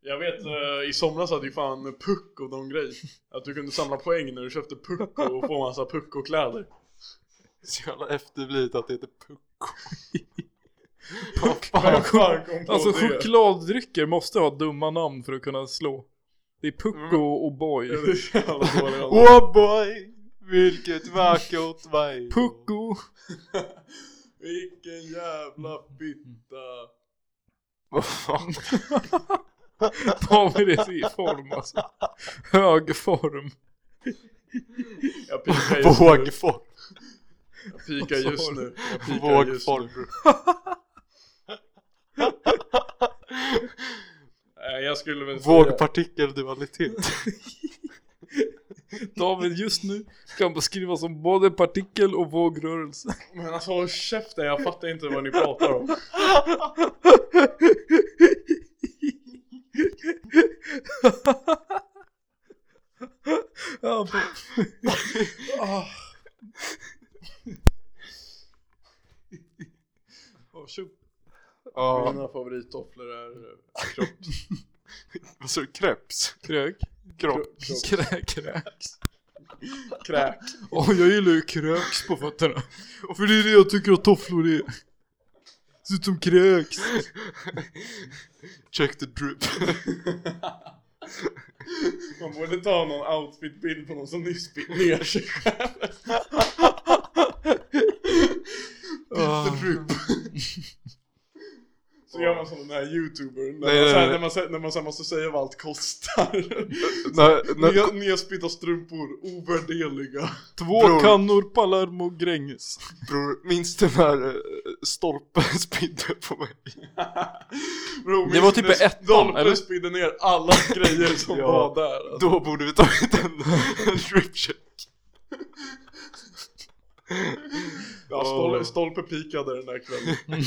[SPEAKER 2] Jag vet eh, i somras hade ju fan puck och de grej. Att du kunde samla poäng när du köpte puck och få massa puck och kläder.
[SPEAKER 3] Så jävla efterblivet att det heter pucko. Vad fan?
[SPEAKER 2] Vem fan kom på
[SPEAKER 1] Alltså
[SPEAKER 2] det?
[SPEAKER 1] chokladdrycker måste ha dumma namn för att kunna slå. Det är Pucko och O'boy.
[SPEAKER 2] Mm. Det är så jävla alltså. dåliga namn.
[SPEAKER 3] Oh boy! Vilket vackert väg.
[SPEAKER 1] Pucko!
[SPEAKER 2] Vilken jävla fitta.
[SPEAKER 3] Vad fan?
[SPEAKER 1] David är så i form alltså. Hög form.
[SPEAKER 2] Jag pikar just nu.
[SPEAKER 3] Vågform.
[SPEAKER 2] Jag pikar just nu. Jag pikar just nu.
[SPEAKER 3] Vågform.
[SPEAKER 2] Eh, Jag skulle väl säga...
[SPEAKER 3] Vågpartikeldualitet.
[SPEAKER 1] David just nu kan beskrivas som både partikel och vågrörelse.
[SPEAKER 2] Men alltså håll käften, jag fattar inte vad ni pratar om.
[SPEAKER 1] Ja, på-
[SPEAKER 2] Ah.
[SPEAKER 3] Ja,
[SPEAKER 2] Mina favorittofflor är... eh,
[SPEAKER 3] vad sa du? Kreps?
[SPEAKER 1] Krök.
[SPEAKER 3] Kropp?
[SPEAKER 1] Krä, kräks.
[SPEAKER 2] Kräk.
[SPEAKER 1] Ja, jag gillar ju kräks på fötterna. För det är det jag tycker att tofflor är. Ser ut som kräks.
[SPEAKER 3] Check the drip.
[SPEAKER 2] Man borde ta någon outfitbild på någon som nyss bit ner sig själv.
[SPEAKER 1] Ah.
[SPEAKER 3] the drip.
[SPEAKER 2] Så gör man som den här youtubern. När, man,
[SPEAKER 3] Nej, nej,
[SPEAKER 2] så här,
[SPEAKER 3] nej.
[SPEAKER 2] när, man, så- när man så här måste säga vad allt kostar.
[SPEAKER 3] När, när,
[SPEAKER 2] Nya- Nedspytta strumpor, ovärderliga.
[SPEAKER 1] Två
[SPEAKER 3] Bror.
[SPEAKER 1] kannor Palermo Gränges.
[SPEAKER 3] bror, minns du när eh, stolpen spydde på mig?
[SPEAKER 2] Bro,
[SPEAKER 1] Det var typ i ettan, eller?
[SPEAKER 2] Dolphin spydde ner alla grejer som
[SPEAKER 3] Ja.
[SPEAKER 2] var där. Alltså.
[SPEAKER 3] Då borde vi tagit en, en dripcheck.
[SPEAKER 2] Ja, stol, stolpe pikade den där kvällen.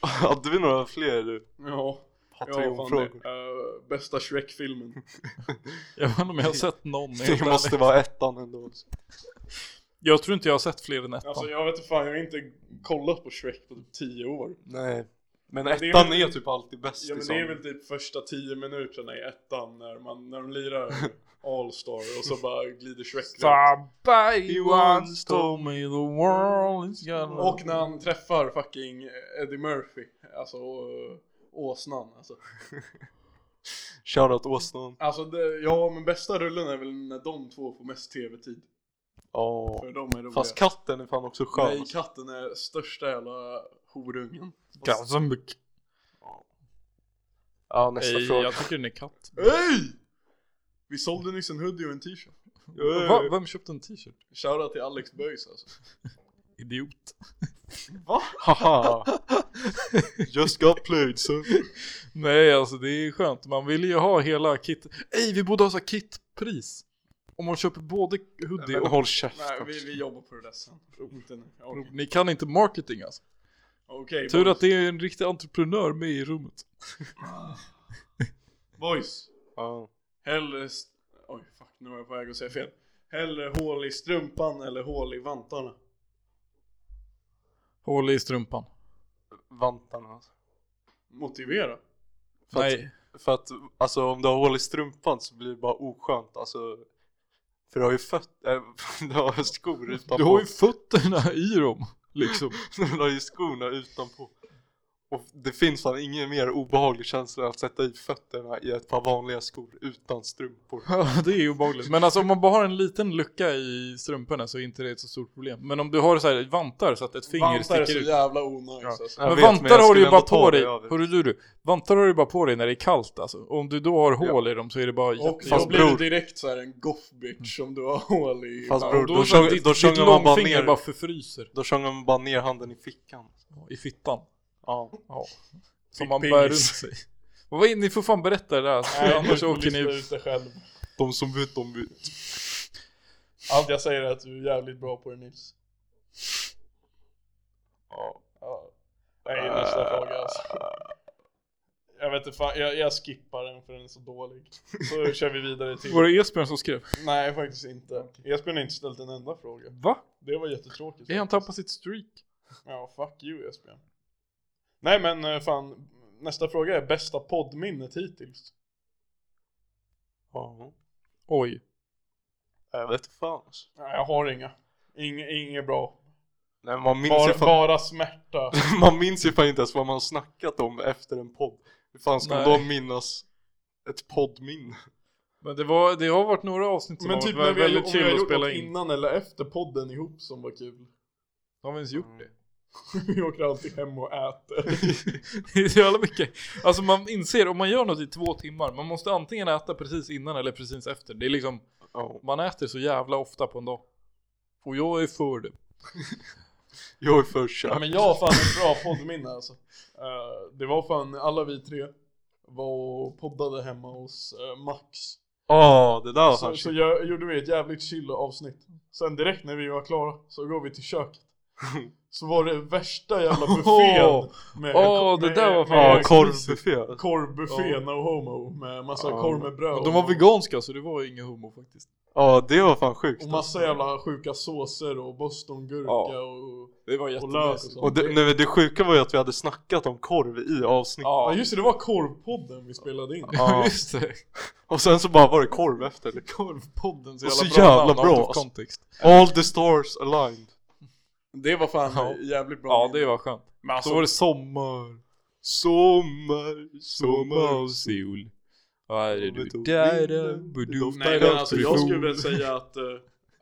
[SPEAKER 3] Hade vi några fler eh, eller?
[SPEAKER 2] Ja.
[SPEAKER 3] Patreon-frågor?
[SPEAKER 2] Uh, bästa Shrek-filmen.
[SPEAKER 1] Jag vet inte om jag har sett någon.
[SPEAKER 3] Det
[SPEAKER 1] Jag,
[SPEAKER 3] måste vara ettan ändå. alltså.
[SPEAKER 1] jag tror inte jag har sett fler än ettan.
[SPEAKER 2] Alltså jag vet inte fan, jag har inte kollat på Shrek på typ 10 år.
[SPEAKER 3] Nej. Men
[SPEAKER 2] det är
[SPEAKER 3] ettan
[SPEAKER 2] väl-
[SPEAKER 3] är typ alltid bäst
[SPEAKER 2] Ja men
[SPEAKER 3] i
[SPEAKER 2] det är
[SPEAKER 3] sånt.
[SPEAKER 1] liksom.
[SPEAKER 2] väl typ första 10 minuterna i ettan när, man, när de lirar All-Star och så bara glider Shrek runt.
[SPEAKER 1] Somebody once told me the world is gonna...
[SPEAKER 2] Och när han träffar fucking Eddie Murphy, alltså eh, åsnan alltså.
[SPEAKER 3] Shoutout Åsnan.
[SPEAKER 2] Alltså det, ja men bästa rullen är väl när de två får mest tv-tid.
[SPEAKER 3] Ja.
[SPEAKER 2] För de är roliga.
[SPEAKER 3] Fast katten är fan också skön. alltså.
[SPEAKER 2] Nej, katten är största jävla horungen.
[SPEAKER 1] Gazenbuck.
[SPEAKER 3] Ja, nästa
[SPEAKER 1] Nej,
[SPEAKER 3] fråga.
[SPEAKER 1] jag tycker den är katt.
[SPEAKER 2] Hej! Vi sålde nyss en hoodie och en t-shirt.
[SPEAKER 1] Va? Vem köpte en t-shirt?
[SPEAKER 2] Shoutout till Alex Böjs alltså.
[SPEAKER 1] Idiot.
[SPEAKER 3] Haha! Just got played son.
[SPEAKER 1] Nej, alltså det är skönt. Man vill ju ha hela kit. Ej, vi borde ha så här kitpris. Om man köper både hoodie
[SPEAKER 3] Men
[SPEAKER 1] och...
[SPEAKER 3] håll alltså. käften.
[SPEAKER 2] Nej, vi, vi jobbar på det där sen. Inte nu. Okej,
[SPEAKER 1] Ni kan inte marketing alltså.
[SPEAKER 2] Okej,
[SPEAKER 1] Tur
[SPEAKER 2] boys.
[SPEAKER 1] att det är en riktig entreprenör med i rummet.
[SPEAKER 2] boys.
[SPEAKER 3] Ja.
[SPEAKER 2] Hellre... St- Oj, fuck, nu var jag på väg att säga fel. Hellre hål i strumpan eller hål i vantarna.
[SPEAKER 1] Hål i strumpan.
[SPEAKER 3] Vantarna alltså.
[SPEAKER 2] Motivera.
[SPEAKER 3] För att-
[SPEAKER 1] Nej.
[SPEAKER 3] För att alltså om du har hål i strumpan så blir det bara oskönt alltså. För du har ju föt... Äh, du har skor utanpå.
[SPEAKER 1] Du har ju fötterna i dem, liksom.
[SPEAKER 3] du har ju skorna utanpå. Och det finns fan ingen mer obehaglig känsla än att sätta i fötterna i ett par vanliga skor utan strumpor.
[SPEAKER 1] Ja, det är ju obehagligt. Men alltså om man bara har en liten lucka i strumporna så är inte det ett så stort problem. Men om du har så här vantar så att ett finger
[SPEAKER 2] Vantar är så
[SPEAKER 1] sticker ut.
[SPEAKER 2] jävla onajs alltså.
[SPEAKER 3] Jag
[SPEAKER 1] Men
[SPEAKER 3] vet, men
[SPEAKER 1] vantar
[SPEAKER 3] jag
[SPEAKER 1] har du ju
[SPEAKER 3] skulle
[SPEAKER 1] bara
[SPEAKER 3] ändå ta
[SPEAKER 1] på
[SPEAKER 3] det
[SPEAKER 1] dig,
[SPEAKER 3] över.
[SPEAKER 1] hörru du du, vantar har du ju bara på dig när det är kallt alltså. Och Om du då har hål i dem så är det bara
[SPEAKER 2] Och
[SPEAKER 1] jätte-
[SPEAKER 2] jag
[SPEAKER 3] Fast
[SPEAKER 2] blir ju
[SPEAKER 3] bror-
[SPEAKER 2] direkt så här en goff
[SPEAKER 1] Mm.
[SPEAKER 2] bitch om du har hål i...
[SPEAKER 3] Fast
[SPEAKER 2] Ja,
[SPEAKER 3] bror,
[SPEAKER 1] Och
[SPEAKER 3] då
[SPEAKER 1] är det så här,
[SPEAKER 3] sjunger-
[SPEAKER 1] ditt-
[SPEAKER 3] då
[SPEAKER 1] ditt
[SPEAKER 3] sjunger man bara
[SPEAKER 1] långfinger
[SPEAKER 3] ner.
[SPEAKER 1] bara förfryser
[SPEAKER 3] Då sjunger man bara ner handen i fickan.
[SPEAKER 1] i fittan.
[SPEAKER 3] Ja.
[SPEAKER 1] Som
[SPEAKER 2] Fick
[SPEAKER 1] man
[SPEAKER 2] pingis.
[SPEAKER 1] bär runt sig. Och vad är, ni får fan berätta det där alltså,
[SPEAKER 2] Nej,
[SPEAKER 1] annars
[SPEAKER 2] du får
[SPEAKER 1] åker ni
[SPEAKER 2] lista
[SPEAKER 1] ut.
[SPEAKER 2] ut det själv.
[SPEAKER 3] De som vet, de vet.
[SPEAKER 2] Allt jag säger är att du är jävligt bra på det Nils.
[SPEAKER 3] Ja.
[SPEAKER 2] Ja. Nej, nästa fråga alltså. Jag vet inte fan, jag, jag skippar den för den är så dålig. Så kör vi vidare till...
[SPEAKER 1] Var det Esbjörn som skrev?
[SPEAKER 2] Nej, faktiskt inte. Esbjörn har inte ställt en enda fråga.
[SPEAKER 1] Va?
[SPEAKER 2] Det var jättetråkigt.
[SPEAKER 1] Är han
[SPEAKER 2] faktiskt.
[SPEAKER 1] tappat sitt streak?
[SPEAKER 2] Ja, fuck you Esbjörn. Nej men eh, fan, nästa fråga är bästa poddminnet hittills.
[SPEAKER 3] Ja.
[SPEAKER 1] Oj.
[SPEAKER 3] Jag vet fan alltså.
[SPEAKER 2] Nej, jag har inga. Inge, inget bra.
[SPEAKER 3] Nej, men man minns ju
[SPEAKER 2] Bara,
[SPEAKER 3] fan...
[SPEAKER 2] bara smärta.
[SPEAKER 3] Man minns ju fan inte ens vad man har snackat om efter en podd. Hur fan ska
[SPEAKER 1] Nej.
[SPEAKER 3] de minnas ett poddminne?
[SPEAKER 1] Men det, var, det har varit några avsnitt som
[SPEAKER 2] Men
[SPEAKER 1] har
[SPEAKER 2] typ när
[SPEAKER 1] varit
[SPEAKER 2] vi har, om
[SPEAKER 1] väldigt
[SPEAKER 2] vi
[SPEAKER 1] chill
[SPEAKER 2] har
[SPEAKER 1] att
[SPEAKER 2] gjort
[SPEAKER 1] spela
[SPEAKER 2] något
[SPEAKER 1] in.
[SPEAKER 2] innan eller efter podden ihop som var kul.
[SPEAKER 1] Har vi ens gjort
[SPEAKER 2] Mm.
[SPEAKER 1] det?
[SPEAKER 3] Mm.
[SPEAKER 2] Vi åker alltid hem och äter.
[SPEAKER 1] Det är så jävla mycket. Alltså man inser, om man gör något i två timmar, man måste antingen äta precis innan eller precis efter. Det är liksom,
[SPEAKER 3] Ja.
[SPEAKER 1] man äter så jävla ofta på en dag. Och jag är för det.
[SPEAKER 3] Jag är för kär.
[SPEAKER 2] Men jag har fan ett bra poddminne alltså. Eh, det var fan alla vi tre var och poddade hemma hos eh, Max.
[SPEAKER 3] Ja, det där
[SPEAKER 2] Så,
[SPEAKER 3] han
[SPEAKER 2] så jag, gjorde vi ett jävligt chill avsnitt. Sen direkt när vi var klara så går vi till köket. Så var det värsta jävla buffén
[SPEAKER 1] Åh.
[SPEAKER 2] med,
[SPEAKER 1] Åh, det
[SPEAKER 2] med,
[SPEAKER 1] där var fan-
[SPEAKER 3] Ja,
[SPEAKER 2] med
[SPEAKER 3] korvbuffé.
[SPEAKER 2] korvbuffé no homo med massa
[SPEAKER 3] Ja.
[SPEAKER 2] korv med bröd
[SPEAKER 1] Och de var
[SPEAKER 2] och-
[SPEAKER 1] veganska så det var ju ingen homo faktiskt.
[SPEAKER 3] Ja, det var fan sjukt.
[SPEAKER 2] och massa jävla sjuka såser och bostongurka
[SPEAKER 1] Ja.
[SPEAKER 2] och...
[SPEAKER 1] Det var
[SPEAKER 2] Och lök och
[SPEAKER 1] jättemysigt.
[SPEAKER 2] sånt.
[SPEAKER 3] Och det, nej, men det sjuka var ju att vi hade snackat om korv i avsnittet.
[SPEAKER 2] Ja
[SPEAKER 1] Ja,
[SPEAKER 2] just det, det var korvpodden vi spelade in.
[SPEAKER 3] Ja.
[SPEAKER 1] just det.
[SPEAKER 3] Och sen så bara var det korv efter. liksom.
[SPEAKER 1] Korvpodden, så
[SPEAKER 3] Och
[SPEAKER 1] jävla bra,
[SPEAKER 3] så jävla
[SPEAKER 1] namn,
[SPEAKER 3] bra,
[SPEAKER 1] out of
[SPEAKER 3] alltså.
[SPEAKER 1] context.
[SPEAKER 3] All the stars aligned.
[SPEAKER 2] Det var fan
[SPEAKER 1] Ja.
[SPEAKER 2] jävligt bra.
[SPEAKER 1] Ja, det var skönt.
[SPEAKER 2] Men alltså,
[SPEAKER 1] Så var det sommar,
[SPEAKER 3] Sommar,
[SPEAKER 1] sommar och
[SPEAKER 3] sommar.
[SPEAKER 1] sol. Vad är det du?
[SPEAKER 3] Sommar-
[SPEAKER 1] Där, där, du doftar
[SPEAKER 2] nej, men alltså jag
[SPEAKER 1] alkohol.
[SPEAKER 2] skulle väl säga att eh,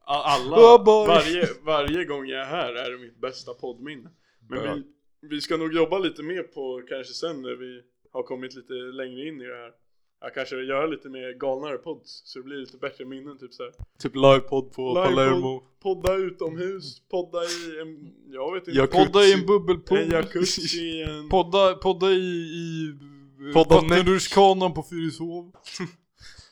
[SPEAKER 2] alla,
[SPEAKER 1] Ja, bara-
[SPEAKER 2] varje, varje gång jag är här är det mitt bästa poddminne. Men
[SPEAKER 1] Ja.
[SPEAKER 2] vi, vi ska nog jobba lite mer på kanske sen när vi har kommit lite längre in i det här. Jag kanske vill göra lite mer galnare pods så det blir lite bättre minnen typ såhär.
[SPEAKER 3] Typ livepodd på
[SPEAKER 2] Livepodd.
[SPEAKER 3] Palermo.
[SPEAKER 2] Podda utomhus, podda i en, jag vet inte.
[SPEAKER 3] Jag
[SPEAKER 1] Podda i en bubbelpool.
[SPEAKER 2] en jacuzzi, en...
[SPEAKER 1] Podda, podda i, i eh,
[SPEAKER 3] Podda
[SPEAKER 1] vattenrutschkanan på Fyrishov.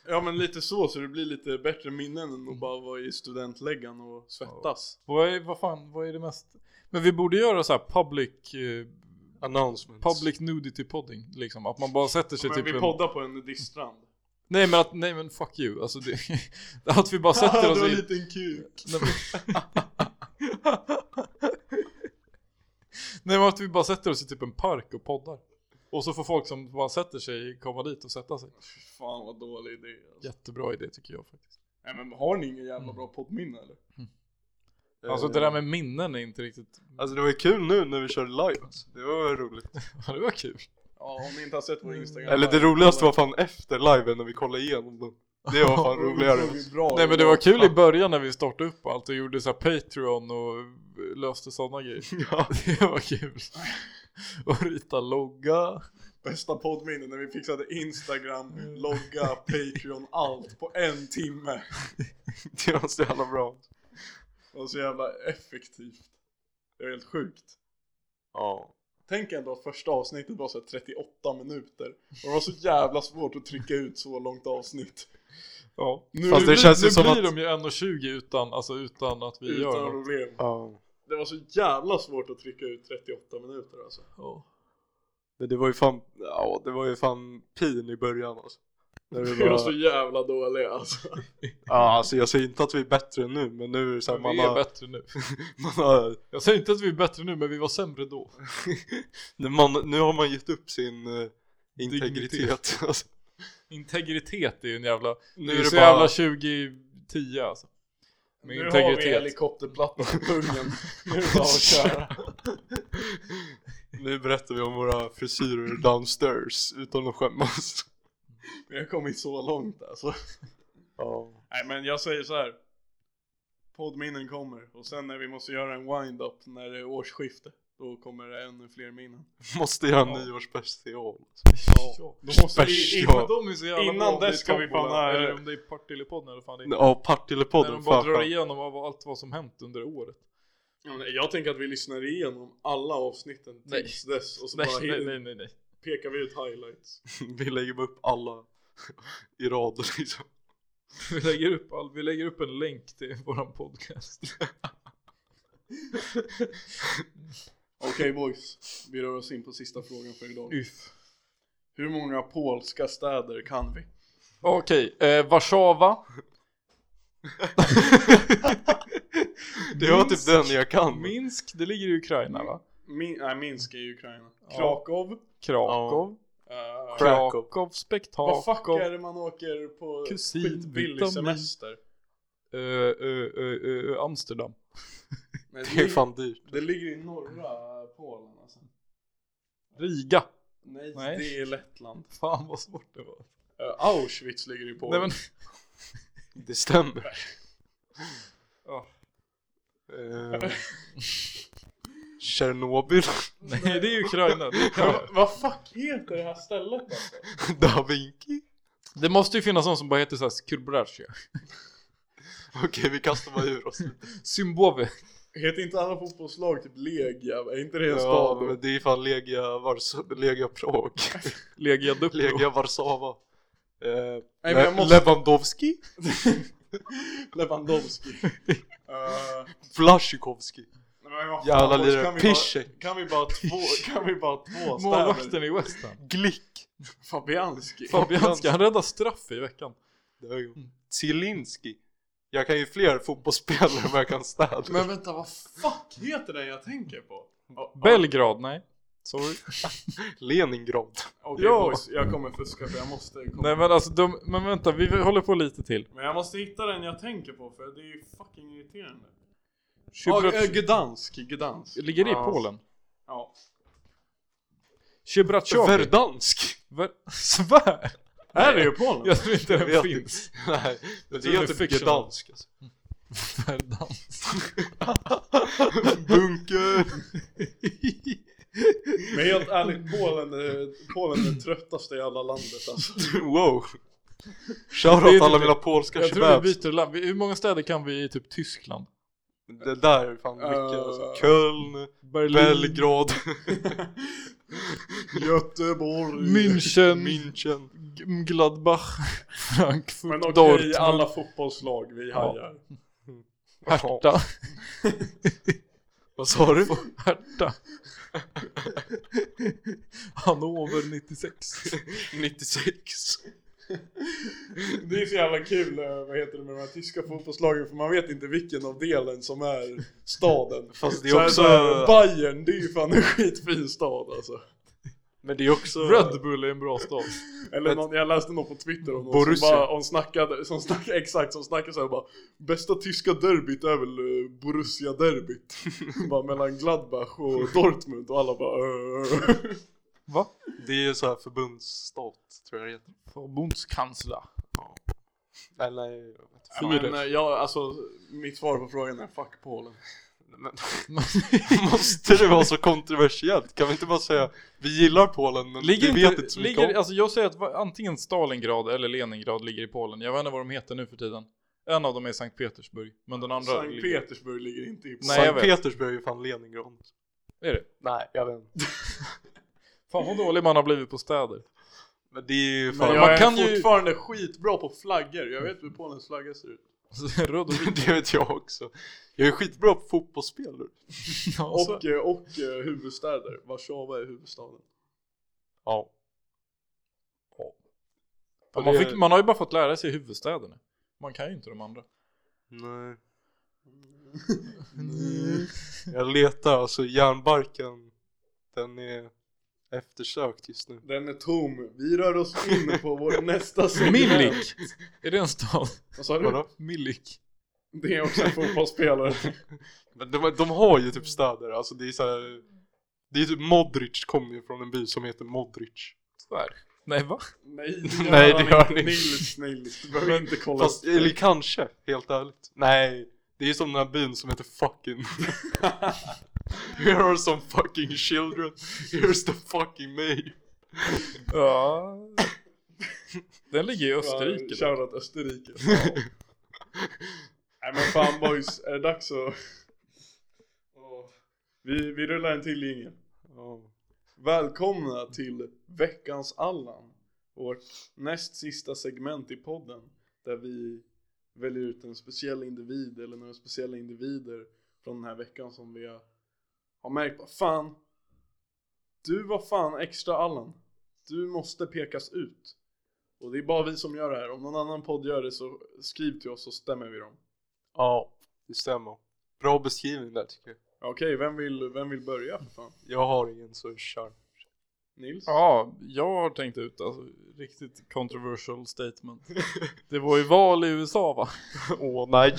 [SPEAKER 2] Ja men lite så, så det blir lite bättre minnen än att bara vara i studentläggan och svettas.
[SPEAKER 1] Vad är, vad fan, vad är det mest? Men vi borde göra så här public, eh,
[SPEAKER 3] Announcements.
[SPEAKER 1] public nudity podding liksom. Att man bara sätter sig
[SPEAKER 2] Men
[SPEAKER 1] typ
[SPEAKER 2] vi
[SPEAKER 1] en-
[SPEAKER 2] poddar på en distrand.
[SPEAKER 1] Nej men att, nej men fuck you. Alltså det, att vi bara sätter
[SPEAKER 2] du
[SPEAKER 1] oss
[SPEAKER 2] har
[SPEAKER 1] i...
[SPEAKER 2] en liten kuk.
[SPEAKER 1] Nej men... nej men att vi bara sätter oss i typ en park och poddar. Och så får folk som bara sätter sig komma dit och sätta sig.
[SPEAKER 2] Fy fan vad dålig idé alltså.
[SPEAKER 1] Jättebra idé tycker jag faktiskt.
[SPEAKER 2] Nej men har ni ingen jävla bra poddminne eller?
[SPEAKER 1] Alltså
[SPEAKER 2] Eh.
[SPEAKER 1] det där med minnen är inte riktigt...
[SPEAKER 3] Eh, Alltså det var ju kul nu när vi körde live. Alltså. Det var roligt.
[SPEAKER 1] Ja, det var kul.
[SPEAKER 2] Ja om ni inte har sett vår instagram
[SPEAKER 3] Eller det roligaste var fan efter liven när vi kollade igenom den. Det var fan roligare.
[SPEAKER 1] Nej men det var kul i början när vi startade upp och allt och gjorde så här Patreon och löste sådana grejer.
[SPEAKER 3] Ja.
[SPEAKER 1] Det var kul. Och rita logga.
[SPEAKER 2] Bästa poddminne när vi fixade Instagram, logga, Patreon, allt på en timme.
[SPEAKER 3] Det var så jävla bra.
[SPEAKER 2] Det var så jävla effektivt. Det var helt sjukt.
[SPEAKER 3] Ja.
[SPEAKER 2] Tänk ändå att första avsnittet var så här 38 minuter. Och det var så jävla svårt att trycka ut så långt avsnitt.
[SPEAKER 1] Ja. Nu,
[SPEAKER 3] Fast det
[SPEAKER 1] nu,
[SPEAKER 3] känns
[SPEAKER 1] nu
[SPEAKER 3] ju som
[SPEAKER 1] blir
[SPEAKER 3] att-
[SPEAKER 1] de ju 1,20 utan, alltså, utan att vi gör
[SPEAKER 2] Utan
[SPEAKER 1] något.
[SPEAKER 2] problem.
[SPEAKER 3] ja.
[SPEAKER 2] Det var så jävla svårt att trycka ut 38 minuter alltså.
[SPEAKER 3] Men det var ju fan, ja det var ju fan pin i början alltså. När det
[SPEAKER 2] Vi var
[SPEAKER 3] bara-
[SPEAKER 2] så jävla dåliga alltså.
[SPEAKER 3] Ja, alltså jag säger inte att vi är bättre än nu, men nu är det så här, man,
[SPEAKER 1] Vi är
[SPEAKER 3] har,
[SPEAKER 1] bättre nu.
[SPEAKER 3] man har,
[SPEAKER 1] Jag säger inte att vi är bättre nu, men vi var sämre då.
[SPEAKER 3] nu, man, nu har man gett upp sin eh, integritet.
[SPEAKER 1] Dignitet.
[SPEAKER 3] Alltså,
[SPEAKER 1] Integritet är ju en jävla...
[SPEAKER 3] nu
[SPEAKER 1] Det är, så jävla 2010 alltså. Med
[SPEAKER 2] nu har vi
[SPEAKER 1] integritet.
[SPEAKER 2] helikopterplattan på pungen. Nu är det bara att köra.
[SPEAKER 3] nu berättar vi om våra frisyrer downstairs utan att skämmas.
[SPEAKER 2] Vi har kommit så långt alltså.
[SPEAKER 3] Ja.
[SPEAKER 2] Nej men jag säger så här. Poddminnen kommer och sen när vi måste göra en wind-up när det är årsskifte. Då kommer det ännu fler minnen.
[SPEAKER 3] Måste göra en nyårsspecial.
[SPEAKER 1] Ja.
[SPEAKER 2] Då måste vi
[SPEAKER 3] Special.
[SPEAKER 2] in,
[SPEAKER 1] Men
[SPEAKER 3] Ja.
[SPEAKER 1] de är så jävla
[SPEAKER 2] Innan
[SPEAKER 1] bra om det är
[SPEAKER 2] dess ska vi fan
[SPEAKER 1] Tombola,
[SPEAKER 2] ha-
[SPEAKER 1] Eller om det är Partille-podden eller fan det är.
[SPEAKER 3] Ja,
[SPEAKER 1] När
[SPEAKER 3] Partille-podden.
[SPEAKER 1] de bara
[SPEAKER 3] fan,
[SPEAKER 1] drar
[SPEAKER 3] fan.
[SPEAKER 1] igenom av allt vad som hänt under året.
[SPEAKER 2] Ja, nej, Jag tänker att vi lyssnar igenom alla avsnitten tills dess och så
[SPEAKER 1] Nej,
[SPEAKER 2] bara
[SPEAKER 1] nej, nej, nej, nej.
[SPEAKER 2] pekar vi ut highlights.
[SPEAKER 3] Vi lägger upp alla i rad liksom.
[SPEAKER 1] Vi lägger upp, all, vi lägger upp en länk till våran podcast.
[SPEAKER 2] Okej boys, vi rör oss in på sista frågan för idag.
[SPEAKER 1] Uff.
[SPEAKER 2] Hur många polska städer kan vi?
[SPEAKER 1] Okej, eh, Warszawa.
[SPEAKER 3] Det var typ
[SPEAKER 1] Minsk.
[SPEAKER 3] den jag kan.
[SPEAKER 1] Minsk, det ligger i Ukraina va?
[SPEAKER 2] Min, nej, Minsk är ju Ukraina.
[SPEAKER 1] Ja.
[SPEAKER 2] Krakow.
[SPEAKER 1] Krakow.
[SPEAKER 2] eh,
[SPEAKER 3] Krakow.
[SPEAKER 1] Krakow,
[SPEAKER 2] Vad fuck
[SPEAKER 1] Spektakel.
[SPEAKER 2] är det man åker på
[SPEAKER 1] Kusin,
[SPEAKER 2] skitbillig
[SPEAKER 1] vitamin.
[SPEAKER 2] semester?
[SPEAKER 1] Eh, eh, eh, eh, Amsterdam.
[SPEAKER 2] Nej,
[SPEAKER 3] Det är fan dyrt.
[SPEAKER 2] det ligger i norra Polen alltså.
[SPEAKER 1] Riga.
[SPEAKER 2] Nej,
[SPEAKER 1] Nej.
[SPEAKER 2] det är Lettland.
[SPEAKER 1] Fan vad svårt det var.
[SPEAKER 2] Eh, Auschwitz ligger i Polen.
[SPEAKER 1] Nej men,
[SPEAKER 3] Det stämmer.
[SPEAKER 1] Ja.
[SPEAKER 3] Eh, Tjernobyl.
[SPEAKER 1] nej det är Ukraina. Det, är
[SPEAKER 2] Men
[SPEAKER 1] Ukraina.
[SPEAKER 2] vad- vad fuck heter det här stället alltså?
[SPEAKER 3] da Vinci.
[SPEAKER 1] det måste ju finnas någon som bara heter såhär Skurbrasja.
[SPEAKER 3] Okej, vi kastar bara ur oss.
[SPEAKER 1] Zimbabwe.
[SPEAKER 2] Heter inte alla fotbollslag typ Legia? Är inte det en
[SPEAKER 3] Ja,
[SPEAKER 2] stad?
[SPEAKER 3] men det är fan Legia, Vars Legia Prag.
[SPEAKER 1] Legia Duplo.
[SPEAKER 3] Legia Warszawa. Eh,
[SPEAKER 2] Nej, men jag
[SPEAKER 3] Le-
[SPEAKER 2] måste-
[SPEAKER 3] Lewandowski?
[SPEAKER 2] Lewandowski. Eh,
[SPEAKER 3] Flashikovski.
[SPEAKER 2] nej, men vad fan,
[SPEAKER 3] Jävla
[SPEAKER 2] boys,
[SPEAKER 3] lirare.
[SPEAKER 2] kan vi
[SPEAKER 3] Piszek.
[SPEAKER 2] bara- Kan vi bara två, kan vi bara två städer?
[SPEAKER 1] Målvakten i West Ham.
[SPEAKER 3] Glick.
[SPEAKER 2] Fabianski.
[SPEAKER 1] Fabianski, han räddade straff i veckan.
[SPEAKER 2] Mm.
[SPEAKER 3] Zielinski. Jag kan ju fler fotbollsspelare än vad jag kan städa.
[SPEAKER 2] Men vänta, vad fuck heter den jag tänker på? Oh,
[SPEAKER 1] Belgrad, nej. Sorry.
[SPEAKER 3] Leningrad.
[SPEAKER 2] Okej
[SPEAKER 1] Ja.
[SPEAKER 2] boys, jag kommer fuska för jag måste komma.
[SPEAKER 1] Nej men alltså, de, men vänta, vi håller på lite till.
[SPEAKER 2] Men jag måste hitta den jag tänker på för det är ju fucking irriterande. eh,
[SPEAKER 1] Chibrat-
[SPEAKER 2] Gdansk, Gdansk.
[SPEAKER 1] ligger det i
[SPEAKER 3] Ja.
[SPEAKER 1] Polen?
[SPEAKER 2] Ja.
[SPEAKER 1] Chibratjovi?
[SPEAKER 3] Verdansk.
[SPEAKER 1] Ver- Svär!
[SPEAKER 2] Är det i Polen?
[SPEAKER 1] Jag tror inte
[SPEAKER 3] Jag
[SPEAKER 1] den
[SPEAKER 3] vet
[SPEAKER 1] finns.
[SPEAKER 3] inte. Nej, det
[SPEAKER 1] tror det är
[SPEAKER 3] heter
[SPEAKER 1] fictional.
[SPEAKER 3] Gdansk alltså.
[SPEAKER 1] Verdans.
[SPEAKER 3] Bunker!
[SPEAKER 2] Men helt ärligt, Polen är, Polen är det tröttaste jävla landet alltså.
[SPEAKER 3] Wow!
[SPEAKER 1] Det är
[SPEAKER 3] Shoutout
[SPEAKER 1] typ
[SPEAKER 3] alla
[SPEAKER 1] det.
[SPEAKER 3] mina polska
[SPEAKER 1] Jag tror vi
[SPEAKER 3] kebabs.
[SPEAKER 1] byter land. Vi- Hur många städer kan vi i typ Tyskland?
[SPEAKER 3] Det där är fan mycket
[SPEAKER 2] Eh,
[SPEAKER 3] alltså. Köln,
[SPEAKER 1] Berlin,
[SPEAKER 3] Belgrad,
[SPEAKER 2] Göteborg.
[SPEAKER 1] München,
[SPEAKER 3] München.
[SPEAKER 1] G- Gladbach, Frankfurt,
[SPEAKER 2] Men okej,
[SPEAKER 1] Dortmund,
[SPEAKER 2] alla fotbollslag vi hajar.
[SPEAKER 1] Hertha.
[SPEAKER 3] Vad sa du?
[SPEAKER 1] Hertha. Hannover 96.
[SPEAKER 3] 96.
[SPEAKER 2] Det är så jävla kul, eh, vad heter det, med de här tyska fotbollslagen för man vet inte vilken av delen som är staden.
[SPEAKER 3] Fast det
[SPEAKER 2] Så
[SPEAKER 3] är
[SPEAKER 2] här,
[SPEAKER 3] också...
[SPEAKER 2] så här, Bayern, det är ju fan en skitfin stad alltså.
[SPEAKER 3] Men det är också...
[SPEAKER 1] Red Bull är en bra stad.
[SPEAKER 2] Eller någon, jag läste någon på Twitter om någon
[SPEAKER 3] Borussia.
[SPEAKER 2] som bara, hon snackade, som snackade, exakt, som snackade såhär bara Bästa tyska derbyt är väl eh, Borussia-derbyt? bara mellan Gladbach och Dortmund och alla bara "Eh."
[SPEAKER 1] Va?
[SPEAKER 3] Det är så här förbundsstat, tror jag det heter.
[SPEAKER 1] Förbundskansler.
[SPEAKER 3] Eller, jag vet inte.
[SPEAKER 2] Men eh, jag, alltså, mitt svar på frågan är fuck Polen.
[SPEAKER 3] Men, måste det vara så kontroversiellt? Kan vi inte bara säga vi gillar Polen men
[SPEAKER 1] Ligger
[SPEAKER 3] vi vet
[SPEAKER 1] inte,
[SPEAKER 3] inte så mycket
[SPEAKER 1] ligger,
[SPEAKER 3] om
[SPEAKER 1] alltså jag säger att va- antingen Stalingrad eller Leningrad ligger i Polen. Jag vet inte vad de heter nu för tiden. En av dem är Sankt Petersburg, men den andra
[SPEAKER 2] Sankt
[SPEAKER 1] ligger...
[SPEAKER 2] Petersburg ligger inte i
[SPEAKER 1] Nej, jag
[SPEAKER 3] Sankt
[SPEAKER 1] vet.
[SPEAKER 3] Petersburg är ju fan Leningrad.
[SPEAKER 1] Är det?
[SPEAKER 3] Nej, jag vet inte.
[SPEAKER 1] Fan vad dålig man har blivit på städer.
[SPEAKER 3] Men det är ju fan...
[SPEAKER 2] Men
[SPEAKER 1] man
[SPEAKER 2] jag är
[SPEAKER 1] kan ju-
[SPEAKER 2] fortfarande skitbra på flaggor, jag vet hur Polens flagga ser ut
[SPEAKER 1] Röd och vit.
[SPEAKER 3] det vet jag också. Jag är skitbra på fotbollsspel nu.
[SPEAKER 1] Alltså,
[SPEAKER 2] Och, eh, och eh, huvudstäder, Warszawa är huvudstaden
[SPEAKER 3] Ja.
[SPEAKER 1] fan, man, fick, man har ju bara fått lära sig huvudstäderna. Man kan ju inte de andra.
[SPEAKER 3] Nej. Jag letar alltså järnbarken. Den är eftersökt just nu.
[SPEAKER 2] Den är tom, vi rör oss in på vår nästa segment
[SPEAKER 1] Millik! Är det en stad?
[SPEAKER 2] Vad sa du?
[SPEAKER 3] Vadå?
[SPEAKER 1] Millik.
[SPEAKER 2] Det är också en fotbollsspelare
[SPEAKER 3] Men de, de har ju typ städer. Alltså det är så här, Det är typ Modric kommer ju från en by som heter Modric.
[SPEAKER 1] Tyvärr. Nej va?
[SPEAKER 2] Nej det gör,
[SPEAKER 3] Nej, det
[SPEAKER 2] han
[SPEAKER 3] gör
[SPEAKER 2] inte.
[SPEAKER 3] ni.
[SPEAKER 2] Nils, Nils, du behöver inte kolla
[SPEAKER 3] Fast,
[SPEAKER 2] upp
[SPEAKER 3] eller kanske, helt ärligt. Nej, det är ju som den här byn som heter fucking. Here are some fucking children. Here's the fucking me.
[SPEAKER 1] Ja. Den ligger i Österrike. då.
[SPEAKER 2] Shoutout Österrike Nej men fan boys, är det dags att... Åh. Vi, vi rullar en till jingel Välkomna till veckans Allan Vårt näst sista segment i podden Där vi väljer ut en speciell individ eller några speciella individer Från den här veckan som vi har, har märkt bara, Fan Du var fan extra Allan Du måste pekas ut Och det är bara vi som gör det här Om någon annan podd gör det så skriv till oss så stämmer vi dem
[SPEAKER 3] Ja, det stämmer. Bra beskrivning där tycker jag.
[SPEAKER 2] Okej, vem, vill, vem vill börja för fan?
[SPEAKER 3] Jag har ingen så kör.
[SPEAKER 2] Nils?
[SPEAKER 1] Ja, jag har tänkt ut alltså, riktigt controversial statement. Det var ju val i USA va?
[SPEAKER 3] Åh nej.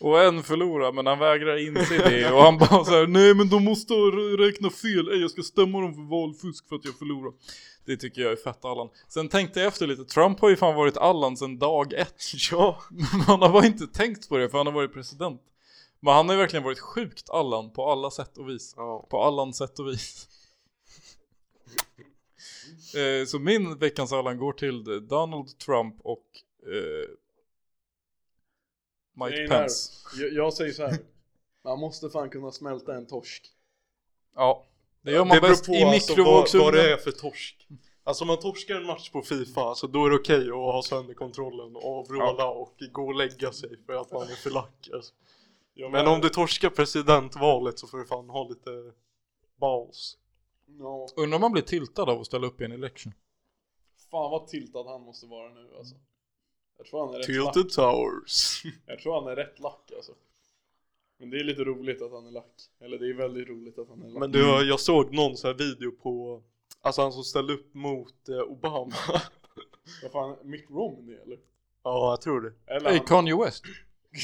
[SPEAKER 1] Och en förlorar men han vägrar inse det och han bara så här: nej men de måste ha rä- räknat fel, Ej, jag ska stämma dem för valfusk för att jag förlorar. Det tycker jag är fett Allan. Sen tänkte jag efter lite, Trump har ju fan varit Allan sedan dag ett. Ja. Men han har bara inte tänkt på det för han har varit president. Men han har ju verkligen varit sjukt Allan på alla sätt och vis.
[SPEAKER 3] Ja.
[SPEAKER 1] På Allans sätt och vis. Eh, Så min veckans Allan går till Donald Trump och eh,
[SPEAKER 2] Jag är
[SPEAKER 1] Mike
[SPEAKER 2] nära.
[SPEAKER 1] Pence.
[SPEAKER 2] Jag, jag säger så här. Man måste fan kunna smälta en torsk.
[SPEAKER 1] Ja, det gör man
[SPEAKER 3] det beror
[SPEAKER 1] bäst
[SPEAKER 3] på
[SPEAKER 1] i
[SPEAKER 3] alltså, vad,
[SPEAKER 1] mikrovågsugnen.
[SPEAKER 3] vad det är för torsk. Alltså om man torskar en match på Fifa, alltså, då är det okej att ha sönder kontrollen och avråla och gå och lägga sig för att man är för lack. Alltså. Men om du torskar presidentvalet så får du fan ha lite balls.
[SPEAKER 2] Ja,
[SPEAKER 1] Undrar om man blir tiltad av att ställa upp i en election.
[SPEAKER 2] fan vad tiltad han måste vara nu alltså. Jag tror han är rätt lack.
[SPEAKER 3] Tilted Towers.
[SPEAKER 2] Jag tror han är rätt lack alltså. Men det är lite roligt att han är lack. Eller det är väldigt roligt att han är lack.
[SPEAKER 3] Men du, jag såg någon sån här video på, alltså han som ställde upp mot eh, Obama.
[SPEAKER 2] Vad fan, Mitt Romney eller?
[SPEAKER 3] ja, jag tror det.
[SPEAKER 2] Eller
[SPEAKER 1] Nej,
[SPEAKER 2] han,
[SPEAKER 1] Kanye West.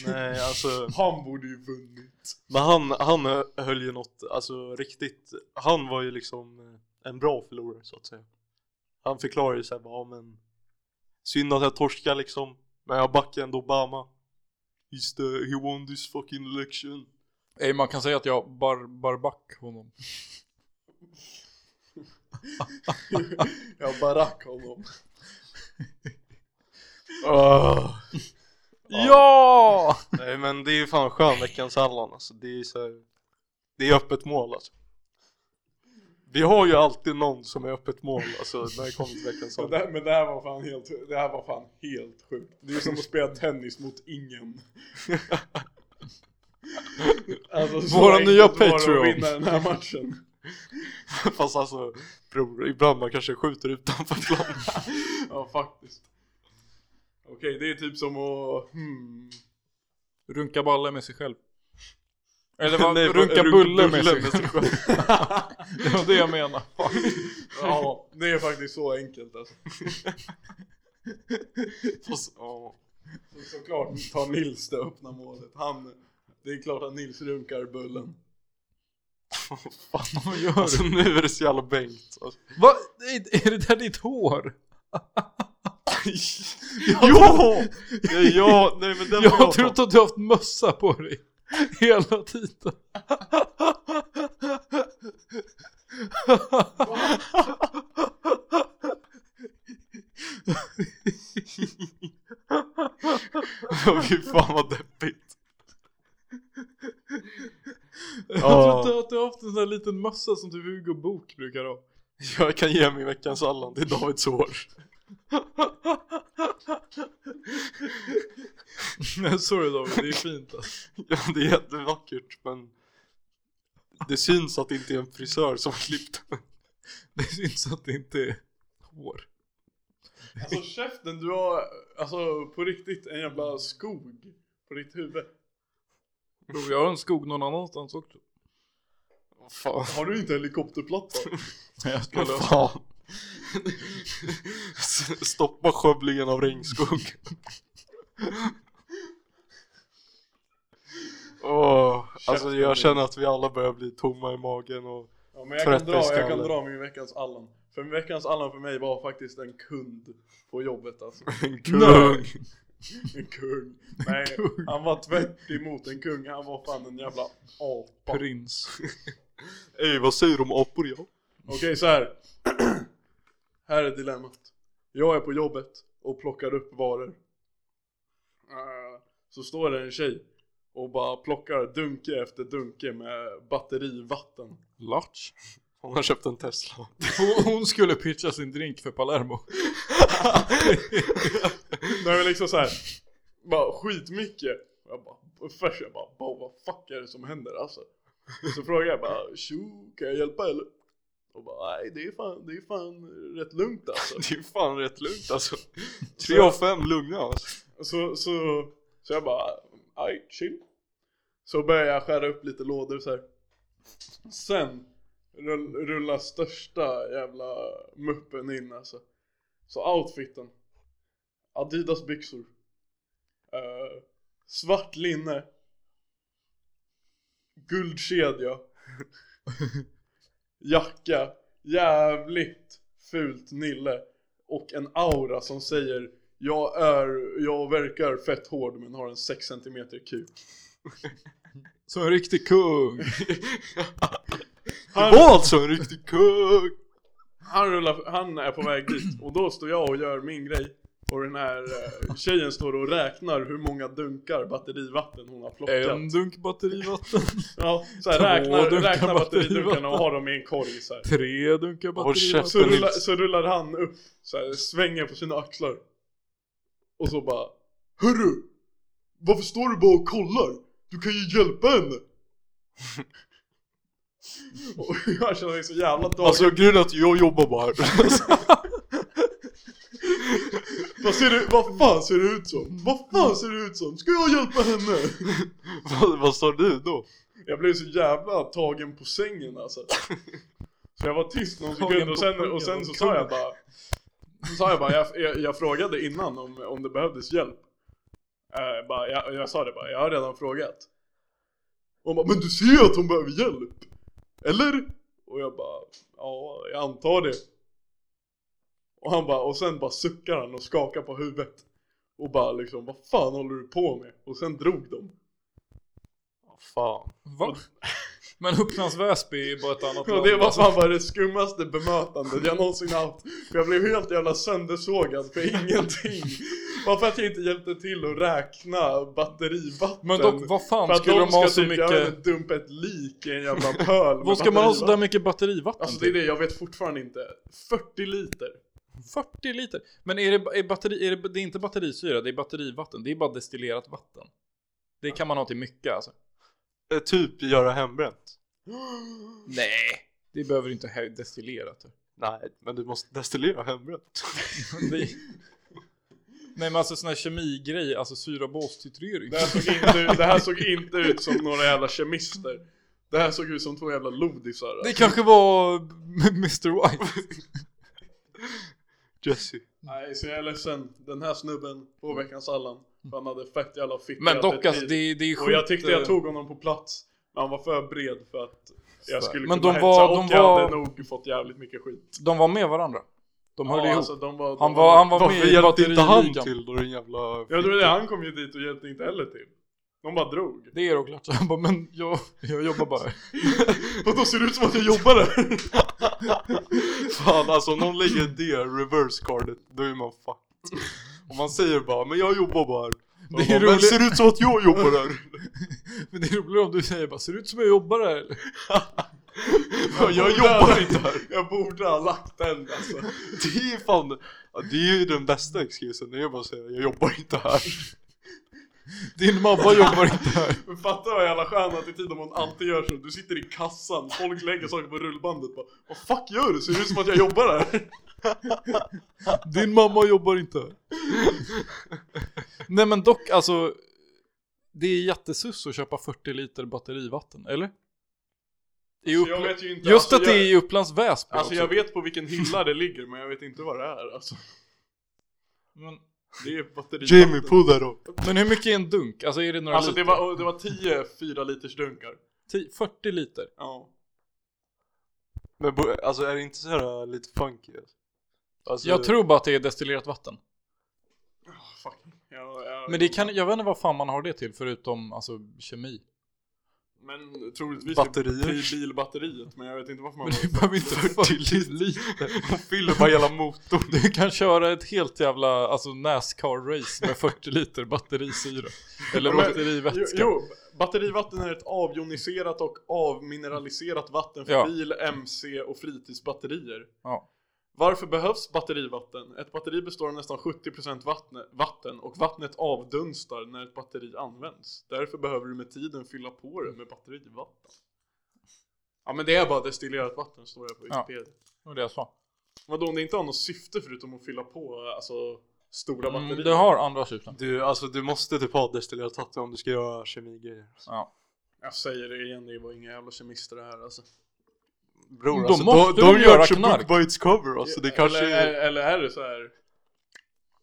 [SPEAKER 3] Nej, alltså.
[SPEAKER 2] han borde ju vunnit.
[SPEAKER 3] Men han, han höll ju något, alltså riktigt, han var ju liksom eh, en bra förlorare så att säga. Han förklarade ju såhär, ja men synd att jag torskar liksom, men jag backar ändå Obama. He's the, he won this fucking election.
[SPEAKER 1] Nej, man kan säga att jag bar, barback honom.
[SPEAKER 2] jag barack honom.
[SPEAKER 3] Ah.
[SPEAKER 1] Ja!
[SPEAKER 3] Nej men det är ju fan skön veckans Allan alltså, det är ju så här, det är öppet mål alltså. Vi har ju alltid någon som är öppet mål alltså när det kommer till veckans
[SPEAKER 2] Men
[SPEAKER 3] Allan.
[SPEAKER 2] det, men det här var fan helt, det här var fan helt sjukt. Det är som att spela tennis mot ingen. Alltså, så
[SPEAKER 1] Våra
[SPEAKER 2] enkelt
[SPEAKER 1] nya
[SPEAKER 2] var det
[SPEAKER 1] Patreon.
[SPEAKER 2] att vinna den här matchen.
[SPEAKER 3] Fast alltså bror, ibland man kanske skjuter utanför plan.
[SPEAKER 2] Ja, faktiskt. Okej, det är typ som att... Hmm.
[SPEAKER 1] Runka balle med sig själv. Eller vad?
[SPEAKER 3] Nej,
[SPEAKER 1] runka,
[SPEAKER 3] runka
[SPEAKER 1] bulle med
[SPEAKER 3] bulle
[SPEAKER 1] sig
[SPEAKER 3] med
[SPEAKER 1] själv. det var det jag menade.
[SPEAKER 2] Ja, det är faktiskt så enkelt alltså.
[SPEAKER 3] Fast, ja.
[SPEAKER 2] Så, såklart tar Nils det öppna målet. Han, det är klart att Nils runkar bullen.
[SPEAKER 1] Fan, vad gör du?
[SPEAKER 3] Alltså nu är det så jävla bänkt. Alltså.
[SPEAKER 1] Va? Är- Är det där ditt hår?
[SPEAKER 3] jo! Nej, ja, nej men den
[SPEAKER 1] Jag
[SPEAKER 3] har
[SPEAKER 1] har
[SPEAKER 3] jag
[SPEAKER 1] trott
[SPEAKER 3] tagit.
[SPEAKER 1] att du har haft mössa på dig. Hela tiden.
[SPEAKER 3] Åh, Fy fan vad deppigt.
[SPEAKER 1] Jag tror inte att du har haft en sån här liten mössa som typ Hugo Bok brukar ha.
[SPEAKER 3] Jag kan ge mig veckans Allan till Davids hår.
[SPEAKER 1] Nej, sorry David, det är fint alltså.
[SPEAKER 3] Ja, det är jättevackert men det syns att det inte är en frisör som har klippt den.
[SPEAKER 1] Det syns att det inte är hår.
[SPEAKER 2] Alltså käften, du har alltså på riktigt en jävla skog på ditt huvud.
[SPEAKER 1] Bro, jag har en skog någon annanstans också.
[SPEAKER 3] Fan.
[SPEAKER 2] Har du inte helikopterplatta?
[SPEAKER 1] Jag ska
[SPEAKER 3] Vad
[SPEAKER 1] lösa.
[SPEAKER 3] fan. S- Stoppa skövlingen av regnskog. Åh, alltså jag känner att vi alla börjar bli tomma i magen och
[SPEAKER 2] Ja, men jag kan,
[SPEAKER 3] Trött i
[SPEAKER 2] dra, jag kan
[SPEAKER 3] skallen.
[SPEAKER 2] dra min veckans Allan. För min veckans Allan för mig var faktiskt en kund på jobbet alltså.
[SPEAKER 3] en
[SPEAKER 1] Nej.
[SPEAKER 3] kung.
[SPEAKER 2] En kung. Nej, han var tvärt emot en kung. Han var fan en jävla apa. Okej
[SPEAKER 1] Prins.
[SPEAKER 3] Ey vad säger du om apor ja?
[SPEAKER 2] så här. här är dilemmat. Jag är på jobbet och plockar upp varor. Eh, Så står det en tjej och bara plockar dunke efter dunke med batterivatten.
[SPEAKER 1] Latch.
[SPEAKER 3] Hon har köpt en Tesla.
[SPEAKER 1] Hon- Hon skulle pitcha sin drink för Palermo.
[SPEAKER 2] Nej men liksom såhär, bara skitmycket. Och Jag bara, först jag bara, bara, vad fuck är det som händer alltså? Så frågar jag bara, tjo, kan jag hjälpa eller? Och bara, nej det är fan, det är fan rätt lugnt alltså.
[SPEAKER 3] Det är fan rätt lugnt alltså. 3 av 5 lugna alltså.
[SPEAKER 2] Så, så, så jag bara, aj, chill. Så börjar jag skära upp lite lådor så här. Sen rull- rullar största jävla muppen in alltså. Så outfiten. Adidas byxor. Eh, svart linne. Guldkedja. Jacka. Jävligt fult nille. Och en aura som säger jag är, jag verkar fett hård men har en 6 cm kuk.
[SPEAKER 1] Som en riktig kung.
[SPEAKER 2] Han,
[SPEAKER 3] Var alltså en riktig kung!
[SPEAKER 2] han, rullar, han är på väg dit och då står jag och gör min grej. Och den här eh, tjejen står och räknar hur många dunkar batterivatten hon har plockat.
[SPEAKER 1] En dunk batterivatten.
[SPEAKER 2] Ja, så här,
[SPEAKER 1] två
[SPEAKER 2] räknar,
[SPEAKER 1] dunkar
[SPEAKER 2] räknar batteridunkarna och
[SPEAKER 1] batterivatten.
[SPEAKER 2] har dem i en korg så här.
[SPEAKER 1] Tre dunkar batterivatten.
[SPEAKER 2] Så
[SPEAKER 3] käften.
[SPEAKER 2] rullar, så rullar han upp, så här, svänger på sina axlar. Och så bara Hörru! Varför står du bara och kollar? Du kan ju hjälpa henne! och jag känner mig så jävla dålig.
[SPEAKER 3] Alltså grejen är att jag jobbar bara här.
[SPEAKER 2] vad, ser du, vad fan ser det ut som? Vad fan ser det ut som? Ska jag hjälpa henne?
[SPEAKER 3] vad, vad sa du då?
[SPEAKER 2] Jag blev så jävla tagen på sängen alltså. Så jag var tyst någon
[SPEAKER 1] Tagen
[SPEAKER 2] sekund
[SPEAKER 1] på
[SPEAKER 2] och sen,
[SPEAKER 1] pungen,
[SPEAKER 2] och sen så
[SPEAKER 1] vad
[SPEAKER 2] sa
[SPEAKER 1] kul.
[SPEAKER 2] jag bara Så sa jag bara, jag, jag, jag frågade innan om, om det behövdes hjälp Eh, bara, jag, jag sa det bara, jag har redan frågat Och hon bara, men du ser ju att hon behöver hjälp! Eller? Och jag bara, ja jag antar det Och han bara, och sen bara suckar han och skakar på huvudet Och bara liksom, vad fan håller du på med? Och sen drog de
[SPEAKER 3] Fan.
[SPEAKER 1] Va? Men Upplands Väsby är bara ett annat
[SPEAKER 2] Ja,
[SPEAKER 1] land,
[SPEAKER 2] det var
[SPEAKER 1] alltså.
[SPEAKER 2] fan bara det skummaste bemötandet jag någonsin haft. För jag blev helt jävla söndersågad för ingenting. Bara för att jag inte hjälpte till att räkna batterivatten.
[SPEAKER 1] Men dock, vad
[SPEAKER 2] för
[SPEAKER 1] fan
[SPEAKER 2] att
[SPEAKER 1] skulle de ha
[SPEAKER 2] ska
[SPEAKER 1] så
[SPEAKER 2] typ, jag vet
[SPEAKER 1] mycket...
[SPEAKER 2] inte, dumpa ett lik i en jävla pöl med
[SPEAKER 1] Vad ska man ha så där
[SPEAKER 2] batterivatten?
[SPEAKER 1] mycket batterivatten
[SPEAKER 2] Alltså det är det, jag vet fortfarande inte. 40 liter.
[SPEAKER 1] till? 40 liter. Men är det, är batteri, är det, det är inte batterisyra, det är batterivatten. Det är bara destillerat vatten. Det kan man ha till mycket alltså.
[SPEAKER 3] Eh, Typ göra hembränt.
[SPEAKER 1] Nej. Det behöver inte ha destillerat.
[SPEAKER 3] Nej, men du måste destillera hembränt.
[SPEAKER 1] Det... Nej men alltså sån här kemigrej, alltså syrabastityrering.
[SPEAKER 2] Det här, såg inte, det här såg inte ut som några jävla kemister. Det här såg ut som två jävla lodisar.
[SPEAKER 1] Det kanske var Mr White.
[SPEAKER 3] Jesse.
[SPEAKER 2] Nej, så jag är ledsen. Den här snubben på veckans Allan, han hade fett jävla fitt
[SPEAKER 1] Men dock
[SPEAKER 2] attityd.
[SPEAKER 1] alltså det, det är sjukt.
[SPEAKER 2] Och jag tyckte
[SPEAKER 1] eh,
[SPEAKER 2] jag tog honom på plats, men han var för bred för att jag
[SPEAKER 1] Så.
[SPEAKER 2] skulle
[SPEAKER 1] Men
[SPEAKER 2] kunna
[SPEAKER 1] de
[SPEAKER 2] hetsa
[SPEAKER 1] var-
[SPEAKER 2] och
[SPEAKER 1] de
[SPEAKER 2] jag
[SPEAKER 1] var-
[SPEAKER 2] hade nog fått jävligt mycket skit.
[SPEAKER 1] De var med varandra. De höll ihop.
[SPEAKER 2] alltså, de var, de
[SPEAKER 1] han, var, han var med
[SPEAKER 3] Varför
[SPEAKER 1] i
[SPEAKER 3] hjälpte inte han
[SPEAKER 1] batteriligan.
[SPEAKER 3] till då den jävla...
[SPEAKER 2] Jag tror det, han kom ju dit och hjälpte inte heller till.
[SPEAKER 3] De bara drog.
[SPEAKER 1] Det är då klart. Så han bara, men jag, jag jobbar bara här.
[SPEAKER 3] Vadå ser det ut som att jag jobbar där? Fan alltså om någon lägger det reverse cardet, då är man fucked. Om man säger bara, men jag jobbar bara här.
[SPEAKER 1] Det är
[SPEAKER 3] Det men
[SPEAKER 1] roligt.
[SPEAKER 3] ser det ut som att jag jobbar där?
[SPEAKER 1] Men det är roligare om du säger bara, ser det ut som jag jobbar här eller?
[SPEAKER 3] Fan, jag jobbar inte här.
[SPEAKER 2] Jag borde ha lagt den alltså.
[SPEAKER 3] Det är fan, ja, det är ju den bästa excusen, det är bara att säga jag jobbar inte här.
[SPEAKER 1] Din mamma jobbar inte här.
[SPEAKER 2] Men fatta vad jävla skön attityd om man alltid gör så. Du sitter i kassan, folk lägger saker på rullbandet bara Vad fuck gör du? Ser det ut som att jag jobbar här?
[SPEAKER 1] Din mamma jobbar inte här. Nej men dock, alltså. Det är jättesuss att köpa 40 liter batterivatten, eller? I
[SPEAKER 2] Så
[SPEAKER 1] Upp...
[SPEAKER 2] jag vet ju inte.
[SPEAKER 1] Just
[SPEAKER 2] alltså,
[SPEAKER 1] att det är
[SPEAKER 2] jag,
[SPEAKER 1] i Upplands Väsby
[SPEAKER 2] Alltså
[SPEAKER 1] också.
[SPEAKER 2] jag vet på vilken hylla det ligger men jag vet inte vad det är alltså.
[SPEAKER 1] Men,
[SPEAKER 2] Det är batteri.
[SPEAKER 3] Jamie, på där då.
[SPEAKER 1] men hur mycket är en dunk? Alltså är det några
[SPEAKER 2] Alltså det
[SPEAKER 1] liter?
[SPEAKER 2] var, det var 10 4 liters dunkar.
[SPEAKER 1] Ti- 40 liter?
[SPEAKER 2] Ja.
[SPEAKER 3] Men bo- alltså är det inte så här lite funky? alltså? Alltså,
[SPEAKER 1] Jag tror bara att det är destillerat vatten.
[SPEAKER 2] Fuck. Jag, jag,
[SPEAKER 1] Men det kan, jag vet inte vad fan man har det till förutom alltså kemi.
[SPEAKER 2] men troligtvis
[SPEAKER 3] Batterier.
[SPEAKER 2] till bilbatteriet men jag vet inte varför man
[SPEAKER 1] Men du behöver inte 40 liter.
[SPEAKER 3] Hon fyller bara hela motorn.
[SPEAKER 1] Du kan köra ett helt jävla alltså Nascar-race med 40 liter batterisyra. Eller
[SPEAKER 2] Ja, men-
[SPEAKER 1] batterivätska.
[SPEAKER 2] Jo, jo, batterivatten är ett avjoniserat och avmineraliserat vatten för
[SPEAKER 1] Ja.
[SPEAKER 2] bil, MC och fritidsbatterier.
[SPEAKER 1] Ja.
[SPEAKER 2] Varför behövs batterivatten? Ett batteri består av nästan 70% vattne, vatten och vattnet avdunstar när ett batteri används. Därför behöver du med tiden fylla på det med batterivatten. Ja men det är bara destillerat vatten står det på
[SPEAKER 1] Ja.
[SPEAKER 2] Wikipedia.
[SPEAKER 1] Det var det jag sa.
[SPEAKER 2] Vadå om det inte har något syfte förutom att fylla på alltså stora batterier?
[SPEAKER 1] Mm, det har andra syften.
[SPEAKER 3] Du, alltså du måste typ ha destillerat vatten om du ska göra kemigrejer.
[SPEAKER 1] Ja.
[SPEAKER 2] Jag säger det igen, det var inga jävla kemister det här alltså.
[SPEAKER 3] Bror,
[SPEAKER 1] Då
[SPEAKER 3] alltså,
[SPEAKER 1] måste
[SPEAKER 3] de,
[SPEAKER 1] de
[SPEAKER 3] gör
[SPEAKER 1] göra
[SPEAKER 3] som
[SPEAKER 1] knark.
[SPEAKER 3] Book by its cover, alltså det kanske
[SPEAKER 2] eller,
[SPEAKER 3] eller,
[SPEAKER 2] är... eller är det så här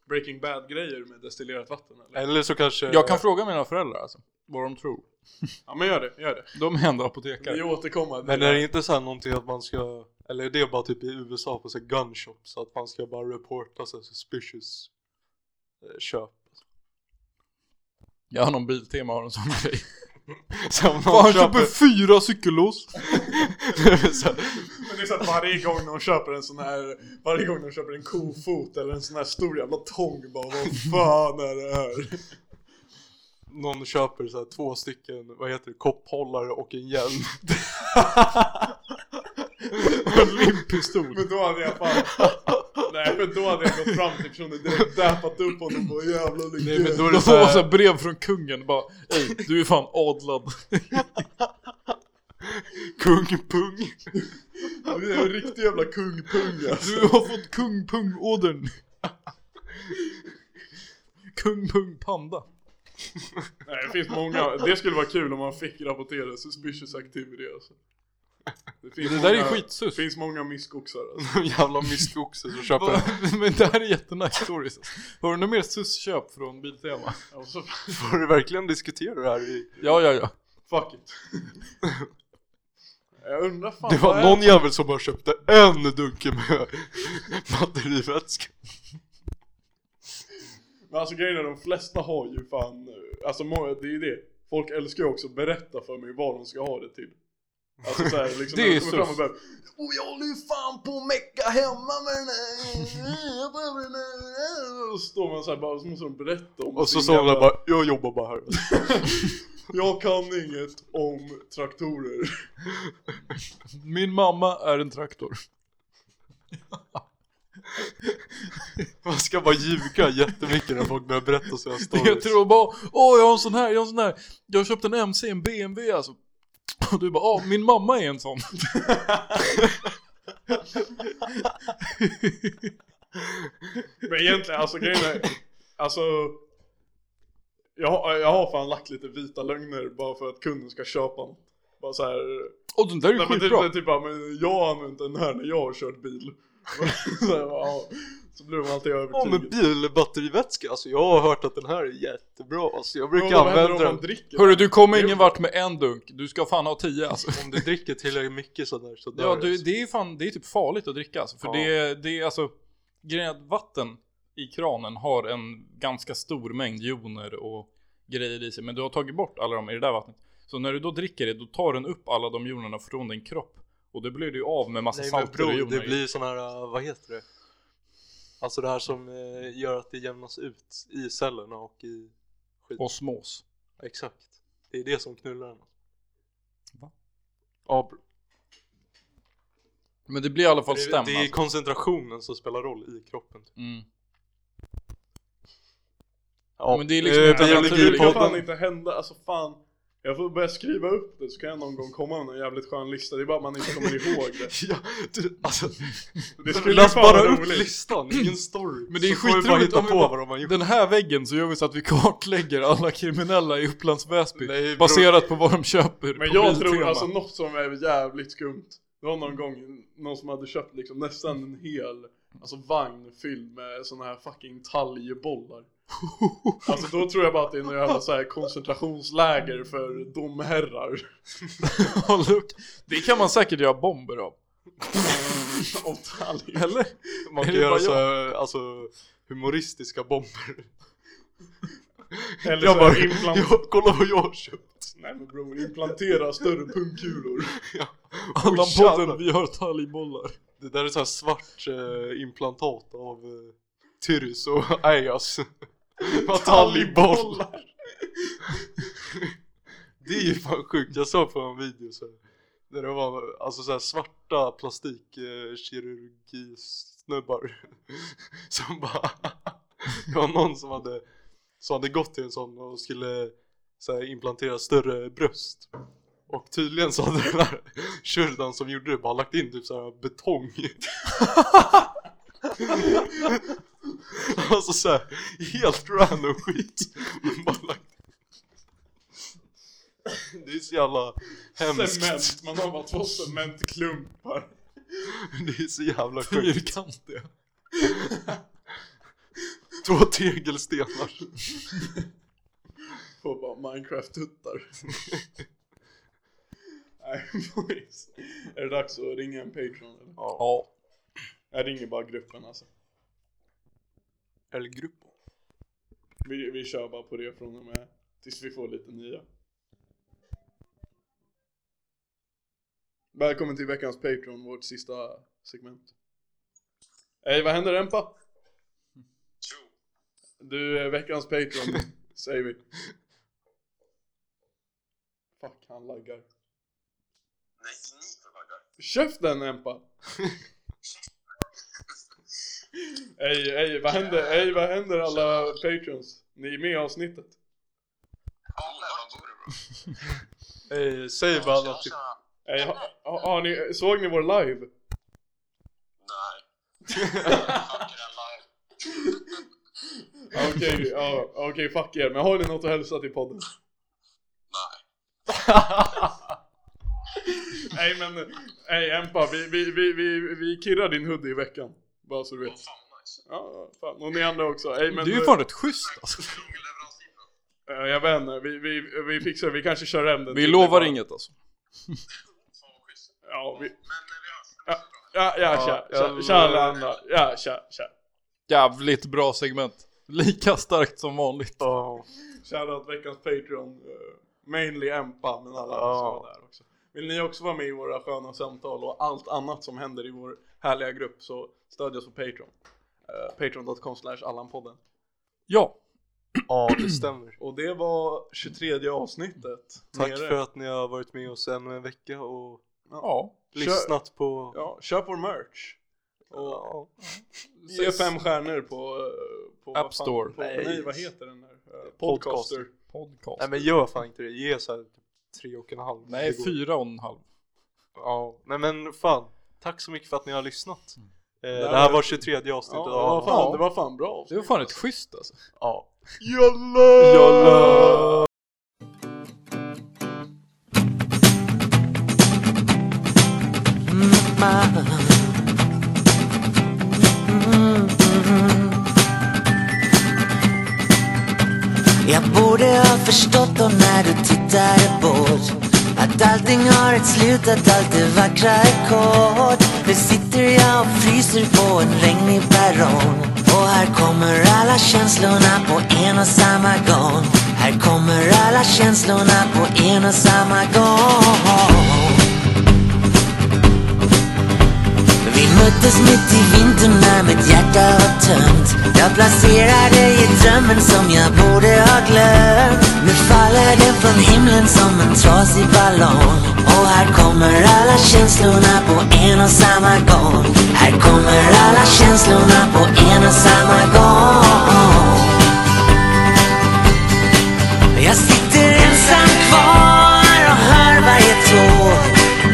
[SPEAKER 2] Breaking Bad-grejer med destillerat vatten eller?
[SPEAKER 3] så kanske...
[SPEAKER 1] Jag kan fråga mina föräldrar alltså. Vad de tror.
[SPEAKER 2] Ja men gör det, gör det.
[SPEAKER 1] De är ändå
[SPEAKER 2] Vi
[SPEAKER 1] apotekare.
[SPEAKER 2] återkommer.
[SPEAKER 3] Men är det inte så här någonting att man ska... Eller är det bara typ i USA på så här gun shops, att man ska bara reporta så här suspicious eh, köp?
[SPEAKER 1] Jag har någon biltema har en sån grej.
[SPEAKER 3] Så om
[SPEAKER 1] Fan,
[SPEAKER 3] någon
[SPEAKER 1] han
[SPEAKER 3] köper...
[SPEAKER 1] köper fyra cykellås!
[SPEAKER 3] så här,
[SPEAKER 2] Men det är så att varje gång de köper en sån här, varje gång de köper en kofot eller en sån här stor jävla tång bara vad fan är det här?
[SPEAKER 3] någon köper så här två stycken, vad heter det, kopphållare och en hjälm.
[SPEAKER 1] Limpistol.
[SPEAKER 2] Men då hade jag fan, nej men då hade jag gått fram till personen direkt däpat upp honom och bara jävla
[SPEAKER 3] Nej men
[SPEAKER 2] lycka.
[SPEAKER 3] då är
[SPEAKER 1] De
[SPEAKER 3] det så
[SPEAKER 1] får man så
[SPEAKER 3] här,
[SPEAKER 1] här brev från kungen bara Ey, du är fan adlad.
[SPEAKER 3] kung, pung.
[SPEAKER 2] Det är en riktig jävla kungpung alltså.
[SPEAKER 1] Du har fått kungpungådern. Kungpung panda.
[SPEAKER 2] Nej det finns många, det skulle vara kul om man fick rapportera suspicious activity alltså. Det, finns
[SPEAKER 1] Det där är ju
[SPEAKER 2] många- Det
[SPEAKER 1] skitsus.
[SPEAKER 2] finns många misskoxar alltså.
[SPEAKER 3] Jävla myskoxe som köper
[SPEAKER 1] Men det här är jättenice stories. alltså. Har du något mer susköp från Biltema?
[SPEAKER 2] alltså.
[SPEAKER 3] Får du verkligen diskutera det här i...
[SPEAKER 1] Ja, ja, ja.
[SPEAKER 2] Fuck it. Jag undrar fan
[SPEAKER 3] Det var
[SPEAKER 2] vad
[SPEAKER 3] någon jävel som bara köpte en dunke med batterivätska.
[SPEAKER 2] Men alltså grejen är de flesta har ju fan, alltså må- det är ju det. Folk älskar ju också att berätta för mig vad de ska ha det till. Alltså såhär liksom
[SPEAKER 1] Det
[SPEAKER 2] när de
[SPEAKER 1] är
[SPEAKER 2] kommer
[SPEAKER 1] sus.
[SPEAKER 2] fram och bara, Och jag håller ju fan på att mecka hemma med den här, jag behöver den här. Och så står man såhär bara, och så måste de berätta om
[SPEAKER 3] Och så
[SPEAKER 2] sin
[SPEAKER 3] sa hon
[SPEAKER 2] jävla-
[SPEAKER 3] bara, jag jobbar bara här.
[SPEAKER 2] Jag kan inget om traktorer.
[SPEAKER 1] Min mamma är en traktor.
[SPEAKER 3] Man ska bara ljuga jättemycket när folk börjar berätta sina stories.
[SPEAKER 1] Jag tror bara, åh jag har en sån här, jag har en sån här. Jag har köpt en MC, en BMW alltså. Och du bara, åh min mamma är en sån.
[SPEAKER 2] Men egentligen, alltså grejen är, alltså jag, har- jag har fan lagt lite vita lögner bara för att kunden ska köpa något. Bara så här.
[SPEAKER 1] Och den där är ju
[SPEAKER 2] Nej, men typ, det är
[SPEAKER 1] skitbra.
[SPEAKER 2] typ bara, men jag har använt den här när jag har kört bil. så, här, bara, ja. så blir de alltid
[SPEAKER 3] Ja men
[SPEAKER 2] övertygade.
[SPEAKER 3] bilbatterivätska, alltså jag har hört att den här är jättebra. Alltså jag brukar
[SPEAKER 2] Ja, vad händer
[SPEAKER 3] använda
[SPEAKER 2] om man
[SPEAKER 3] den.
[SPEAKER 2] dricker?
[SPEAKER 1] Hörru du kommer ingen vart med en dunk, du ska fan ha tio alltså.
[SPEAKER 3] Om du dricker tillräckligt mycket så där så dör
[SPEAKER 1] Ja,
[SPEAKER 3] det,
[SPEAKER 1] du,
[SPEAKER 3] alltså.
[SPEAKER 1] det är ju fan, det är typ farligt att dricka alltså, för
[SPEAKER 3] Ja.
[SPEAKER 1] det, det är alltså, grejen är att vatten i kranen har en ganska stor mängd joner och grejer i sig. Men du har tagit bort alla dem i det där vattnet. Så när du då dricker det, då tar den upp alla de jonerna från din kropp. Och det blir du ju av med massa
[SPEAKER 3] Nej men
[SPEAKER 1] Alltså, salter och
[SPEAKER 3] bror,
[SPEAKER 1] joner
[SPEAKER 3] det
[SPEAKER 1] i.
[SPEAKER 3] blir sån här, äh, vad heter det? Alltså det här som eh, gör att det jämnas ut i cellerna och i skit.
[SPEAKER 1] Osmos.
[SPEAKER 3] Exakt. Det är det som knullar den.
[SPEAKER 1] Va?
[SPEAKER 3] Ja, bror.
[SPEAKER 1] Men det blir i alla fall
[SPEAKER 3] det,
[SPEAKER 1] stämmat.
[SPEAKER 3] det är koncentrationen som spelar roll i kroppen. typ.
[SPEAKER 1] Mm.
[SPEAKER 3] Ja,
[SPEAKER 1] men det är liksom inte
[SPEAKER 2] Men alltså, det kan
[SPEAKER 3] biologipodden.
[SPEAKER 2] fan inte hända, alltså fan Jag får börja skriva upp det så kan jag någon gång komma med en jävligt skön lista Det är bara att man inte kommer ihåg det
[SPEAKER 3] Ja, du, alltså,
[SPEAKER 2] Det
[SPEAKER 3] du
[SPEAKER 2] skulle ju
[SPEAKER 3] läs
[SPEAKER 2] fan
[SPEAKER 3] bara
[SPEAKER 2] vara
[SPEAKER 3] upp
[SPEAKER 2] roligt
[SPEAKER 3] listan, ingen story.
[SPEAKER 1] Men det är
[SPEAKER 3] Så får vi bara
[SPEAKER 1] skitroligt
[SPEAKER 3] hitta
[SPEAKER 1] om vi
[SPEAKER 3] på
[SPEAKER 1] bara-
[SPEAKER 3] vad de har gjort.
[SPEAKER 1] Den här väggen så gör vi så att vi kartlägger alla kriminella i Upplands Väsby.
[SPEAKER 3] Nej, bror.
[SPEAKER 1] baserat på vad de köper
[SPEAKER 2] Men
[SPEAKER 1] på
[SPEAKER 2] jag
[SPEAKER 1] Biltema.
[SPEAKER 2] tror alltså något som är jävligt skumt Det var någon gång någon som hade köpt liksom nästan en hel Alltså vagn fylld med såna här fucking talgbollar Alltså då tror jag bara att det är något jävla så här koncentrationsläger för domherrar
[SPEAKER 1] Ja, Luke, det kan man säkert göra bomber av.
[SPEAKER 2] Och talg
[SPEAKER 1] Eller?
[SPEAKER 3] Man
[SPEAKER 1] Är
[SPEAKER 3] kan
[SPEAKER 1] det bara
[SPEAKER 3] göra så här, alltså, humoristiska bomber.
[SPEAKER 2] Eller
[SPEAKER 3] Jag
[SPEAKER 2] så
[SPEAKER 3] bara,
[SPEAKER 2] här implant...
[SPEAKER 3] jag, kolla vad jag har köpt.
[SPEAKER 2] Nej men bror, implantera större pungkulor
[SPEAKER 1] Allan
[SPEAKER 3] jävlar.
[SPEAKER 1] podden, vi har talgbollar.
[SPEAKER 3] Det där är så här svart eh, implantat av eh, Tyrus och Ayas. Vad Talibollar. Det är ju fan sjukt. Jag såg på en video så här, där det var alltså så här svarta plastikkirurgisnubbar som bara det var någon som hade som hade gått till en sån och skulle så här, implantera större bröst. Och tydligen så hade den där kyrdan som gjorde det bara lagt in typ så här betong. alltså så här, helt random skit. Men bara lagt Det är så jävla hemskt.
[SPEAKER 2] Cement, man har bara två cementklumpar
[SPEAKER 3] Det är så jävla sjukt.
[SPEAKER 1] Fyrkantiga.
[SPEAKER 3] Två tegelstenar.
[SPEAKER 2] på bara Minecraft-tuttar Nej boys, är det dags att ringa en Patreon eller?
[SPEAKER 1] Ja.
[SPEAKER 2] Jag ringer bara gruppen alltså
[SPEAKER 3] Eller grupp.
[SPEAKER 2] Vi, vi kör bara på det från och med tills vi får lite nya. Välkommen till veckans Patreon, vårt sista segment. Hej, vad händer Rempa? Du är veckans Patreon, säger vi. Fuck, han laggar.
[SPEAKER 6] Nej, ni får vagga.
[SPEAKER 2] Käften Rempa! Ey, ey, vad händer, ey, vad händer alla Patreons? Ni är med i avsnittet.
[SPEAKER 6] Alla, var bor du bro?
[SPEAKER 3] Eh, säg bara att typ.
[SPEAKER 6] Tja,
[SPEAKER 2] Ey, Eh, ha, ha, har ni, såg ni vår live?
[SPEAKER 6] Nej. Fuck it, alla.
[SPEAKER 2] Okej, ja, okej fuck er, men har ni något att hälsa till podden?
[SPEAKER 6] Nej.
[SPEAKER 2] Nej men, nej Empa, vi, vi, vi, vi, vi kirrar din hoodie i veckan. Bara så du vet.
[SPEAKER 6] Åh fan vad nice.
[SPEAKER 2] Ja, fan. Och ni andra också. Nej, men,
[SPEAKER 1] det är ju fan rätt schysst alltså.
[SPEAKER 6] Krångelleverans in då.
[SPEAKER 2] eh, Jag vet inte, vi, vi, vi fixar vi kanske kör hem den.
[SPEAKER 1] Vi
[SPEAKER 2] till-
[SPEAKER 1] lovar inget alltså.
[SPEAKER 6] Fan vad schysst.
[SPEAKER 2] Ja, vi,
[SPEAKER 6] Men eh, vi hörs.
[SPEAKER 2] Ja. ja, ja, tja, tja, tja alla andra. Ja, tja, tja.
[SPEAKER 1] Jävligt bra segment. Lika starkt som vanligt.
[SPEAKER 3] Ja.
[SPEAKER 2] Shoutout veckans Patreon. eh, Mainly Empa, men alla andra som
[SPEAKER 3] Ja.
[SPEAKER 2] var där också. Vill ni också vara med i våra sköna samtal och allt annat som händer i vår härliga grupp så stödj oss på Patreon. Eh, Patreon.com slash Allanpodden.
[SPEAKER 1] Ja.
[SPEAKER 3] ja, det stämmer.
[SPEAKER 2] Och det var 23 avsnittet.
[SPEAKER 3] Tack
[SPEAKER 2] Nere.
[SPEAKER 3] för att ni har varit med oss ännu en vecka och
[SPEAKER 1] Ja.
[SPEAKER 3] lyssnat på...
[SPEAKER 2] Ja, köp vår merch. Och
[SPEAKER 3] Ja.
[SPEAKER 2] ge fem stjärnor på... eh, på vad
[SPEAKER 1] App Store.
[SPEAKER 2] Fan, på, nej.
[SPEAKER 3] Nej.
[SPEAKER 2] vad heter den här? Eh,
[SPEAKER 3] Podcaster.
[SPEAKER 2] Podcaster.
[SPEAKER 1] Podcast.
[SPEAKER 3] Nej men gör fan inte det, ge såhär tre och en halv.
[SPEAKER 1] Nej,
[SPEAKER 3] Det går.
[SPEAKER 1] fyra och en halv.
[SPEAKER 3] Ja. Nej men fan, tack så mycket för att ni har lyssnat.
[SPEAKER 1] Mm.
[SPEAKER 3] Eh,
[SPEAKER 2] Det här
[SPEAKER 3] det här
[SPEAKER 2] var-
[SPEAKER 3] var 23 avsnittet
[SPEAKER 2] Ja, det,
[SPEAKER 3] av...
[SPEAKER 2] var fan, det var fan bra
[SPEAKER 1] Det var fan rätt schysst alltså.
[SPEAKER 3] Ja.
[SPEAKER 2] Jalla!
[SPEAKER 7] Jag borde ha förstått då när du tittade bort Att allting har ett slut, att allt det vackra är kort Nu sitter jag och fryser på en regnig perrong Och här kommer alla känslorna på en och samma gång Här kommer alla känslorna på en och samma gång Vi möttes mitt i vintern när mitt hjärta var tömt Jag placerade i drömmen som jag borde ha glömt Nu faller den från himlen som en trasig ballong Och här kommer alla känslorna på en och samma gång Här kommer alla känslorna på en och samma gång jag sitter ensam kvar och hör varje tår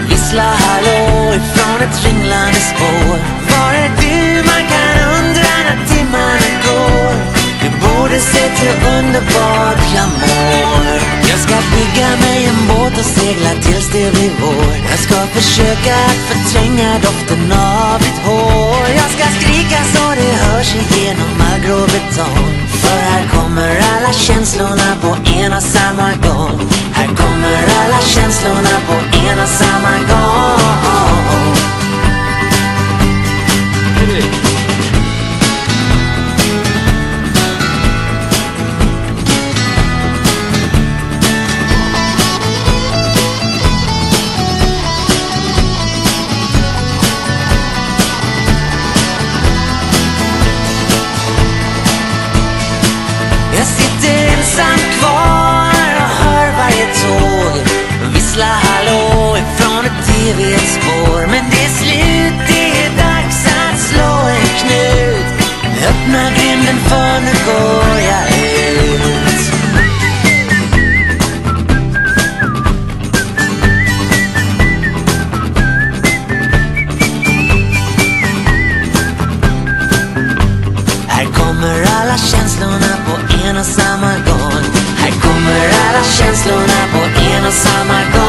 [SPEAKER 7] Vissla hallå ifrån ett ringlande spår Var är du? Man kan undra när timmarna går Du borde se till underbart jag mår Jag ska bygga mig en båt och segla tills det blir vår Jag ska försöka att förtränga doften av ditt hår Jag ska skrika så det hörs igenom all grå betong För här kommer alla känslorna på en och samma gång Här kommer alla känslorna på en och samma gång Jag sitter ensam kvar och hör varje tåg vissla hallå ifrån ett TV-spår. Men det är slut, det är dags att slå en knut. Öppna grinden för nu går jag ut. Här kommer alla känslorna på en och samma gång Här kommer alla känslorna på en och samma gång